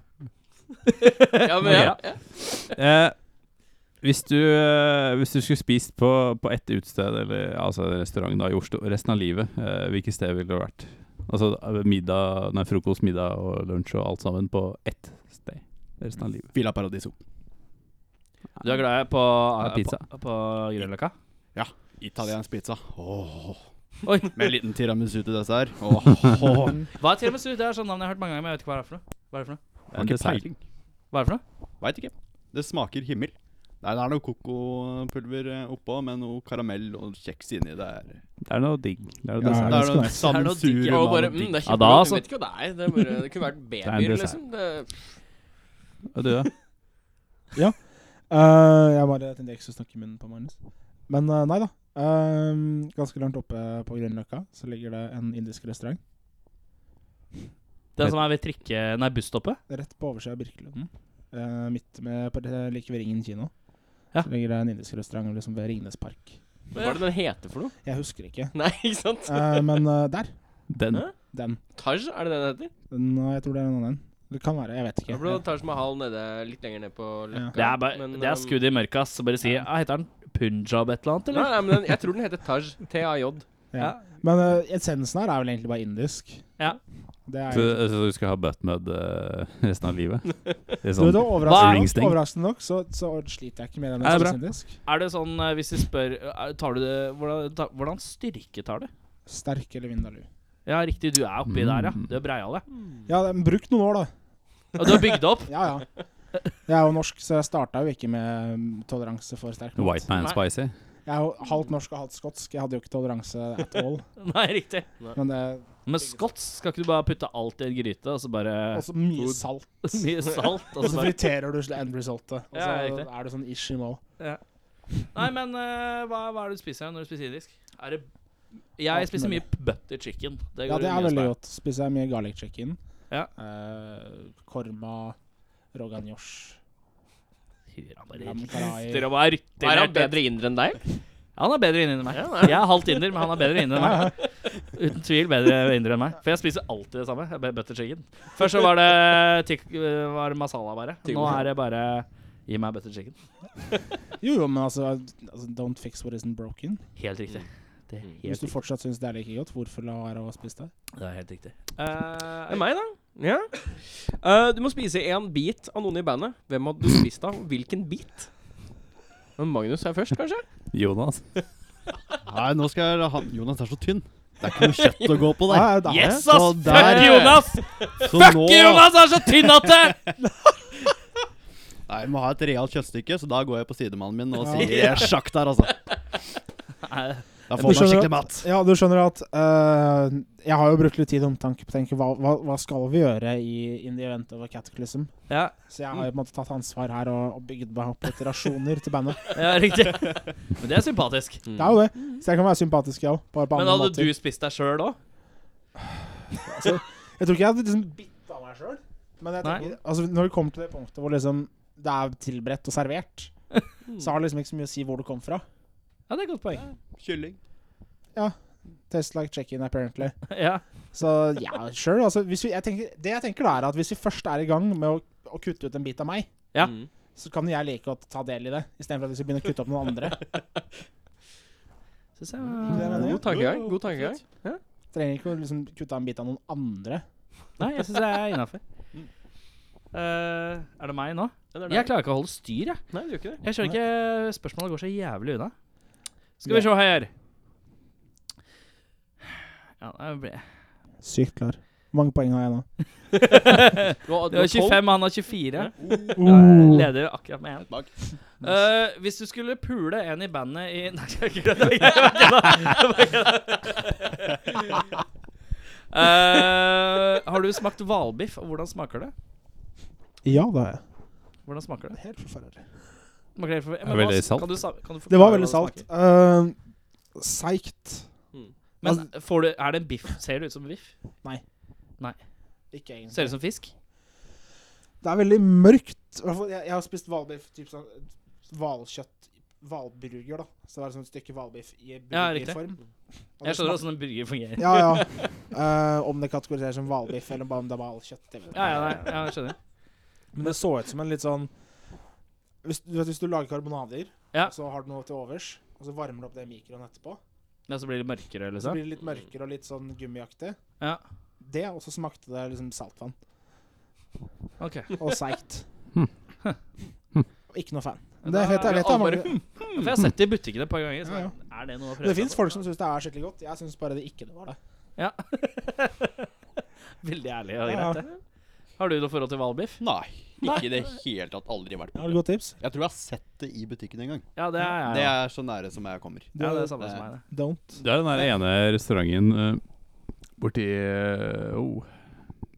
Speaker 4: Ja, men, Mm. ja. Ja.
Speaker 1: Eh, hvis, du, eh, hvis du skulle spist på, på ett utested, eller altså en restaurant da, i Oslo resten av livet, eh, hvilket sted ville det vært? Altså eh, middag, nei, frokost, middag og lunsj og alt sammen på ett sted resten av livet.
Speaker 8: Villa Paradiso.
Speaker 2: Du er glad på,
Speaker 1: Ja, pizza.
Speaker 2: på, på Grønløkka?
Speaker 8: Italiensk pizza. Åh.
Speaker 2: Oi.
Speaker 8: Med en liten tiramisu til dessert. Åh.
Speaker 2: Hva er tiramisu? Det er sånn navn jeg har hørt mange ganger, men jeg vet ikke hva det er for noe. Hva er det for noe?
Speaker 8: Jeg har
Speaker 1: En
Speaker 8: ikke
Speaker 1: dessert.
Speaker 8: peiling.
Speaker 2: Hva er det for noe?
Speaker 8: Veit ikke. Det smaker himmel. Nei, det er noe kokopulver eh, oppå med noe karamell og kjeks inni. Det er,
Speaker 1: Det er noe digg. Det er noe
Speaker 7: Ja,
Speaker 1: dessert.
Speaker 8: det er
Speaker 7: ganske
Speaker 8: noe
Speaker 7: nice.
Speaker 4: Det er noe digg.
Speaker 8: sammensurium
Speaker 4: Og
Speaker 8: av
Speaker 4: bare,
Speaker 8: noe
Speaker 4: mm,
Speaker 8: digg.
Speaker 1: Ja,
Speaker 4: det er kjempebra.
Speaker 1: da,
Speaker 4: Jeg
Speaker 1: altså.
Speaker 4: vet ikke hva det er. Det, er bare, det kunne vært babyer,
Speaker 1: dessert.
Speaker 4: liksom. Det,
Speaker 1: Og du, da?
Speaker 7: Eh, jeg bare tenkte jeg ikke skulle snakke i munnen på Magnus. Men eh, nei da. Ehm, ganske langt oppe på Grünerløkka så ligger det en indisk restaurant.
Speaker 2: Den som er ved trikke... Nei, busstoppet?
Speaker 7: Rett på oversida av Birkelunden. Eh, midt med, på det, like ved Ringen kino.
Speaker 2: Ja.
Speaker 7: Så ligger det en indisk restaurant liksom ved Ringnes park.
Speaker 4: hva er det den heter for noe?
Speaker 7: Jeg husker ikke.
Speaker 4: Nei, ikke sant?
Speaker 7: Eh, men eh, der.
Speaker 1: Den.
Speaker 4: Hæ?
Speaker 7: Den.
Speaker 4: Taj, er det det den heter?
Speaker 7: Nei, jeg tror det er en annen. Det kan være. Jeg vet
Speaker 4: Da
Speaker 7: ikke.
Speaker 4: ble det Taj Mahal nede, litt lenger ned på
Speaker 7: Ja.
Speaker 4: løkka.
Speaker 2: Det er, bare,
Speaker 4: men,
Speaker 2: det er
Speaker 4: um,
Speaker 2: skudd i mørket, ass. Så bare si ja, Heter den Punjab et eller annet,
Speaker 4: Nei,
Speaker 2: eller?
Speaker 4: nei, men den, jeg tror den heter Taj. T-A-J.
Speaker 7: ja. Men eh, essensen her er vel egentlig bare indisk.
Speaker 2: Ja.
Speaker 7: Det er
Speaker 1: Så, så du skal ha buttmud eh, resten av livet? Det er
Speaker 7: Du vet,
Speaker 1: sånn.
Speaker 7: overraskende,
Speaker 1: Hva er-
Speaker 7: nok, overraskende nok så, så sliter jeg ikke med den
Speaker 1: Ja, det er bra.
Speaker 7: indisk.
Speaker 2: Er det sånn, eh, hvis de spør eh, Tar du det Hvordan, ta, hvordan styrke tar du?
Speaker 7: Sterk eller Vindaloo.
Speaker 2: Ja, riktig, du er oppi
Speaker 1: Mm.
Speaker 2: der, ja. Du er breial, ja.
Speaker 7: Ja, det- men brukt noen år, da.
Speaker 2: Og du har bygd opp?
Speaker 7: Ja, ja. Jeg er jo norsk, så jeg starta jo ikke med mm, toleranse for sterk mat.
Speaker 1: White man spicy.
Speaker 7: Jeg er jo halvt norsk og halvt skotsk. Jeg hadde jo ikke toleranse at all.
Speaker 2: Nei, riktig.
Speaker 7: Men eh, det er
Speaker 2: Men skotsk skal ikke du bare putte alt i en gryte, og så bare
Speaker 7: også mye salt.
Speaker 2: mye salt? Og
Speaker 7: Og
Speaker 2: så
Speaker 7: så
Speaker 2: bare
Speaker 7: friterer du sl- end resultet. Og så
Speaker 2: Ja, riktig.
Speaker 7: er det sånn ish i mål.
Speaker 2: Nei, men eh, hva, hva er det du spiser når du spiser indisk? Er det Jeg
Speaker 7: Alt
Speaker 2: spiser
Speaker 7: mulig.
Speaker 2: mye butter chicken. Det
Speaker 7: Ja,
Speaker 2: går
Speaker 7: det
Speaker 2: mye
Speaker 7: er
Speaker 2: som
Speaker 7: veldig godt. Spiser jeg mye garlic chicken.
Speaker 2: Ja.
Speaker 7: Eh, korma, rogan josh.
Speaker 2: Han bare
Speaker 7: lam
Speaker 2: rister
Speaker 7: karai.
Speaker 2: og bare
Speaker 4: Er
Speaker 2: rytter.
Speaker 4: han bedre inder enn deg?
Speaker 2: Han er bedre inni enn meg. Jeg er halvt inder, men han er bedre inni enn meg. Uten tvil bedre inder enn meg. For jeg spiser alltid det samme. Jeg bare Butter chicken. Først så var det, tikk, var det masala, bare. Nå er det bare Gi meg butter chicken.
Speaker 7: Jo, jo, men altså, altså Don't fix what isn't broken.
Speaker 2: Helt riktig. Det er
Speaker 7: Hvis
Speaker 2: helt
Speaker 7: du
Speaker 2: riktig.
Speaker 7: fortsatt syns det er like godt, hvorfor la være å spise det?
Speaker 2: Det er helt riktig.
Speaker 4: Eh, Det er meg, da. Ja. Eh, du må spise én bit av noen i bandet. Hvem hadde du spist av? Hvilken bit? Men Magnus er først, kanskje?
Speaker 1: Jonas.
Speaker 8: Nei, nå skal jeg ha Jonas er så tynn. Det er ikke noe kjøtt å gå på der.
Speaker 7: Ja, da-
Speaker 2: Yes, ass!
Speaker 8: Så der-
Speaker 2: Fuck Jonas!
Speaker 8: Så
Speaker 2: Fuck
Speaker 8: nå-
Speaker 2: Jonas er så tynn at det
Speaker 8: Nei, jeg må ha et realt kjøttstykke, så da går jeg på sidemannen min og
Speaker 7: Ja.
Speaker 8: sier jeg er sjakk der, altså. Da
Speaker 7: Du
Speaker 8: får man
Speaker 7: skjønner at-
Speaker 8: skikkelig mat.
Speaker 7: Ja, du skjønner at eh, Jeg har jo brukt litt tid og omtanke på å tenke hva, hva, hva skal vi gjøre i In the Event of a Cataclysm?
Speaker 2: Ja,
Speaker 7: Så jeg har jo på en måte tatt ansvar her og, og bygd meg opp litt rasjoner til bandet.
Speaker 2: ja, riktig. Men det er sympatisk.
Speaker 7: Det er jo det. Så jeg kan være sympatisk, jeg òg. Bare på
Speaker 2: Mm. Men
Speaker 7: andre
Speaker 2: hadde
Speaker 7: måter.
Speaker 2: du spist deg sjøl òg?
Speaker 7: Jeg tror ikke jeg hadde liksom bitt av meg sjøl. Men jeg
Speaker 2: Nei.
Speaker 7: tenker, altså, når det kommer til det punktet hvor liksom det er tilberedt og servert, så har det liksom ikke så mye å si hvor du kom fra.
Speaker 2: Ja, det er et godt poeng.
Speaker 8: Kylling.
Speaker 7: Test like check-in, apparently.
Speaker 2: Ja.
Speaker 7: Så ja, sure. Altså, hvis vi, jeg tenker, det jeg tenker da er at hvis vi først er i gang med å, å kutte ut en bit av meg,
Speaker 2: Ja.
Speaker 4: Mm.
Speaker 7: så kan jeg like godt ta del i det, istedenfor at vi skal begynne å kutte opp noen andre.
Speaker 2: Synes jeg,
Speaker 4: God tankegang. God tankegang.
Speaker 7: Trenger ikke å liksom kutte av en bit av noen andre.
Speaker 2: nei, jeg syns jeg er innafor. Eh, er det meg nå?
Speaker 4: Ja, det er
Speaker 2: Jeg
Speaker 4: deg.
Speaker 2: klarer ikke å holde styr, jeg.
Speaker 4: Nei, du gjør ikke det.
Speaker 2: Jeg skjønner ikke Spørsmålet går så jævlig unna. Skal vi se her. Ja, det ble
Speaker 7: Sykt klar. Hvor mange poeng har jeg nå?
Speaker 4: Du har,
Speaker 2: Det var 25, han har 24.
Speaker 7: Oh.
Speaker 2: Leder akkurat med én.
Speaker 8: Bak.
Speaker 2: Eh, hvis du skulle pule en i bandet i Nei, jeg kødder. jeg kødder, jeg kødder. Eh, har du smakt hvalbiff, og hvordan smaker det?
Speaker 7: Ja, det har jeg.
Speaker 2: Hvordan smaker det?
Speaker 7: Helt forferdelig.
Speaker 2: Smaker det, for,
Speaker 1: er veldig salt.
Speaker 2: Kan du, sa- kan du
Speaker 7: Det var
Speaker 2: forklare
Speaker 7: veldig
Speaker 2: hva det
Speaker 7: salt.
Speaker 2: smaker?
Speaker 7: Uh, Seigt. Altså-
Speaker 2: Men får du, er det en biff? Ser det ut som en biff?
Speaker 7: Ikke egentlig.
Speaker 2: Ser det ut som fisk?
Speaker 7: Det er veldig mørkt. I hvert fall, Jeg, jeg har spist hvalbiff, typ sånn hvalkjøtt Hvalburger, da. Så det var sånn et stykke hvalbiff i burgerform. Og
Speaker 2: Jeg skjønner
Speaker 7: det smak-
Speaker 2: åssen en burger fungerer.
Speaker 7: Ja, ja. Eh, om det kategoriseres som hvalbiff eller bare om det er hvalkjøtt. det vet jeg
Speaker 2: Ja, ja,
Speaker 7: ikke.
Speaker 2: nei, ja, jeg skjønner.
Speaker 7: Men det så ut som en litt sånn Hvis du, vet, hvis du lager karbonader,
Speaker 2: Ja.
Speaker 7: så har du noe til overs, og så varmer du opp det i mikroen etterpå,
Speaker 2: Ja, så blir det mørkere,
Speaker 7: så
Speaker 2: liksom.
Speaker 7: blir det litt mørkere og litt sånn gummiaktig.
Speaker 2: Ja.
Speaker 7: Det, og så smakte det liksom saltvann.
Speaker 2: Ok.
Speaker 7: Og seigt.
Speaker 1: Hmm.
Speaker 7: Ikke noe fan.
Speaker 2: Hm. Ja,
Speaker 7: Men det
Speaker 2: da
Speaker 7: er fett. Jeg
Speaker 2: er
Speaker 7: vet det er
Speaker 2: alle
Speaker 7: mange
Speaker 2: For jeg har sett det i butikken et par ganger. Så
Speaker 7: Ja, ja.
Speaker 2: er det noe å prøve
Speaker 7: Det fins
Speaker 2: seg på?
Speaker 7: folk som syns det er skikkelig godt. Jeg syns bare det ikke det var det.
Speaker 2: Veldig ærlig og
Speaker 7: Ja, ja.
Speaker 2: greit, det. Har du noe forhold til hvalbiff?
Speaker 8: Nei, ikke i det hele tatt. Aldri vært på
Speaker 7: Har du
Speaker 8: det.
Speaker 7: godt tips?
Speaker 8: Jeg tror jeg har sett det i butikken en gang.
Speaker 2: Ja, det er jeg.
Speaker 8: Det
Speaker 2: ja.
Speaker 8: er så nære som jeg kommer.
Speaker 2: Ja, det er det samme som meg, det.
Speaker 7: Don't.
Speaker 1: Det er den der ene restauranten eh, borti eh, oh,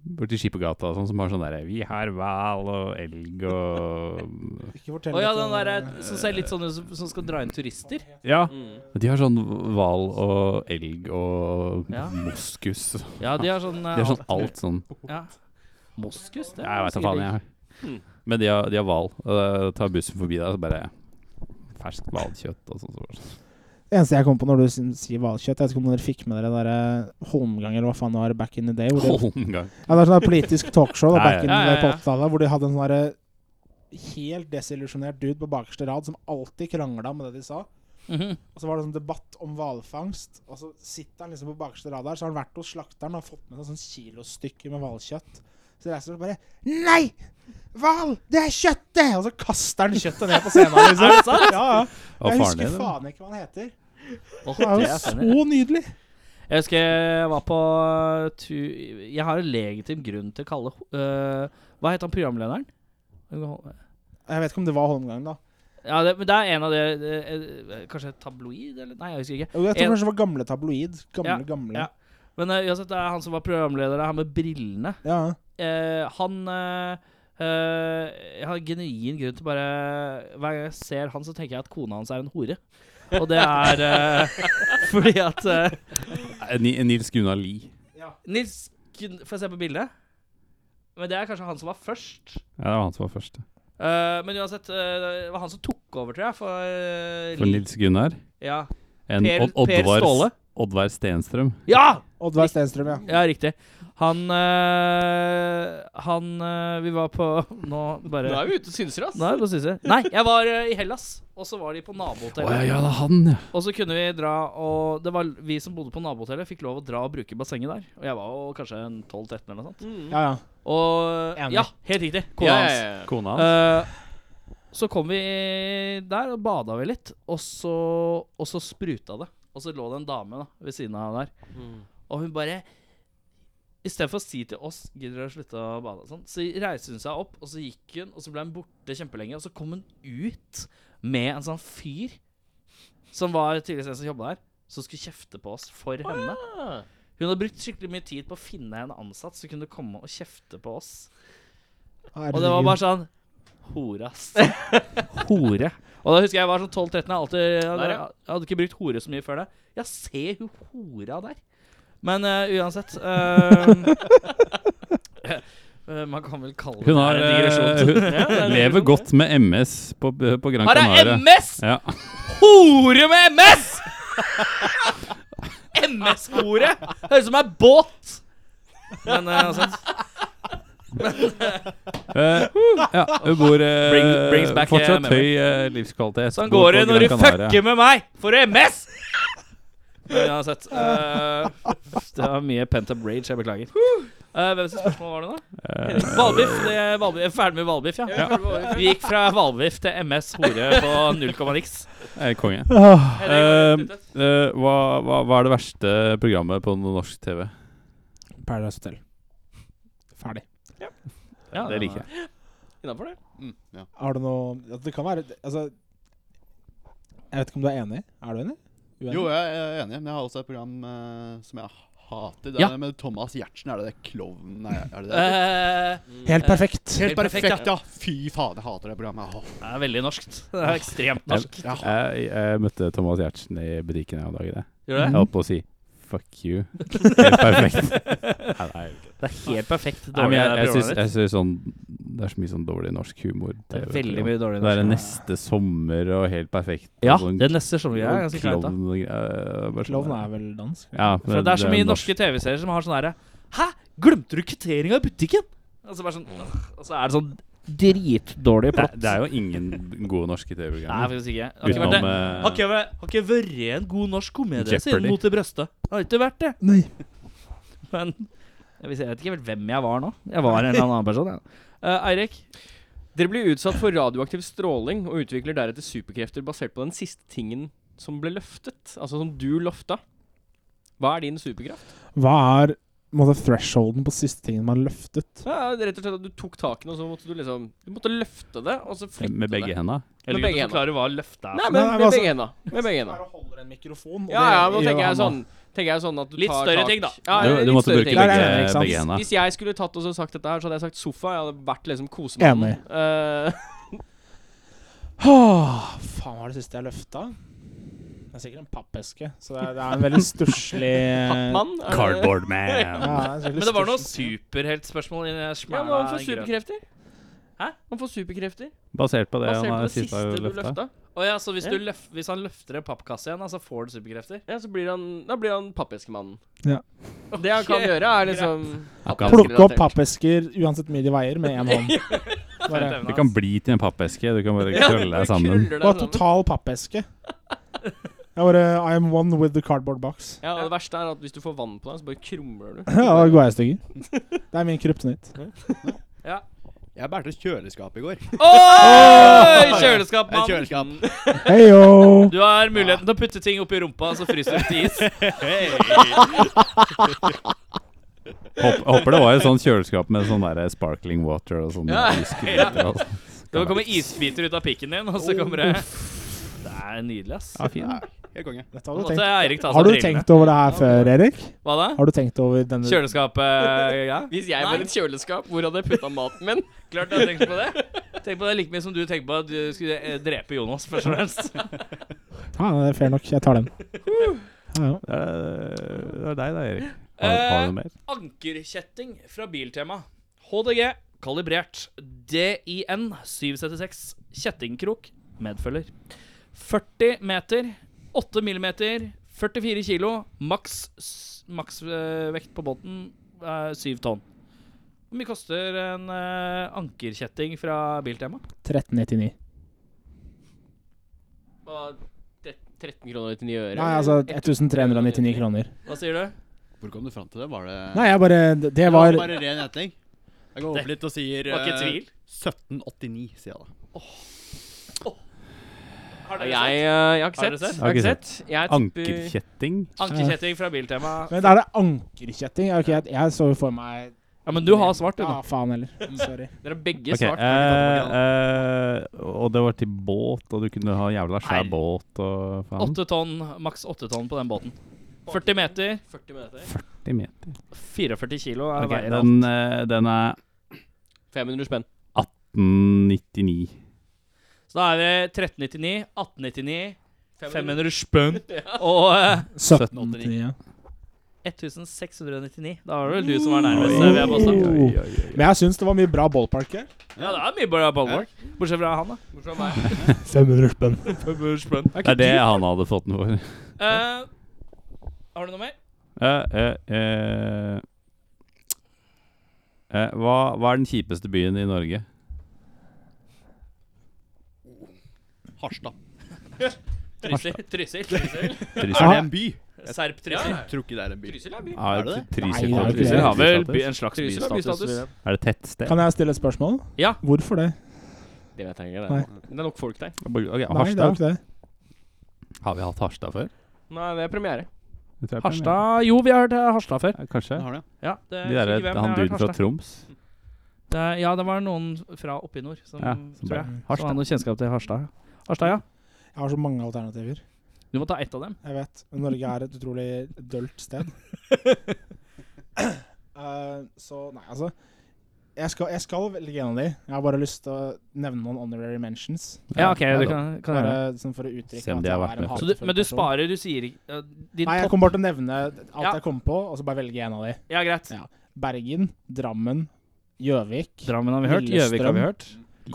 Speaker 1: Borti Skippergata og sånn, som har sånn derre Vi har hval og elg og
Speaker 7: Ikke fortell
Speaker 2: Å ja,
Speaker 7: at,
Speaker 2: den
Speaker 7: eh,
Speaker 2: der er- som ser litt sånn ut som- som skal dra inn turister.
Speaker 1: Ja.
Speaker 4: Mm.
Speaker 1: De har sånn hval og elg og
Speaker 2: Ja.
Speaker 1: moskus.
Speaker 2: Ja, de har sånn
Speaker 1: De har sånn alt sånn.
Speaker 2: Ja. Moskus? Det er
Speaker 1: Jeg veit da
Speaker 2: ganske
Speaker 1: faen,
Speaker 2: digg.
Speaker 1: jeg. Men de har de har hval. og, eh, Tar bussen forbi deg, så bare Ferskt hvalkjøtt og sånn. sånn.
Speaker 2: eh,
Speaker 7: Det eneste jeg kom på når du syn- sier hvalkjøtt Jeg vet ikke om dere fikk med dere den der eh, Holmgang eller hva faen det var back in the day. Hvor de,
Speaker 1: Holmgang.
Speaker 7: ja, det er sånn der politisk talkshow da,
Speaker 1: Ja, ja.
Speaker 7: back in
Speaker 2: Ja, ja,
Speaker 7: the
Speaker 2: ja.
Speaker 7: på 80-tallet hvor de hadde en sånn derre helt desillusjonert dude på bakerste rad som alltid krangla med det de sa.
Speaker 2: Mhm.
Speaker 7: Og så var det sånn debatt om hvalfangst, og så sitter han liksom på bakerste rad der, så har han vært hos slakteren og fått med seg sånn kilostykker med hvalkjøtt. Så reiser han og bare Nei! Hval! Det er kjøttet! Og så kaster han kjøttet ned på scenen. Liksom. er det sant? Ja, ja.
Speaker 1: Og
Speaker 7: Jeg
Speaker 1: faren
Speaker 7: husker
Speaker 1: din. da?
Speaker 7: faen ikke hva han heter.
Speaker 2: Åh,
Speaker 7: Det er
Speaker 2: det
Speaker 7: jo
Speaker 2: er funny.
Speaker 7: så nydelig.
Speaker 2: Jeg husker jeg var på eh, tu Jeg har en legitim grunn til å kalle øh, Hva het han programlederen?
Speaker 7: Jeg vet ikke om det var Holmgang, da.
Speaker 2: Ja, det, men det er en av de eh, Kanskje tabloid? Eller? Nei, jeg husker ikke.
Speaker 7: Jo, Jeg tror
Speaker 2: En-
Speaker 7: kanskje det var gamle tabloid. Gamle,
Speaker 2: Ja,
Speaker 7: gamle.
Speaker 2: ja. Men eh, uansett, det er han som var programleder, han med brillene.
Speaker 7: Ja.
Speaker 2: Eh, han eh, eh, Jeg har genuin grunn til bare Hver gang jeg ser han, så tenker jeg at kona hans er en hore. Og det er eh, fordi at eh,
Speaker 1: Eh, Ni- Nils Gunnar Lie.
Speaker 2: Nils Gun- Får jeg se på bildet? Men det er kanskje han som var først.
Speaker 1: Ja, det var han som var først.
Speaker 2: Eh, men uansett, eh, det var han som tok over, tror jeg, for, eh,
Speaker 1: For
Speaker 2: Li-
Speaker 1: Nils Gunnar.
Speaker 2: Ja.
Speaker 1: En
Speaker 2: Per,
Speaker 1: Odd-
Speaker 2: per
Speaker 1: Oddvar-
Speaker 2: Ståle.
Speaker 1: Oddvar Stenstrøm.
Speaker 2: Ja!
Speaker 7: Oddvar Stenstrøm, ja.
Speaker 2: Ja, riktig. Han øh, Han øh, Vi var på Nå bare
Speaker 4: Nå er vi ute og synser, ass.
Speaker 2: Nå er vi på Syse. Nei, jeg var øh, i Hellas, og så var de på
Speaker 1: Å
Speaker 2: nabohotellet.
Speaker 1: ja, ja, det er han, ja.
Speaker 2: Og så kunne vi dra og Det var vi som bodde på nabohotellet, fikk lov å dra og bruke bassenget der. Og jeg var jo kanskje en 12-13 eller noe sånt.
Speaker 4: Mm.
Speaker 7: ja, ja.
Speaker 2: Og
Speaker 7: Enig.
Speaker 2: Ja, helt riktig. Kona
Speaker 4: Ja,
Speaker 2: hans.
Speaker 4: ja, ja.
Speaker 1: Kona hans.
Speaker 2: Eh, så kom vi der og bada vi litt, og så, og så spruta det. Og så lå det en dame da, ved siden av der. Og hun bare Istedenfor å si til oss Gidder dere å slutte å bade, og sånn, så reiste hun seg opp, og så gikk hun, og så ble hun borte kjempelenge. Og så kom hun ut med en sånn fyr som var tydeligvis en som jobba der, som skulle kjefte på oss for henne. Hun hadde brukt skikkelig mye tid på å finne en ansatt som kunne komme og kjefte på oss. Og det var bare sånn Hore, ass. hore. Og da husker jeg jeg var sånn 12-13. Jeg, alltid- jeg, hadde- jeg hadde ikke brukt hore så mye før det. Ja, se hun hora der. Men eh, uansett eh, eh, Man kan vel kalle det
Speaker 1: Hun har,
Speaker 2: en digresjon.
Speaker 1: eh,
Speaker 2: Ja, det er
Speaker 1: hun
Speaker 2: en
Speaker 1: lever
Speaker 2: digresjon.
Speaker 1: godt med MS på, eh, på Gran
Speaker 2: Har
Speaker 1: Canaria.
Speaker 2: jeg MS?!
Speaker 1: Ja.
Speaker 2: Hore med MS! MS-hore! Høres ut som ei båt. Men eh, uansett
Speaker 1: Eh, ja, hun bor eh,
Speaker 2: Bring- brings back, eh,
Speaker 1: fortsatt
Speaker 2: memory.
Speaker 1: høy eh, livskvalitet.
Speaker 2: Sånn
Speaker 1: Bor
Speaker 2: går det
Speaker 1: på
Speaker 2: når du
Speaker 1: Gran Canaria.
Speaker 2: fucker med meg! Får du MS? Men uansett eh, Det var mye pent up rage, jeg beklager. Eh, hvem sitt spørsmål var det, da?
Speaker 1: Eh,
Speaker 2: Hvalbiff. det er hvalbiff- Jeg er ferdig med hvalbiff, ja. Vi gikk fra hvalbiff til MS hore på null komma niks.
Speaker 1: eh, konge.
Speaker 2: Eh, det går
Speaker 1: Eh,
Speaker 2: rett ut,
Speaker 1: eh, hva, hva, hva er det verste programmet på norsk TV?
Speaker 7: Paradise Hotel. Ferdig.
Speaker 2: Ja,
Speaker 1: det liker jeg.
Speaker 4: Innafor det.
Speaker 8: Mm, ja.
Speaker 7: Har du noe ja, Det kan være Altså Jeg vet ikke om du er enig? Er du enig? Uenig?
Speaker 8: Jo, jeg er enig, men jeg har også et program eh, som jeg hater. Det er
Speaker 2: Ja.
Speaker 8: med Thomas Giertsen. Er det det klovnen Nei, er det det?
Speaker 2: Eh,
Speaker 7: Helt perfekt.
Speaker 8: Helt perfekt,
Speaker 2: perfekt,
Speaker 8: ja! Fy faen, jeg hater det programmet. Åh.
Speaker 2: det er veldig norskt. Det er ekstremt norsk.
Speaker 1: Jeg, jeg møtte Thomas Giertsen i butikken her om dagen. jeg.
Speaker 2: Gjør
Speaker 1: Jeg
Speaker 2: det?
Speaker 1: holdt på å si fuck you. Helt perfekt. Nei, nei.
Speaker 2: Det er helt perfekt
Speaker 1: Nei, men
Speaker 2: dårlig.
Speaker 1: jeg,
Speaker 2: det
Speaker 1: jeg, syns,
Speaker 2: programmet
Speaker 1: jeg syns sånn Det er så mye sånn dårlig norsk humor.
Speaker 2: ditt. det er
Speaker 1: TV,
Speaker 2: veldig mye dårlig
Speaker 1: Det er
Speaker 2: norsk.
Speaker 1: neste sommer og helt perfekt.
Speaker 2: Ja,
Speaker 1: og sånn
Speaker 2: den neste som vi er ganske kleint, da.
Speaker 1: klovn og greier. Bare sånn
Speaker 7: Klovn
Speaker 1: der.
Speaker 7: er vel dansk?
Speaker 1: ja,
Speaker 2: For det er så mye
Speaker 1: norsk.
Speaker 2: norske TV-serier som har sånn herre Hæ, glemte du kvitteringa i butikken? Og så, bare sånn, og så er det sånn dritdårlig
Speaker 1: Det,
Speaker 2: plott.
Speaker 1: det er jo ingen gode norske
Speaker 2: Nei,
Speaker 1: TV-programmer.
Speaker 2: faktisk ikke. Har ikke vært
Speaker 1: Utenom
Speaker 2: det.
Speaker 1: eh,
Speaker 2: Har ikke, vært- har ikke vært en god norsk komedie siden
Speaker 1: Jeopardy.
Speaker 2: Mot i brøstet. Har ikke vært det.
Speaker 7: Nei.
Speaker 2: Men jeg vet- jeg vet ikke helt hvem jeg var nå. Jeg var en eller annen person. jeg. Eh, Eirik,
Speaker 4: Dere blir utsatt for radioaktiv stråling og utvikler deretter superkrefter basert på den siste tingen som ble løftet. Altså som du lofta. Hva er din superkraft?
Speaker 7: Hva er på en måte, thresholden på siste tingen man har løftet?
Speaker 4: Ja, det er rett og slett at Du tok taket, og så måtte du liksom Du måtte løfte det, og så flytte
Speaker 1: med begge
Speaker 4: det.
Speaker 1: hendene.
Speaker 2: eller
Speaker 4: begge
Speaker 2: kan du forklare hva løftet er?
Speaker 4: Nei, men
Speaker 7: Nei, men
Speaker 4: med
Speaker 7: altså-
Speaker 4: begge hendene. Med begge hendene.
Speaker 7: holder en mikrofon
Speaker 4: Ja, ja, men da tenker jeg sånn Tenker jeg sånn at du
Speaker 2: Litt
Speaker 4: tar
Speaker 2: større
Speaker 4: tak.
Speaker 2: ting, da.
Speaker 4: Ja,
Speaker 1: Du,
Speaker 4: litt
Speaker 1: du måtte
Speaker 4: større
Speaker 1: bruke
Speaker 4: ting.
Speaker 7: Nei,
Speaker 1: begge,
Speaker 7: nei, nei, ikke sant.
Speaker 1: begge hendene.
Speaker 4: Hvis jeg skulle tatt og så sagt dette her, så hadde jeg sagt sofa. Jeg hadde vært liksom Eh, kosemannen. Enig.
Speaker 7: Åh, faen, hva er det siste jeg løfta? Det er sikkert en pappeske. Så det er, det er en veldig stusslig
Speaker 4: Pappmann? er det-
Speaker 1: Cardboard man.
Speaker 2: Men det var noe superheltspørsmål inni den
Speaker 4: Ja,
Speaker 2: smæla
Speaker 4: men han får
Speaker 2: grøten.
Speaker 4: superkrefter.
Speaker 2: Hæ?
Speaker 4: Han får superkrefter.
Speaker 1: Basert på det
Speaker 4: Basert
Speaker 1: han
Speaker 4: på
Speaker 1: har
Speaker 4: det siste
Speaker 1: siste
Speaker 4: du
Speaker 1: løfta.
Speaker 4: løfta.
Speaker 2: Å ja, så hvis,
Speaker 4: Ja.
Speaker 2: du løf, hvis han løfter en pappkasse igjen, da, så får du superkrefter?
Speaker 4: Ja, så blir han, da blir han pappeskemannen.
Speaker 7: Ja.
Speaker 4: Det han kan gjøre, er liksom
Speaker 1: Han kan-
Speaker 7: Plukke opp pappesker uansett hvor mye de veier, med én hånd. Bare,
Speaker 1: Du kan bli til en pappeske. Du kan bare krølle deg sammen.
Speaker 4: Krøller deg
Speaker 7: det var
Speaker 4: sammen.
Speaker 7: total pappeske. Jeg bare I am one with the cardboard box.
Speaker 4: Ja, og Det verste er at hvis du får vann på deg, så bare krumler du.
Speaker 7: Ja, da går jeg i stykker. Det er min kryptonitt.
Speaker 8: Jeg bærte kjøleskap i går.
Speaker 2: Oi! Kjøleskap,
Speaker 8: Et
Speaker 2: mann!
Speaker 8: kjøleskap.
Speaker 7: Heyo!
Speaker 2: Du har muligheten til å putte ting oppi rumpa, så fryser du til is.
Speaker 1: Håper, håper det var et sånt kjøleskap med sånn der sparkling water og sånn.
Speaker 2: Ja.
Speaker 1: iskriter og sånn.
Speaker 2: Det kommer isbiter ut av pikken din, og
Speaker 7: Oh,
Speaker 2: så kommer det Det er nydelig, ass.
Speaker 1: Ja, fin.
Speaker 8: Helt konge.
Speaker 7: Dette
Speaker 2: Nå
Speaker 7: har du
Speaker 2: måtte
Speaker 7: tenkt.
Speaker 2: Eirik ta
Speaker 7: Har
Speaker 2: seg
Speaker 7: du
Speaker 2: brillene.
Speaker 7: tenkt over det her før, Erik?
Speaker 2: Hva da?
Speaker 7: Har du tenkt over denne
Speaker 2: Kjøleskapet eh, ja.
Speaker 4: Hvis jeg
Speaker 2: Nei.
Speaker 4: var et kjøleskap, hvor hadde jeg putta maten min?
Speaker 2: Klart du har tenkt på det. Tenk på det like mye som du tenker på at du skulle eh, drepe Jonas, først og fremst.
Speaker 7: Ja, det er fair nok. Jeg tar den. Ja, ja.
Speaker 1: Det er det er deg da, Erik. Har,
Speaker 7: Eh,
Speaker 1: har du mer?
Speaker 2: Ankerkjetting fra Biltema. HDG, kalibrert. DIN 776, kjettingkrok, medfølger. 40 meter, 8 millimeter, 44 kilo, maks, s- maks eh, vekt på båten er 7 tonn. Hvor mye koster en eh, ankerkjetting fra Biltema?
Speaker 7: 1399.
Speaker 4: Hva, tre- 13 kroner og 99 øre?
Speaker 7: Nei, altså 1399 kroner.
Speaker 2: Hva sier du?
Speaker 8: Hvor kom du fram til det? Var det
Speaker 7: Nei, jeg bare Det
Speaker 8: Det
Speaker 7: var
Speaker 8: bare ren gjetning. Jeg går opp litt og sier
Speaker 2: Var ikke
Speaker 8: eh,
Speaker 2: tvil?
Speaker 8: 1789, sier jeg da.
Speaker 2: Har
Speaker 4: Jeg,
Speaker 2: dere
Speaker 4: jeg,
Speaker 2: sett?
Speaker 4: eh, jeg har ikke
Speaker 2: Har du
Speaker 4: sett.
Speaker 2: sett?
Speaker 4: Jeg har ikke sett. Jeg tipper-
Speaker 1: Ankerkjetting?
Speaker 2: Ankerkjetting fra Biltema.
Speaker 7: Men da er det ankerkjetting. Ok, jeg, jeg så jo for meg
Speaker 2: Ja, men du har svart, du,
Speaker 7: Ja,
Speaker 2: nå.
Speaker 7: faen heller. Mm, Sorry.
Speaker 4: Dere har begge
Speaker 1: Ok,
Speaker 4: svart.
Speaker 1: eh, eh, og det var til båt, og du kunne ha jævla svær
Speaker 2: Her.
Speaker 1: båt og faen.
Speaker 2: 8 tonn, maks 8 tonn på den båten. 40 meter,
Speaker 4: 40 minutter.
Speaker 1: 80 meter.
Speaker 2: 44 kilo er
Speaker 1: Ok,
Speaker 2: veier alt.
Speaker 1: den, eh, den er mm,
Speaker 4: 500 spenn.
Speaker 1: 1899. eh,
Speaker 2: Så da er vi 1399, 1899, 500 spønn og eh,
Speaker 7: 1789. ja.
Speaker 2: 1699. Da var det vel du som var nærmest, eh, vil jeg
Speaker 7: Oi,
Speaker 2: påstå.
Speaker 7: oi, oi. Men jeg syns det var mye bra ballpark her.
Speaker 2: Ja, det er mye bra ballwork. Bortsett fra han, da.
Speaker 4: Bortsett fra meg.
Speaker 7: 500 spenn.
Speaker 1: Det er det han hadde fått den for.
Speaker 2: Eh, har du noe mer?
Speaker 1: Eh, eh, eh. Eh, hva, hva er den kjipeste byen i Norge?
Speaker 8: Harstad.
Speaker 2: Trysil. Trysil. Trysil.
Speaker 8: Er det
Speaker 1: Trysil?
Speaker 8: en by?
Speaker 10: Serp Trysil?
Speaker 8: Jeg tror ikke det er en by.
Speaker 10: Trysil er by.
Speaker 1: Ja,
Speaker 8: Er det det?
Speaker 1: Trysil
Speaker 7: Nei,
Speaker 1: har
Speaker 7: det er ikke det.
Speaker 1: Trysil har vel by,
Speaker 2: by, en slags
Speaker 4: Trysil har
Speaker 2: bystatus.
Speaker 4: bystatus.
Speaker 1: Er det tett sted?
Speaker 7: Kan jeg stille et spørsmål?
Speaker 4: Ja.
Speaker 7: Hvorfor det?
Speaker 4: Det vet jeg ikke.
Speaker 7: Nei.
Speaker 4: Det, det er nok folk der.
Speaker 1: Ok,
Speaker 7: Nei, det er jo
Speaker 1: Harstad?
Speaker 7: ikke det.
Speaker 1: Har vi hatt Harstad før?
Speaker 4: Nei, det er premiere.
Speaker 1: Det tror jeg
Speaker 2: Harstad Jo, vi har hørt eh, Harstad før.
Speaker 1: er- Ja, Kanskje.
Speaker 8: Den har det.
Speaker 2: Ja, det,
Speaker 1: De der, han duden fra Troms.
Speaker 2: Det, er- ja, det var noen fra oppe i nord som,
Speaker 1: Ja, som
Speaker 2: tror
Speaker 1: bare-
Speaker 2: jeg, som
Speaker 1: Harstad.
Speaker 2: hadde noe kjennskap til Harstad. Harstad, ja.
Speaker 7: Jeg har så mange alternativer.
Speaker 2: Du må ta ett av dem.
Speaker 7: Jeg vet. Men Norge er et utrolig dølt sted. Eh, så nei, altså. Jeg skal, jeg skal velge en av de. Jeg har bare lyst til å nevne noen honorary mentions.
Speaker 2: Ja, ok,
Speaker 1: det
Speaker 2: det
Speaker 1: er
Speaker 2: kan, kan jeg
Speaker 7: Bare
Speaker 2: gjøre.
Speaker 7: sånn for å uttrykke
Speaker 1: Se om
Speaker 7: at
Speaker 1: de har
Speaker 7: jeg
Speaker 1: vært
Speaker 7: er en
Speaker 1: med før.
Speaker 2: Så du,
Speaker 7: hatefull
Speaker 2: men du
Speaker 7: person.
Speaker 2: sparer Du sier ikke eh, din
Speaker 7: Nei, jeg
Speaker 2: topp
Speaker 7: kommer bare til å nevne alt
Speaker 2: Ja.
Speaker 7: jeg kom på, og så bare velge en av de.
Speaker 2: Ja, greit.
Speaker 7: Ja. Bergen, Drammen, Gjøvik,
Speaker 2: Drammen har vi hørt. Gjøvik har vi hørt.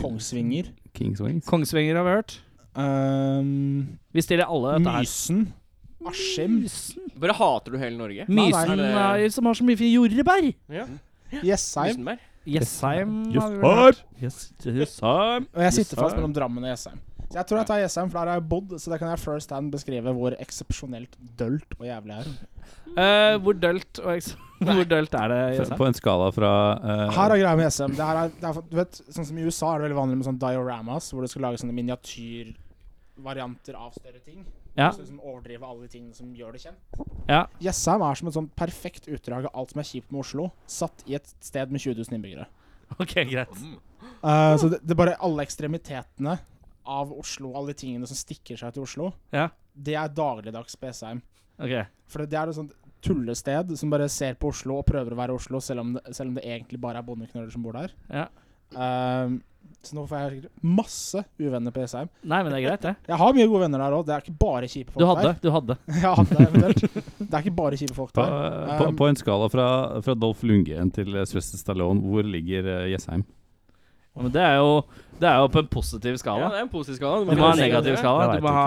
Speaker 7: Kongsvinger,
Speaker 1: Kings Wings.
Speaker 2: Kongsvinger har vi hørt.
Speaker 7: ehm,
Speaker 2: Vi stiller alle dette her.
Speaker 7: Mysen, Askim,
Speaker 4: Bare hater du hele Norge?
Speaker 7: Nei,
Speaker 2: Mysen
Speaker 4: nei.
Speaker 2: er, som har så mye fine jordbær.
Speaker 7: Jessheim.
Speaker 4: Lysenberg?
Speaker 2: Jessheim har vi
Speaker 1: Jessheim.
Speaker 2: hørt. Yes- Jessheim.
Speaker 7: Og jeg sitter fast mellom Drammen og Jessheim. Så jeg tror jeg tar Jessheim, for der har jeg bodd, så der kan jeg first hand beskrive hvor eksepsjonelt dølt og jævlig jeg er.
Speaker 2: Eh, hvor dølt og eks- Hvor dølt er det? Jessheim?
Speaker 1: På en skala fra eh,
Speaker 7: Her er greia med Jessheim. Det her er, det er, for- du vet, sånn som I USA er det veldig vanlig med sånne dioramas, hvor du skal lage sånne miniatyrvarianter av større ting.
Speaker 2: Ja.
Speaker 7: Du skal liksom overdrive alle de tingene som gjør det kjent.
Speaker 2: Ja.
Speaker 7: Jessheim er som et sånn perfekt utdrag av alt som er kjipt med Oslo, satt i et sted med 20 000 innbyggere.
Speaker 2: Ok, greit.
Speaker 7: Eh, så det, det er bare alle ekstremitetene av Oslo, alle de tingene som stikker seg til Oslo,
Speaker 2: Ja.
Speaker 7: det er dagligdags på Jessheim.
Speaker 2: Ok.
Speaker 7: For det er et sånt tullested som bare ser på Oslo og prøver å være Oslo, selv om det, selv om det egentlig bare er bondeknøler som bor der.
Speaker 2: Ja.
Speaker 7: Ehm, så nå får jeg sikkert masse uvenner på Jessheim.
Speaker 2: Nei, men det er greit, det.
Speaker 7: Jeg har mye gode venner der òg, det er ikke bare kjipe folk
Speaker 2: Du hadde. Du hadde.
Speaker 7: der. Jeg hadde eventuelt. Det er ikke bare kjipe folk
Speaker 1: på,
Speaker 7: der.
Speaker 1: på,
Speaker 7: Um,
Speaker 1: på en skala fra, fra Dolph Lundgren til eh, Sylvester Stallone, hvor ligger eh, Jessheim?
Speaker 2: Ja, men det er jo Det er jo på en positiv
Speaker 4: Ja,
Speaker 2: skala.
Speaker 4: det er en positiv skala.
Speaker 2: Du må ha en
Speaker 4: ikke-
Speaker 2: negativ skala.
Speaker 1: Jeg
Speaker 2: Du må
Speaker 1: vet
Speaker 2: ha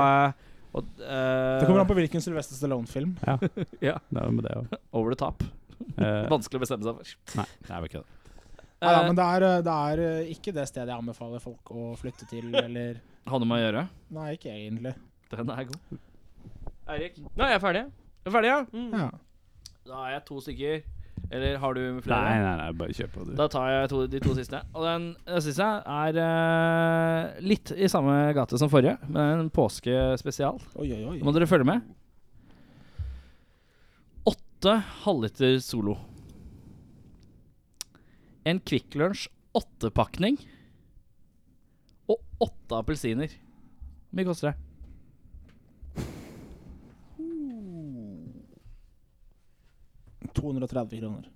Speaker 2: og, eh,
Speaker 7: Det kommer an på hvilken Sylvester Stallone-film.
Speaker 1: Det er jo med det òg.
Speaker 2: Over the top.
Speaker 1: Eh,
Speaker 2: Vanskelig å bestemme seg for.
Speaker 1: nei, det er vel ikke det.
Speaker 7: Nei, ja, men det er, eh, det er eh, ikke det stedet jeg anbefaler folk å flytte til, eller
Speaker 2: Har noe med å gjøre.
Speaker 7: Nei, ikke egentlig.
Speaker 2: Den er god. Eirik,
Speaker 4: Nei, jeg er ferdig.
Speaker 2: er du ferdig, ja?
Speaker 7: Ja.
Speaker 2: Da har jeg to stykker. Eller har du flere?
Speaker 1: Nei, nei, nei, bare kjør på, du.
Speaker 2: Da tar jeg to, de to siste. Og den, den siste er eh, litt i samme gate som forrige, men en påskespesial.
Speaker 7: Oi, oi, oi.
Speaker 2: Nå må dere følge med. Åtte halvliter Solo. En Kvikk Lunsj åttepakning. Og åtte appelsiner. Hvor mye koster det?
Speaker 7: Uh. 230 kroner.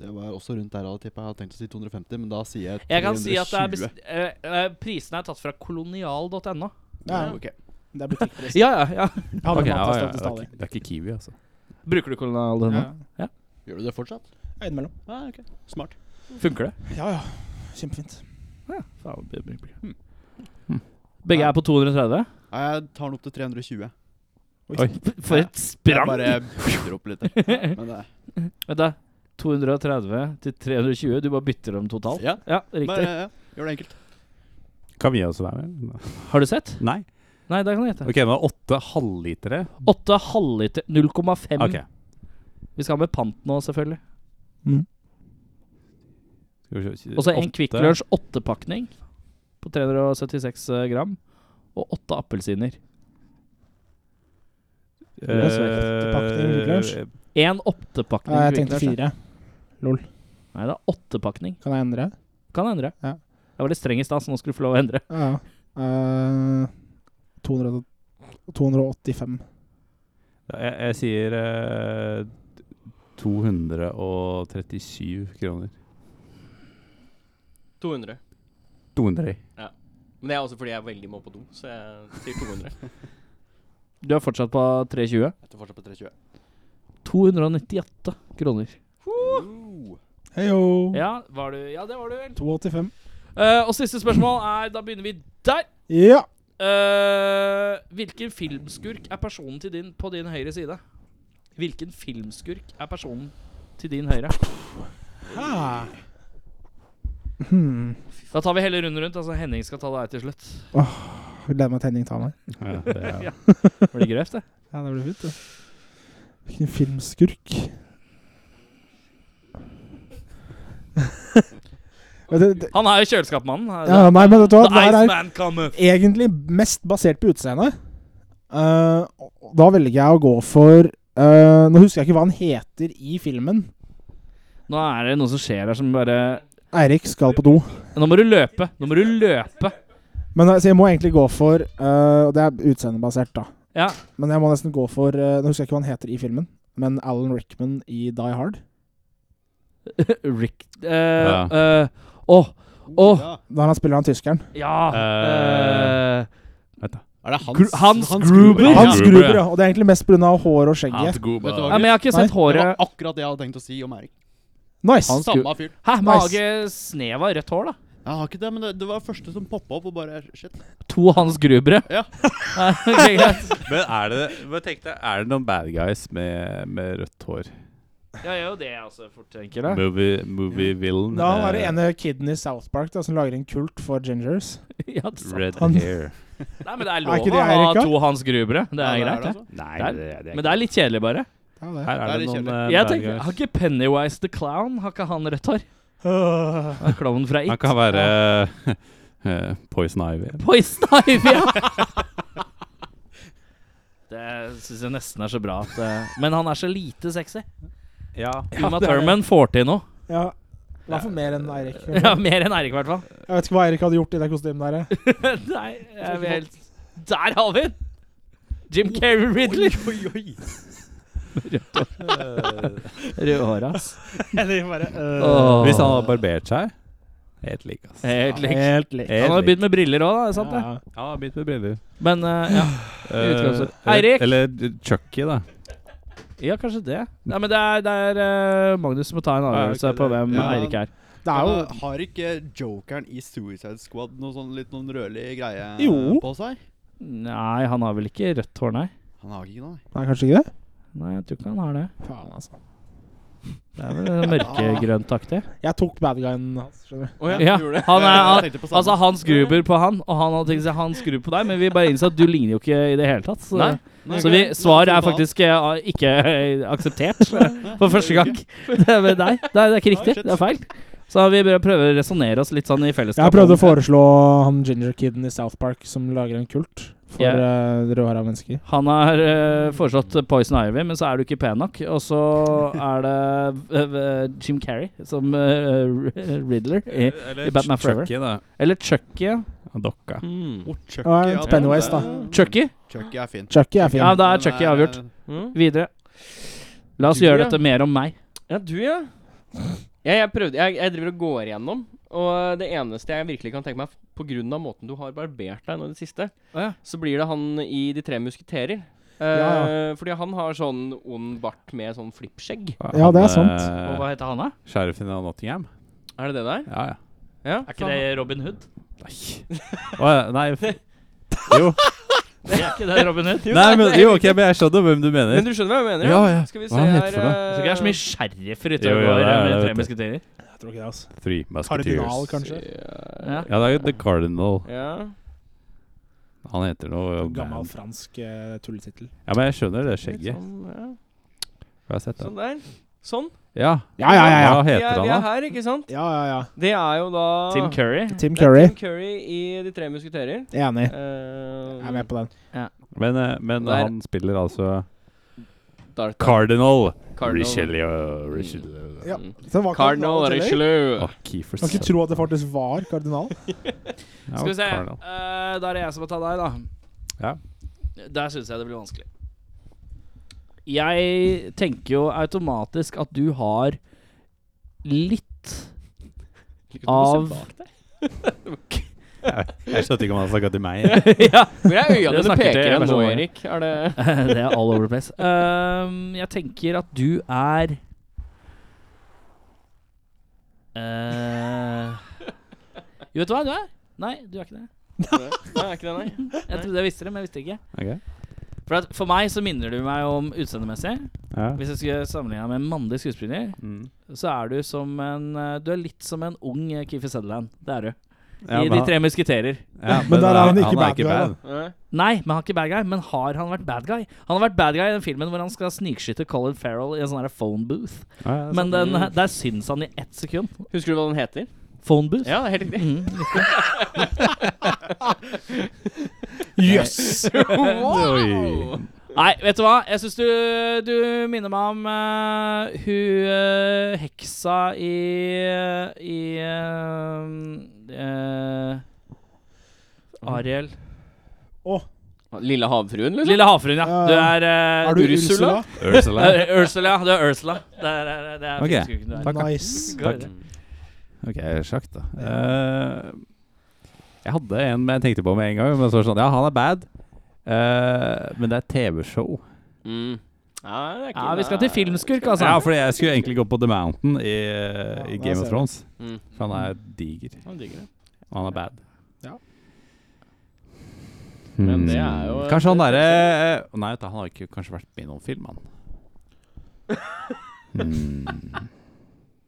Speaker 8: Det var også rundt der jeg hadde tippet. Jeg hadde tenkt å si 250, men da sier jeg 320.
Speaker 2: Jeg kan si at det er best, eh, eh, prisene er tatt fra kolonial.no.
Speaker 7: Ja, ja.
Speaker 8: Ok.
Speaker 7: Det er butikkpris.
Speaker 2: Ja, ja, ja.
Speaker 7: Jeg hadde
Speaker 1: Ok,
Speaker 7: okay,
Speaker 1: ja, ja,
Speaker 7: matavstand
Speaker 1: det,
Speaker 7: til
Speaker 1: er
Speaker 7: stadig.
Speaker 1: ikke, det er ikke Kiwi, altså.
Speaker 2: Bruker du kolonial.no?
Speaker 8: Gjør du det fortsatt?
Speaker 7: Ja, Innimellom.
Speaker 8: Ja, ok. Smart.
Speaker 2: Funker det?
Speaker 7: Ja, ja. Kjempefint.
Speaker 2: Faen, det blir- blir- Begge er på 230?
Speaker 8: Nei, Jeg tar den opp til 320.
Speaker 2: Oi, for et
Speaker 8: Jeg
Speaker 2: sprang!
Speaker 8: bare bytter opp litt. jeg. Men det,
Speaker 2: Vent da. 230 til 320. Du bare bytter dem totalt?
Speaker 8: ja,
Speaker 2: Ja, riktig.
Speaker 8: bare ja. gjør det enkelt.
Speaker 1: Kan vi også være med?
Speaker 2: Har du sett?
Speaker 1: Nei.
Speaker 2: Nei, Mm. da kan du gjette.
Speaker 1: Ok, nå er det åtte halvlitere.
Speaker 2: Åtte halvliter 0,5.
Speaker 1: Ok,
Speaker 2: Vi skal ha med pant nå, selvfølgelig.
Speaker 1: skal vi se.
Speaker 2: Og så en
Speaker 1: Åtte-
Speaker 2: Kvikk Lunsj åttepakning på 376 eh, gram. Og åtte appelsiner.
Speaker 7: er svekt. Tilpakning, Kvikk Lunsj.
Speaker 1: Eh,
Speaker 2: Én åttepakning.
Speaker 7: Ja, jeg
Speaker 2: Kvikk
Speaker 7: tenkte
Speaker 2: Lunsj, ja.
Speaker 7: fire.
Speaker 2: Nei, det er åttepakning.
Speaker 7: Kan jeg endre?
Speaker 2: Kan endre.
Speaker 7: Ja.
Speaker 2: Jeg var litt streng i stad, så nå skulle du få lov å endre.
Speaker 7: Ja, ja. Eh, 200 285.
Speaker 1: Jeg, jeg sier eh, 237 kroner.
Speaker 4: 200.
Speaker 1: 200.
Speaker 4: Men det er også fordi jeg er veldig må på do, så jeg sier 200.
Speaker 2: Du er fortsatt på 320.
Speaker 8: Jeg tar fortsatt på 320.
Speaker 2: 298 kroner.
Speaker 8: Uh.
Speaker 7: Heio!
Speaker 2: Ja, var du Ja, det var du vel.
Speaker 7: 285.
Speaker 2: Eh, og siste spørsmål er Da begynner vi der.
Speaker 7: Ja!
Speaker 2: Eh, hvilken filmskurk er personen til din, på din høyre side? Hvilken filmskurk er personen til din høyre?
Speaker 7: Ah. Hmm.
Speaker 2: Da tar vi hele runden rundt. Altså Henning skal ta deg til slutt.
Speaker 7: gleder meg til Henning tar meg.
Speaker 1: Ja, det er,
Speaker 2: Blir det grøft, det?
Speaker 7: Ja, det blir fint, det. Hvilken filmskurk. Men det, det,
Speaker 2: Han er jo kjøleskapmannen. er det
Speaker 7: ja,
Speaker 2: det?
Speaker 7: nei, men vet du hva? Det
Speaker 2: The
Speaker 7: her er
Speaker 2: Iceman cometh.
Speaker 7: egentlig mest basert på utseendet. Eh, og da velger jeg å gå for eh, Nå husker jeg ikke hva han heter i filmen.
Speaker 2: Nå er det noe som skjer her som bare
Speaker 7: Eirik skal på do.
Speaker 2: Nå må du løpe! Nå må du løpe!
Speaker 7: Men eh, så jeg må egentlig gå for eh, Og det er utseendebasert, da.
Speaker 2: Ja.
Speaker 7: Men jeg må nesten gå for eh, Nå husker jeg ikke hva han heter i filmen, men Alan Rickman i Die Hard.
Speaker 2: Rick eh,
Speaker 1: Ja.
Speaker 2: eh, Åh! Åh!
Speaker 8: Ja.
Speaker 7: Da han spiller han tyskeren.
Speaker 2: Ja!
Speaker 1: Eh,
Speaker 2: eh,
Speaker 8: Er det Hans,
Speaker 2: Gru- Hans Gruber?
Speaker 8: Ja.
Speaker 7: Hans
Speaker 1: Hans Gruber, ja.
Speaker 7: Gruber, ja. Og det er egentlig mest pga. hår og skjegget.
Speaker 1: Hans Gruber.
Speaker 8: Vet du hva,
Speaker 2: ja, men jeg har ikke
Speaker 7: Nei,
Speaker 2: sett
Speaker 8: Det var
Speaker 2: håret.
Speaker 8: akkurat det jeg hadde tenkt å si om Erik.
Speaker 7: Nice!
Speaker 2: Hans
Speaker 8: Samme
Speaker 2: Gruber.
Speaker 8: fyr.
Speaker 2: Hæ,
Speaker 7: Nice.
Speaker 2: mage, snev av rødt hår, da.
Speaker 8: Jeg har ikke det, men det, det var første som poppa opp og bare Shit.
Speaker 2: To Hans Grubere.
Speaker 8: Ja.
Speaker 2: ok, greit.
Speaker 1: Men er det, men tenk deg, er det noen bad guys med, med rødt hår?
Speaker 2: Ja, jeg er jo det jeg også fort tenker. Da.
Speaker 1: Movie, movie villain.
Speaker 7: Da var det
Speaker 1: eh,
Speaker 7: ene kiden i South Park da, som lager en kult for gingers.
Speaker 2: Ja, det er sant.
Speaker 1: Red
Speaker 7: Han-
Speaker 1: hair.
Speaker 2: Nei, men det er
Speaker 7: Er ikke
Speaker 2: lov
Speaker 7: det
Speaker 2: å ha
Speaker 7: Erika?
Speaker 2: to Hans Grubere. Det er
Speaker 8: Ja,
Speaker 2: greit, det.
Speaker 8: altså.
Speaker 1: Nei,
Speaker 2: Det er-
Speaker 1: det
Speaker 2: Men det er litt kjedelig, bare.
Speaker 7: Ja, det.
Speaker 1: Her er det
Speaker 8: litt
Speaker 1: noen
Speaker 8: kjedelig.
Speaker 1: eh,
Speaker 2: Jeg
Speaker 1: bad
Speaker 2: tenker, Har
Speaker 1: guys.
Speaker 2: ikke Pennywise the Clown Har ikke han rødt hår?
Speaker 7: Øh,
Speaker 2: Han er Klovnen fra
Speaker 1: Han
Speaker 2: It.
Speaker 1: kan være eh, Poison Ivy.
Speaker 2: Poison Ivy, ja! Det syns jeg nesten er så bra. At, eh, men han er så lite sexy.
Speaker 1: Ja.
Speaker 2: Uma
Speaker 7: det er det.
Speaker 2: Thurman får til noe.
Speaker 7: ja. I hvert fall mer enn Eirik.
Speaker 2: Ja, mer enn Eirik, i hvert fall.
Speaker 7: Jeg vet ikke hva Eirik hadde gjort i det kostymet der. jeg.
Speaker 2: Nei, jeg vil helt Der har vi den! Jim Carrey Ridley.
Speaker 8: Oi, oi.
Speaker 2: Rødhåra, ass.
Speaker 7: Eller bare øh,
Speaker 1: Hvis han hadde barbert seg Helt lik, altså. ass.
Speaker 2: Helt lik.
Speaker 7: Helt lik.
Speaker 2: Han har begynt med briller òg, da. er det Sant, det?
Speaker 7: Ja.
Speaker 1: Ja, han har begynt med briller.
Speaker 2: Men eh, ja.
Speaker 1: Eh,
Speaker 2: utgangspunktet.
Speaker 1: eller-
Speaker 2: Eirik!
Speaker 1: Eller Chucky, da.
Speaker 2: ja, kanskje det. Nei, men det er, det er eh, Magnus som må ta en avgjørelse på hvem
Speaker 8: Ja.
Speaker 2: Eirik er.
Speaker 7: Det er jo
Speaker 8: Men, uh, har ikke jokeren i Suicide Squad noe sånn litt noen rødlig greie uh,
Speaker 7: Jo.
Speaker 8: på seg?
Speaker 2: Nei, han har vel ikke rødt hår, nei.
Speaker 8: Han har ikke noe.
Speaker 7: Nei, kanskje ikke det?
Speaker 2: Nei, jeg tror ikke han har det.
Speaker 7: Faen, altså.
Speaker 2: Det er vel mørkegrøntaktig.
Speaker 7: Jeg tok bad guyen hans, skjønner du.
Speaker 8: Oh,
Speaker 2: Ja, han er, han,
Speaker 8: tenkte på samme.
Speaker 2: altså Hans Gruber på han, og han hadde tenkt seg Hans Gruber på deg, men vi bare innså at du ligner jo ikke i det hele tatt. Så,
Speaker 8: Nei. Nei,
Speaker 2: så vi,
Speaker 8: ok.
Speaker 2: svar er
Speaker 8: Nå vi
Speaker 2: faktisk eh, ikke eh, akseptert for første gang. Det er med deg. Nei, det er ikke riktig. Det er feil. Så vi bør prøve å resonnere oss litt sånn i fellesskap.
Speaker 7: Jeg prøvde
Speaker 2: om-
Speaker 7: å foreslå han ginger-kiden i South Park som lager en kult for
Speaker 2: Ja.
Speaker 7: yeah. rødhåra mennesker.
Speaker 2: Han har eh, foreslått Poison Ivy, men så er du ikke pen nok. Og så er det eh, eh, Jim Carrey som eh, R- Riddler. i-
Speaker 1: Eller
Speaker 2: Batman Forever.
Speaker 1: Chucky, da.
Speaker 2: Eller Chucky. ja.
Speaker 1: Han Dokka.
Speaker 4: Mm.
Speaker 8: Oh, Chucky,
Speaker 7: Ja,
Speaker 8: ja,
Speaker 7: Pennywise,
Speaker 8: den-
Speaker 7: da.
Speaker 2: Chucky?
Speaker 8: Chucky er fin.
Speaker 7: Chucky er fin.
Speaker 2: Ja, da er
Speaker 8: Den
Speaker 2: Chucky avgjort.
Speaker 8: eh,
Speaker 4: Mm.
Speaker 2: Videre. La oss
Speaker 4: Du,
Speaker 2: gjøre
Speaker 4: ja.
Speaker 2: dette mer om meg.
Speaker 4: Ja, du, ja. ja jeg, prøvde, jeg, jeg driver og går igjennom, og det eneste jeg virkelig kan tenke meg, pga. måten du har barbert deg nå i det siste,
Speaker 2: Å ja.
Speaker 4: så blir det han i De tre musketerer. Eh,
Speaker 7: Ja,
Speaker 4: Fordi han har sånn ond bart med sånn flippskjegg.
Speaker 7: Ja, det er sant.
Speaker 2: Og
Speaker 1: Han, eh,
Speaker 2: hva heter han, da?
Speaker 1: Sheriffen av Nottingham.
Speaker 4: Er det det der?
Speaker 1: Ja, ja.
Speaker 4: Ja.
Speaker 2: Er ikke det Robin Hood?
Speaker 1: Nei. Å, ja, nei. f- Jo.
Speaker 2: Det er ikke det Robin Hood?
Speaker 1: Nei, men, jo, ok, men jeg skjønner hvem du mener.
Speaker 4: Men du skjønner hva jeg mener?
Speaker 1: Ja, ja.
Speaker 4: Skal vi
Speaker 1: Hva
Speaker 4: se
Speaker 1: han
Speaker 4: her eh,
Speaker 1: heter for noe?
Speaker 2: Jeg tror ikke det er så mye sheriff ute
Speaker 1: Jo,
Speaker 2: og
Speaker 1: jo,
Speaker 2: går
Speaker 1: det er
Speaker 2: med
Speaker 1: det,
Speaker 2: Tre
Speaker 1: vet
Speaker 2: musketerer.
Speaker 7: Jeg tror ikke det, altså.
Speaker 1: Three Musketeers.
Speaker 7: Kardinal, kanskje.
Speaker 4: Ja.
Speaker 2: Ja.
Speaker 1: Ja, det er jo The Cardinal.
Speaker 4: eh, ja.
Speaker 1: Han heter noe
Speaker 7: Gammel fransk uh, tulletittel.
Speaker 1: Ja, men jeg skjønner det
Speaker 4: Litt
Speaker 1: skjegget.
Speaker 4: Sånn, ja.
Speaker 1: Jeg har sett det.
Speaker 4: sånn der. Sånn.
Speaker 1: Ja.
Speaker 7: Ja, ja, ja.
Speaker 1: Hva
Speaker 4: Vi er,
Speaker 1: heter
Speaker 4: vi er
Speaker 1: han, da?
Speaker 4: her, ikke sant?
Speaker 7: Ja, ja, ja.
Speaker 4: Det er jo da
Speaker 2: Tim Curry.
Speaker 7: Tim
Speaker 4: Mm. Det er
Speaker 7: Curry.
Speaker 4: Tim Curry i De tre musketerer.
Speaker 7: Enig.
Speaker 4: Eh,
Speaker 7: Jeg er med på den.
Speaker 1: Men, eh, men
Speaker 4: Der.
Speaker 1: han spiller altså
Speaker 4: Darth
Speaker 1: Cardinal
Speaker 4: Cardinal.
Speaker 1: Richelieu. Richelieu.
Speaker 7: Ja.
Speaker 4: Mm.
Speaker 7: Så det var
Speaker 4: Cardinal
Speaker 7: kardinal tillegg.
Speaker 4: Richelieu.
Speaker 1: Å, Kiefer
Speaker 7: Kan ikke tro at det faktisk var kardinal.
Speaker 1: Ja,
Speaker 2: Skal vi se.
Speaker 1: Cardinal.
Speaker 2: Eh, da er det jeg som må ta deg, da.
Speaker 1: Ja.
Speaker 2: Der syns jeg det blir vanskelig. Jeg tenker jo automatisk at du har litt Av-
Speaker 1: Jeg skjønte ikke om han snakka til meg.
Speaker 2: Ja,
Speaker 4: Hvor er øya
Speaker 2: Jeg
Speaker 4: dine
Speaker 2: snakker til
Speaker 4: peker hen nå,
Speaker 2: personen.
Speaker 4: Erik? Er det
Speaker 2: det er all over the place. Ehm, jeg tenker at du er Eh, Jo, vet du hva du er? Nei, du er ikke det.
Speaker 4: Nei, er ikke det, nei?
Speaker 2: Jeg trodde jeg visste det, men jeg visste det ikke.
Speaker 1: Ok.
Speaker 2: For, at for meg så minner du meg om utseendemessig.
Speaker 1: Ja.
Speaker 2: Hvis jeg skulle sammenligne deg med en mannlig skuespiller,
Speaker 1: Mm.
Speaker 2: så er du som en eh, Du er litt som en ung eh, Kiefer Sutherland. Det er du.
Speaker 1: Ja,
Speaker 2: i
Speaker 1: men
Speaker 2: De
Speaker 1: han-
Speaker 2: tre musketerer.
Speaker 1: Mm. ja,
Speaker 10: Men der er han ikke
Speaker 1: er
Speaker 10: bad guy, da.
Speaker 4: Nei.
Speaker 2: Nei, men han er ikke bad guy. Men har han vært bad guy? Han har vært bad guy i den filmen hvor han skal snikskyte Colin Farrell i en sånn her phone booth.
Speaker 1: Ja, ja,
Speaker 2: Men den,
Speaker 4: Mm.
Speaker 2: der syns han i ett sekund.
Speaker 4: Husker du hva den heter?
Speaker 2: Phone booth.
Speaker 4: Ja, helt riktig.
Speaker 2: Mm, riktig.
Speaker 7: Jøss!
Speaker 1: Oi.
Speaker 2: Nei, vet du hva? Jeg syns du, du minner meg om eh, hun eh, heksa i i eh, eh, Ariel.
Speaker 4: Lille havfruen, liksom?
Speaker 2: Lille havfruen, ja.
Speaker 10: Ja,
Speaker 2: Du
Speaker 10: ja.
Speaker 2: er, eh,
Speaker 10: Er du
Speaker 4: Ursula?
Speaker 10: Ursula?
Speaker 1: Ursula.
Speaker 2: Eh, Ursula, ja. Du er Ursula. Det er, det er, det er
Speaker 1: Ok.
Speaker 2: fiskekuken du er.
Speaker 1: Takk.
Speaker 10: Nice.
Speaker 2: Går det?
Speaker 1: Ok, sjakk, da. Eh, jeg hadde en men jeg tenkte på med en gang. Men så var det sånn, Ja, han er bad, Eh, men det er TV-show.
Speaker 4: Mm. Ja, det er ikke
Speaker 2: Ja, vi skal til filmskurk, altså.
Speaker 1: Ja, fordi jeg skulle egentlig gå på The Mountain i, i
Speaker 10: der
Speaker 1: Game
Speaker 10: ser
Speaker 1: of
Speaker 10: du.
Speaker 1: Thrones.
Speaker 4: Mm.
Speaker 1: For han er diger.
Speaker 7: Han digger det.
Speaker 1: Og han er bad.
Speaker 7: Ja.
Speaker 4: Men det er jo-
Speaker 1: Hmm. Kanskje han derre Nei, vet du, han har ikke kanskje vært med i noen film, han. Hmm.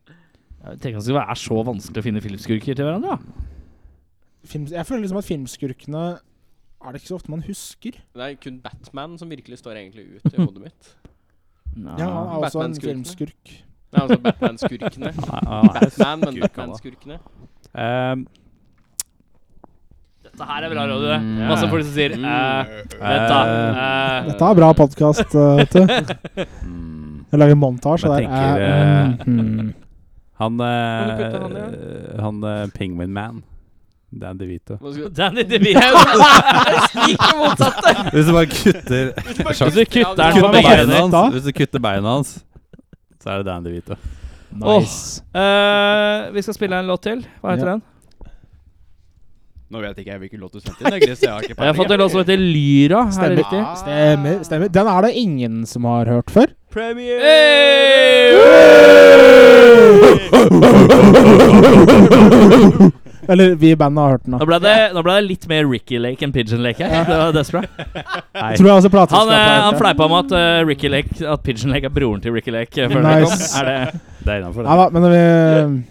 Speaker 2: Jeg tenker at det er så vanskelig å finne filmskurker til hverandre, da.
Speaker 10: Film, jeg føler liksom at filmskurkene er det ikke så ofte man husker.
Speaker 4: Det er kun Batman som virkelig står egentlig ut i hodet mitt.
Speaker 8: Ah,
Speaker 10: Ja, han er også en
Speaker 4: Batman-skurkene.
Speaker 10: filmskurk.
Speaker 4: Det er altså
Speaker 1: Nei,
Speaker 4: Batman-skurkene.
Speaker 1: han er
Speaker 4: Batman, men
Speaker 1: skurk, han da.
Speaker 4: Batman-skurkene.
Speaker 1: Ah, Ehm,
Speaker 2: Dette her er bra radio, det.
Speaker 1: Mm.
Speaker 2: Masse folk som sier
Speaker 4: Mm.
Speaker 2: eh, Vent, da. eh,
Speaker 10: Dette er bra podkast, vet du.
Speaker 1: mm.
Speaker 10: Jeg lager montasje
Speaker 1: Men
Speaker 10: der.
Speaker 1: tenker,
Speaker 10: Eh, mm,
Speaker 1: Han
Speaker 4: Kan du putte han i,
Speaker 1: eh, Han eh, Penguin Man. Dan DeVito.
Speaker 4: Hva skal-
Speaker 2: Danny DeVito.
Speaker 1: Hvis du bare kutter
Speaker 2: Hvis du kutter
Speaker 4: Ja,
Speaker 10: det
Speaker 2: den på begge
Speaker 10: var
Speaker 2: hender.
Speaker 10: det.
Speaker 1: hans,
Speaker 10: da?
Speaker 1: hvis du kutter beina hans, så er det Dan DeVito.
Speaker 10: nice.
Speaker 2: Eh, vi skal spille en låt til. Hva heter
Speaker 10: Ja.
Speaker 2: den?
Speaker 8: Nå vet ikke jeg hvilken låt du sendte inn. jeg, Chris, Jeg har ikke
Speaker 2: Jeg har fått en låt som heter Lyra. Er det
Speaker 10: Stemmer.
Speaker 8: Ah.
Speaker 2: riktig?
Speaker 10: Stemmer. stemmer. Den er det ingen som har hørt før. Eller vi i bandet har hørt den.
Speaker 2: Nå
Speaker 10: da.
Speaker 2: ble, det, nå ble det litt mer Ricky Lake enn Pigeon Lake her. Det var desperat.
Speaker 10: Jeg tror jeg også
Speaker 2: Han,
Speaker 10: plateselskapet
Speaker 2: eh,
Speaker 10: har
Speaker 2: han
Speaker 10: hørt den.
Speaker 2: fleipa om at eh, Ricky Lake At Pigeon Lake er broren til Ricky Lake. eh, Før
Speaker 10: Nice.
Speaker 2: det kom. Er det
Speaker 1: Det er innafor,
Speaker 10: Nei
Speaker 1: det.
Speaker 10: da, men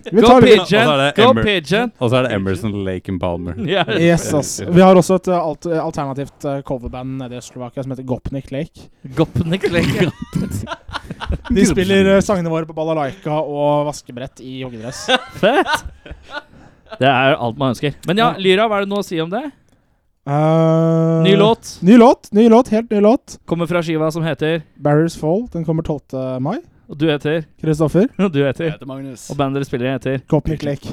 Speaker 10: vi, vi
Speaker 2: Go
Speaker 10: tar litt
Speaker 1: Og så er
Speaker 2: Pigeon!
Speaker 1: det
Speaker 2: Go
Speaker 1: Emmer.
Speaker 2: Pigeon!
Speaker 1: Og så er det Emerson, Lake and Palmer.
Speaker 2: Ja.
Speaker 10: Yes, ass. Vi har også et eh, alt, alternativt eh, coverband nede i Øst-Slovakia som heter Gopnik Lake.
Speaker 2: Gopnik Lake.
Speaker 10: De spiller eh, sangene våre på balalaika og vaskebrett i Eh, joggedress.
Speaker 2: Fett! Det er alt man ønsker. Men ja, Lyra, hva er det nå å si om det?
Speaker 10: Eh,
Speaker 2: Ny låt.
Speaker 10: Ny låt, ny låt, helt ny låt.
Speaker 2: Kommer fra skiva som heter
Speaker 10: Barriers Fall. Den kommer 12. mai.
Speaker 2: Og du heter
Speaker 10: Kristoffer.
Speaker 2: Og du heter
Speaker 8: heter Magnus.
Speaker 2: Og bandet dere spiller i, heter
Speaker 10: Gopnik Lake.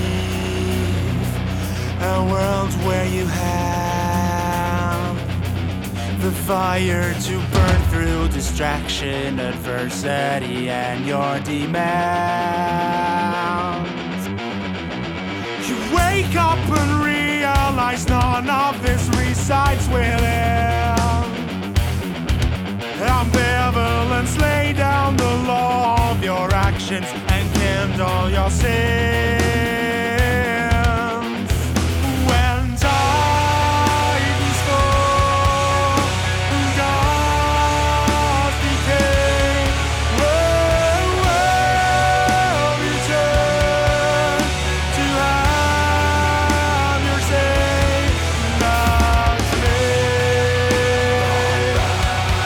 Speaker 9: perceive a world where you have the fire to burn through distraction, adversity, and your demands. You wake up and realize none of this resides within. Ambivalence, lay down the law of your actions and kindle your sins. When times fall, God became where will you turn to have your say? Not me.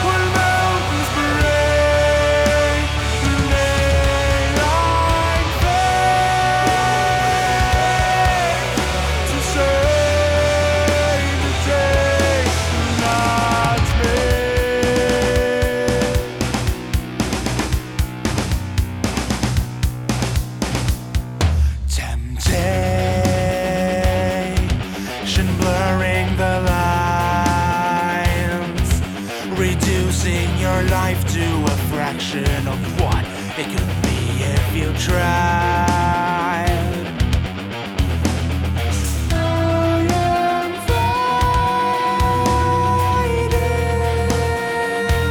Speaker 9: When mountains break, daylight fades to save the day, not me. Temptation blurring the lines, reducing your life to a fraction of what it could be if you tried. I am fighting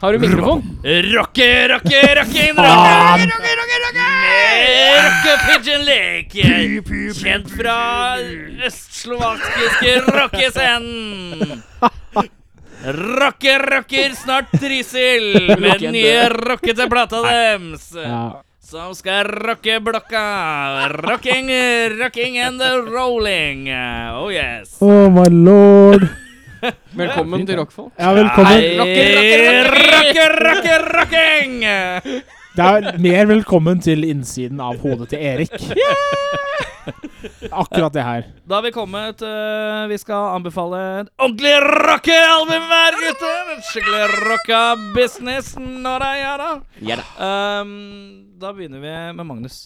Speaker 4: Har du mikrofon?
Speaker 2: Rocke, rocke, rocke, rocke, rocke, rocke, rocke, rocke! Med Rocke Pigeon Lake, kjent fra østslovakiske rockescenen. Rocke, rocker, snart Trysil, med den nye rockete plata deres. Som skal rocke blokka. Rocking, rocking and rolling. Oh yes.
Speaker 7: Oh my lord.
Speaker 4: Velkommen til Rockfolk.
Speaker 7: Ja, velkommen.
Speaker 2: Hei, Rocke, rocke, rocking!
Speaker 7: Det er mer velkommen til innsiden av hodet til Erik. Akkurat det her.
Speaker 2: Da har vi kommet. øh, vi skal anbefale et ordentlig rockealbum hver, gutter! Et skikkelig rocka business. Når jeg gjør det.
Speaker 4: Ja da.
Speaker 2: Ehm, da begynner vi med Magnus.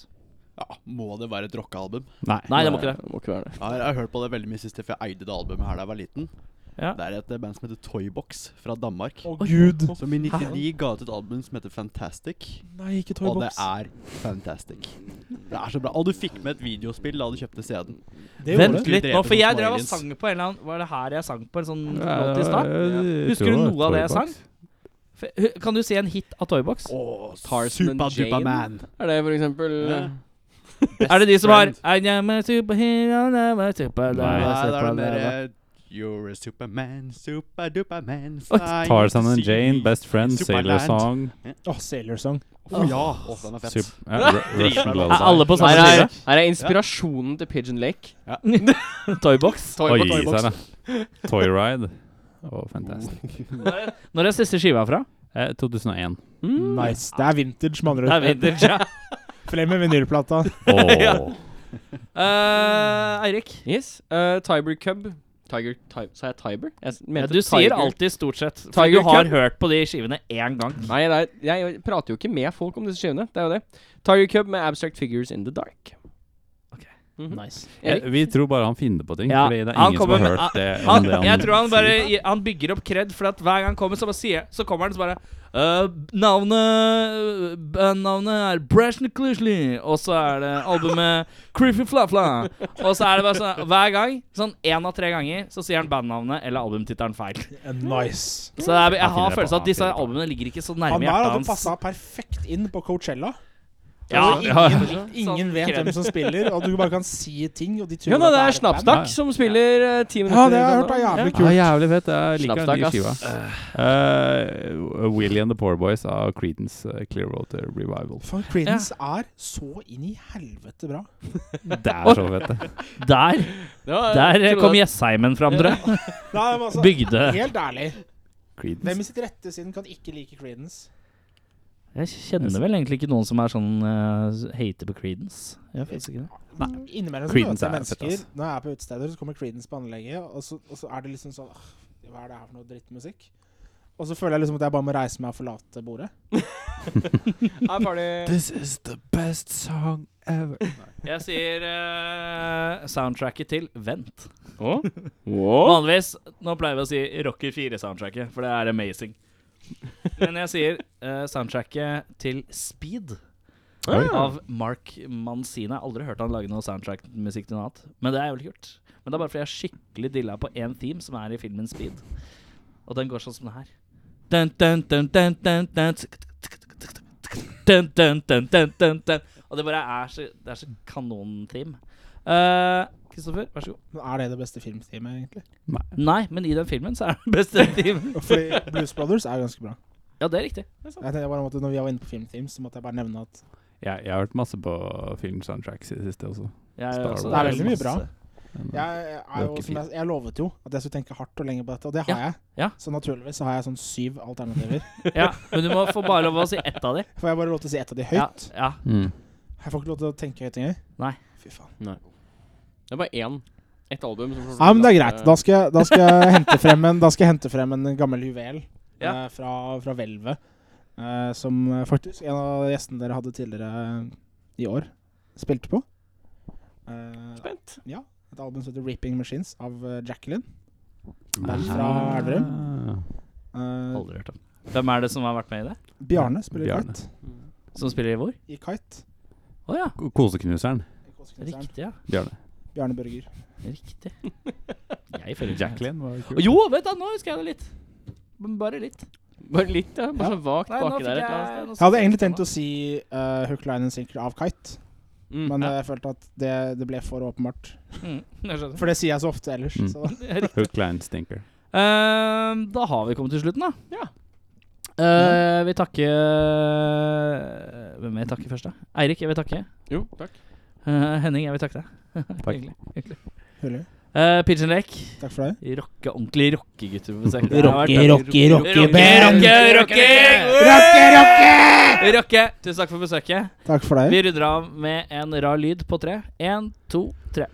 Speaker 8: Ja, må det være et rockealbum?
Speaker 1: Nei.
Speaker 2: Nei, det må ikke det.
Speaker 4: Det må ikke være det.
Speaker 8: Ja, jeg har hørt på det veldig mye sist, for jeg eide det albumet her da jeg var liten.
Speaker 2: Ja.
Speaker 8: Det er et eh, band som heter Toybox fra Danmark.
Speaker 7: Å, gud.
Speaker 8: Som i 99 ga ut et album som heter Fantastic.
Speaker 7: Nei, ikke
Speaker 8: Og det
Speaker 7: Toybox.
Speaker 8: er fantastic. Det er så bra. Og du fikk med et videospill da du kjøpte CD-en.
Speaker 7: Det gjorde
Speaker 2: Vent
Speaker 7: det.
Speaker 8: det.
Speaker 2: litt nå, for jeg
Speaker 8: Drepe
Speaker 2: drev og
Speaker 8: som
Speaker 2: sang på en eller annen Var det her jeg sang på en sånn
Speaker 1: Ja,
Speaker 2: låt i stad?
Speaker 1: jeg
Speaker 2: Husker
Speaker 1: tror
Speaker 2: du
Speaker 1: var
Speaker 2: noe av det jeg
Speaker 1: Toybox.
Speaker 2: F- hu- Kan du si en hit av Toybox?
Speaker 4: Tarzan and Jane. Er det for eksempel
Speaker 8: Ja.
Speaker 2: er det de som har
Speaker 8: friend.
Speaker 2: I am a superhero, I'm a superhero,
Speaker 1: Nei,
Speaker 2: I'm
Speaker 8: Nei, det
Speaker 2: a
Speaker 8: er den
Speaker 2: superhero.
Speaker 8: derre You're a superman, superduperman
Speaker 1: Oi,
Speaker 8: flying
Speaker 1: Tarzan and
Speaker 8: to sea.
Speaker 1: Jane, Best Friends, Sailor
Speaker 8: Superland.
Speaker 1: Song
Speaker 7: Åh, Sailor Song.
Speaker 8: Å ja! Å, den er fett.
Speaker 1: sup- ja, Ru- Russian Love
Speaker 2: Er alle på samme
Speaker 4: Her er,
Speaker 2: side?
Speaker 4: her er inspirasjonen til Pigeon Lake.
Speaker 2: Toybox?
Speaker 1: Oi,
Speaker 4: Toy Box.
Speaker 1: Sara. Toyride. Oh, fantastisk.
Speaker 2: Når er siste skiva fra?
Speaker 1: Eh, 2001.
Speaker 7: Nice. Det er vintage, med
Speaker 2: Det
Speaker 7: andre
Speaker 2: er
Speaker 7: ord.
Speaker 2: vintage, ja.
Speaker 7: Frem med vinylplata.
Speaker 1: Åh.
Speaker 2: Eh, Eirik,
Speaker 4: Yes. eh, Tiber Cub. Tiger ti Sa jeg Tiber? Jeg s-
Speaker 2: ja,
Speaker 4: mente
Speaker 2: du sier
Speaker 4: Tiger.
Speaker 2: alltid stort sett. For
Speaker 4: Tiger
Speaker 2: du har
Speaker 4: Cub.
Speaker 2: hørt på de skivene én gang.
Speaker 4: Nei, nei, jeg prater jo ikke med folk om disse skivene. Det er jo det. Tiger Cub med Abstract Figures in the Dark.
Speaker 2: Ok.
Speaker 4: Mhm.
Speaker 2: Nice.
Speaker 1: Eh, Vi tror bare han finner på ting,
Speaker 2: Ja,
Speaker 1: fordi det er
Speaker 2: han
Speaker 1: ingen som
Speaker 2: kommer
Speaker 1: har
Speaker 2: med-
Speaker 1: hørt det. om
Speaker 2: Han,
Speaker 1: det
Speaker 2: jeg tror han bare
Speaker 1: sier.
Speaker 2: Han bygger opp kred, for at hver gang han kommer, så bare sier Så kommer han så bare eh, Navnet Bandnavnet er Brashner Clushley, og så er det albumet Creepy Flafla. Og så er det bare sånn hver gang, sånn én av tre ganger, så sier han bandnavnet eller albumtittelen feil.
Speaker 7: Nice.
Speaker 2: Så det er, jeg
Speaker 1: finner
Speaker 2: har
Speaker 1: det på,
Speaker 2: følelsen
Speaker 1: han
Speaker 2: av at disse
Speaker 1: finner det på.
Speaker 2: albumene ligger ikke så
Speaker 7: Han
Speaker 2: nærme
Speaker 7: der
Speaker 2: hjertet
Speaker 7: hadde
Speaker 2: hans.
Speaker 7: passa perfekt inn på Coachella.
Speaker 1: Ja,
Speaker 7: Altså,
Speaker 1: ja,
Speaker 7: ingen,
Speaker 2: ja. sånn
Speaker 7: ingen vet hvem som spiller, og du bare kan si ting. Og de tror
Speaker 4: Ja, nei,
Speaker 7: at
Speaker 4: det er
Speaker 7: et band.
Speaker 1: Snapsnack.
Speaker 4: Snapstakk som spiller eh, ti minutter.
Speaker 7: Ja, det har jeg hørt er jævlig
Speaker 1: Ja,
Speaker 7: kult.
Speaker 1: jævlig fett. Jeg liker den nye
Speaker 4: Slappstak,
Speaker 1: skiva.
Speaker 4: ass.
Speaker 1: Eh, Willie and the Poor Boys av Creedence eh, Clearwater Revival.
Speaker 7: For Creedence er så inn i helvete bra.
Speaker 1: Det er så fett, det.
Speaker 2: Der,
Speaker 4: Det var-
Speaker 2: der eh,
Speaker 4: trodde
Speaker 2: kom
Speaker 4: at-
Speaker 2: Jesseimen fram, tror jeg.
Speaker 7: Nei, men altså,
Speaker 2: Bygde
Speaker 7: Helt ærlig, hvem
Speaker 1: Creedence.
Speaker 7: i sitt rette sinn kan ikke like Creedence?
Speaker 2: Jeg kjenner vel egentlig ikke noen som er sånn eh, hater på Creedence. Jeg føler ikke det.
Speaker 7: Innimellom så
Speaker 1: Creedence
Speaker 7: møter jeg
Speaker 1: er fett,
Speaker 7: mennesker
Speaker 1: ass.
Speaker 7: Når jeg er på utesteder, så kommer Creedence på anlegget, og så, og så er det liksom sånn «Åh, Hva er det her for noe drittmusikk? Og så føler jeg liksom at jeg bare må reise meg og forlate bordet.
Speaker 4: Nei, ferdig.
Speaker 1: This is the best song ever.
Speaker 2: Jeg sier eh, soundtracket til Vent.
Speaker 4: Wow.
Speaker 2: Vanligvis nå pleier vi å si Rocker 4-soundtracket, for det er amazing. Men jeg sier eh, soundtracket til Speed av Mark Manzina. Jeg har aldri hørt han lage noe soundtrackmusikk til noe annet. Men det er jævlig kult. Men det er bare fordi jeg er skikkelig dilla på én theme, som er i filmen Speed. Og den går sånn som det her. Dun, dun, dun, dun, dun, dun. Dun, dun, dun, dun, dun, dun. Og det bare er så, det er så kanon-theme. Eh, Kristoffer, vær så god.
Speaker 7: Men er det det beste filmteamet, egentlig?
Speaker 2: Nei, men i den filmen så er det beste team.
Speaker 7: Fordi Blues Brothers er ganske bra.
Speaker 2: Ja, det er riktig.
Speaker 7: Jeg tenkte bare måtte, Når vi var inne på filmteam, så måtte jeg bare nevne at
Speaker 1: Jeg, jeg har hørt masse på filmsoundtracks i det siste også.
Speaker 2: Jeg
Speaker 1: Star
Speaker 2: også-
Speaker 1: Wars.
Speaker 7: Det er veldig mye bra.
Speaker 1: Men, eh,
Speaker 7: Jeg, jeg, er jo,
Speaker 1: Rocky
Speaker 7: som jeg, jeg lovet jo at jeg skulle tenke hardt og lenge på dette, og det har jeg.
Speaker 2: ja.
Speaker 7: Så naturligvis så har jeg sånn syv alternativer.
Speaker 2: Ja, men du må få bare lov å si ett av de.
Speaker 7: Får jeg bare lov til å si ett av de
Speaker 2: Ja,
Speaker 7: høyt?
Speaker 2: ja.
Speaker 1: Mm.
Speaker 7: Jeg får ikke lov til å tenke høyt engang?
Speaker 2: Nei.
Speaker 7: Fy faen.
Speaker 4: Det er bare én. Ett album. som får-
Speaker 7: Ja, men det er greit. Da skal, jeg- da skal jeg hente frem en, da skal jeg hente frem en gammel juvel
Speaker 2: Ja.
Speaker 7: eh, fra, fra hvelvet. eh, som eh, faktisk en av gjestene dere hadde tidligere i år, spilte på. Eh,
Speaker 4: Spent.
Speaker 7: ja, et album som heter 'Reaping Machines' av eh, Jacqueline.
Speaker 1: Nei.
Speaker 7: Fra Elverum.
Speaker 1: Ah,
Speaker 7: Eh,
Speaker 2: Aldri hørt om. Hvem er det som har vært med i det?
Speaker 7: Bjarne spiller i
Speaker 1: Bjarne.
Speaker 7: Kite.
Speaker 4: eh,
Speaker 2: Som spiller i hvor?
Speaker 7: I Kite.
Speaker 2: Å ja.
Speaker 1: Ko- Koseknuseren.
Speaker 2: Riktig, ja.
Speaker 1: Bjarne.
Speaker 7: Bjarne Børger.
Speaker 2: Riktig. Jeg føler ikke
Speaker 1: Jacqueline var
Speaker 2: Å, Jo, vent da, nå husker jeg det litt. Men bare litt.
Speaker 4: Bare litt, ja. Bare sånn
Speaker 7: Ja.
Speaker 4: så vagt
Speaker 7: Nei, nå
Speaker 4: baki
Speaker 7: fikk
Speaker 4: der et
Speaker 7: jeg-
Speaker 4: eller annet
Speaker 7: Jeg
Speaker 4: sted.
Speaker 7: hadde egentlig tenkt å si eh, Hook, Line and Sinker av Kite,
Speaker 4: Mm.
Speaker 7: men eh,
Speaker 4: Ja.
Speaker 7: jeg følte at det, det ble for åpenbart.
Speaker 2: Mm, jeg skjønner.
Speaker 7: For det sier jeg så ofte ellers.
Speaker 1: Mm.
Speaker 7: Så.
Speaker 1: Hook, line, stinker.
Speaker 2: Ehm, da har vi kommet til slutten, da.
Speaker 4: Ja.
Speaker 2: Eh, vi takker Hvem vil jeg takke først, da? Eirik, jeg vil takke.
Speaker 4: Jo, takk.
Speaker 2: Eh, Henning, jeg vil takke deg.
Speaker 1: Takk.
Speaker 2: Hyggelig. hyggelig.
Speaker 7: Hyggelig.
Speaker 2: Eh, Pigeon Lake.
Speaker 7: Takk for det.
Speaker 2: Rocke ordentlig rockegutter på besøk.
Speaker 7: Rocke, rocke, rocke,
Speaker 2: Rocke,
Speaker 7: band!
Speaker 2: rocke, rocke!
Speaker 7: Rocke, rocke!
Speaker 2: Rocke! Tusen takk for besøket.
Speaker 7: Takk for det.
Speaker 2: Vi runder av med en rar lyd på tre. Én, to, tre.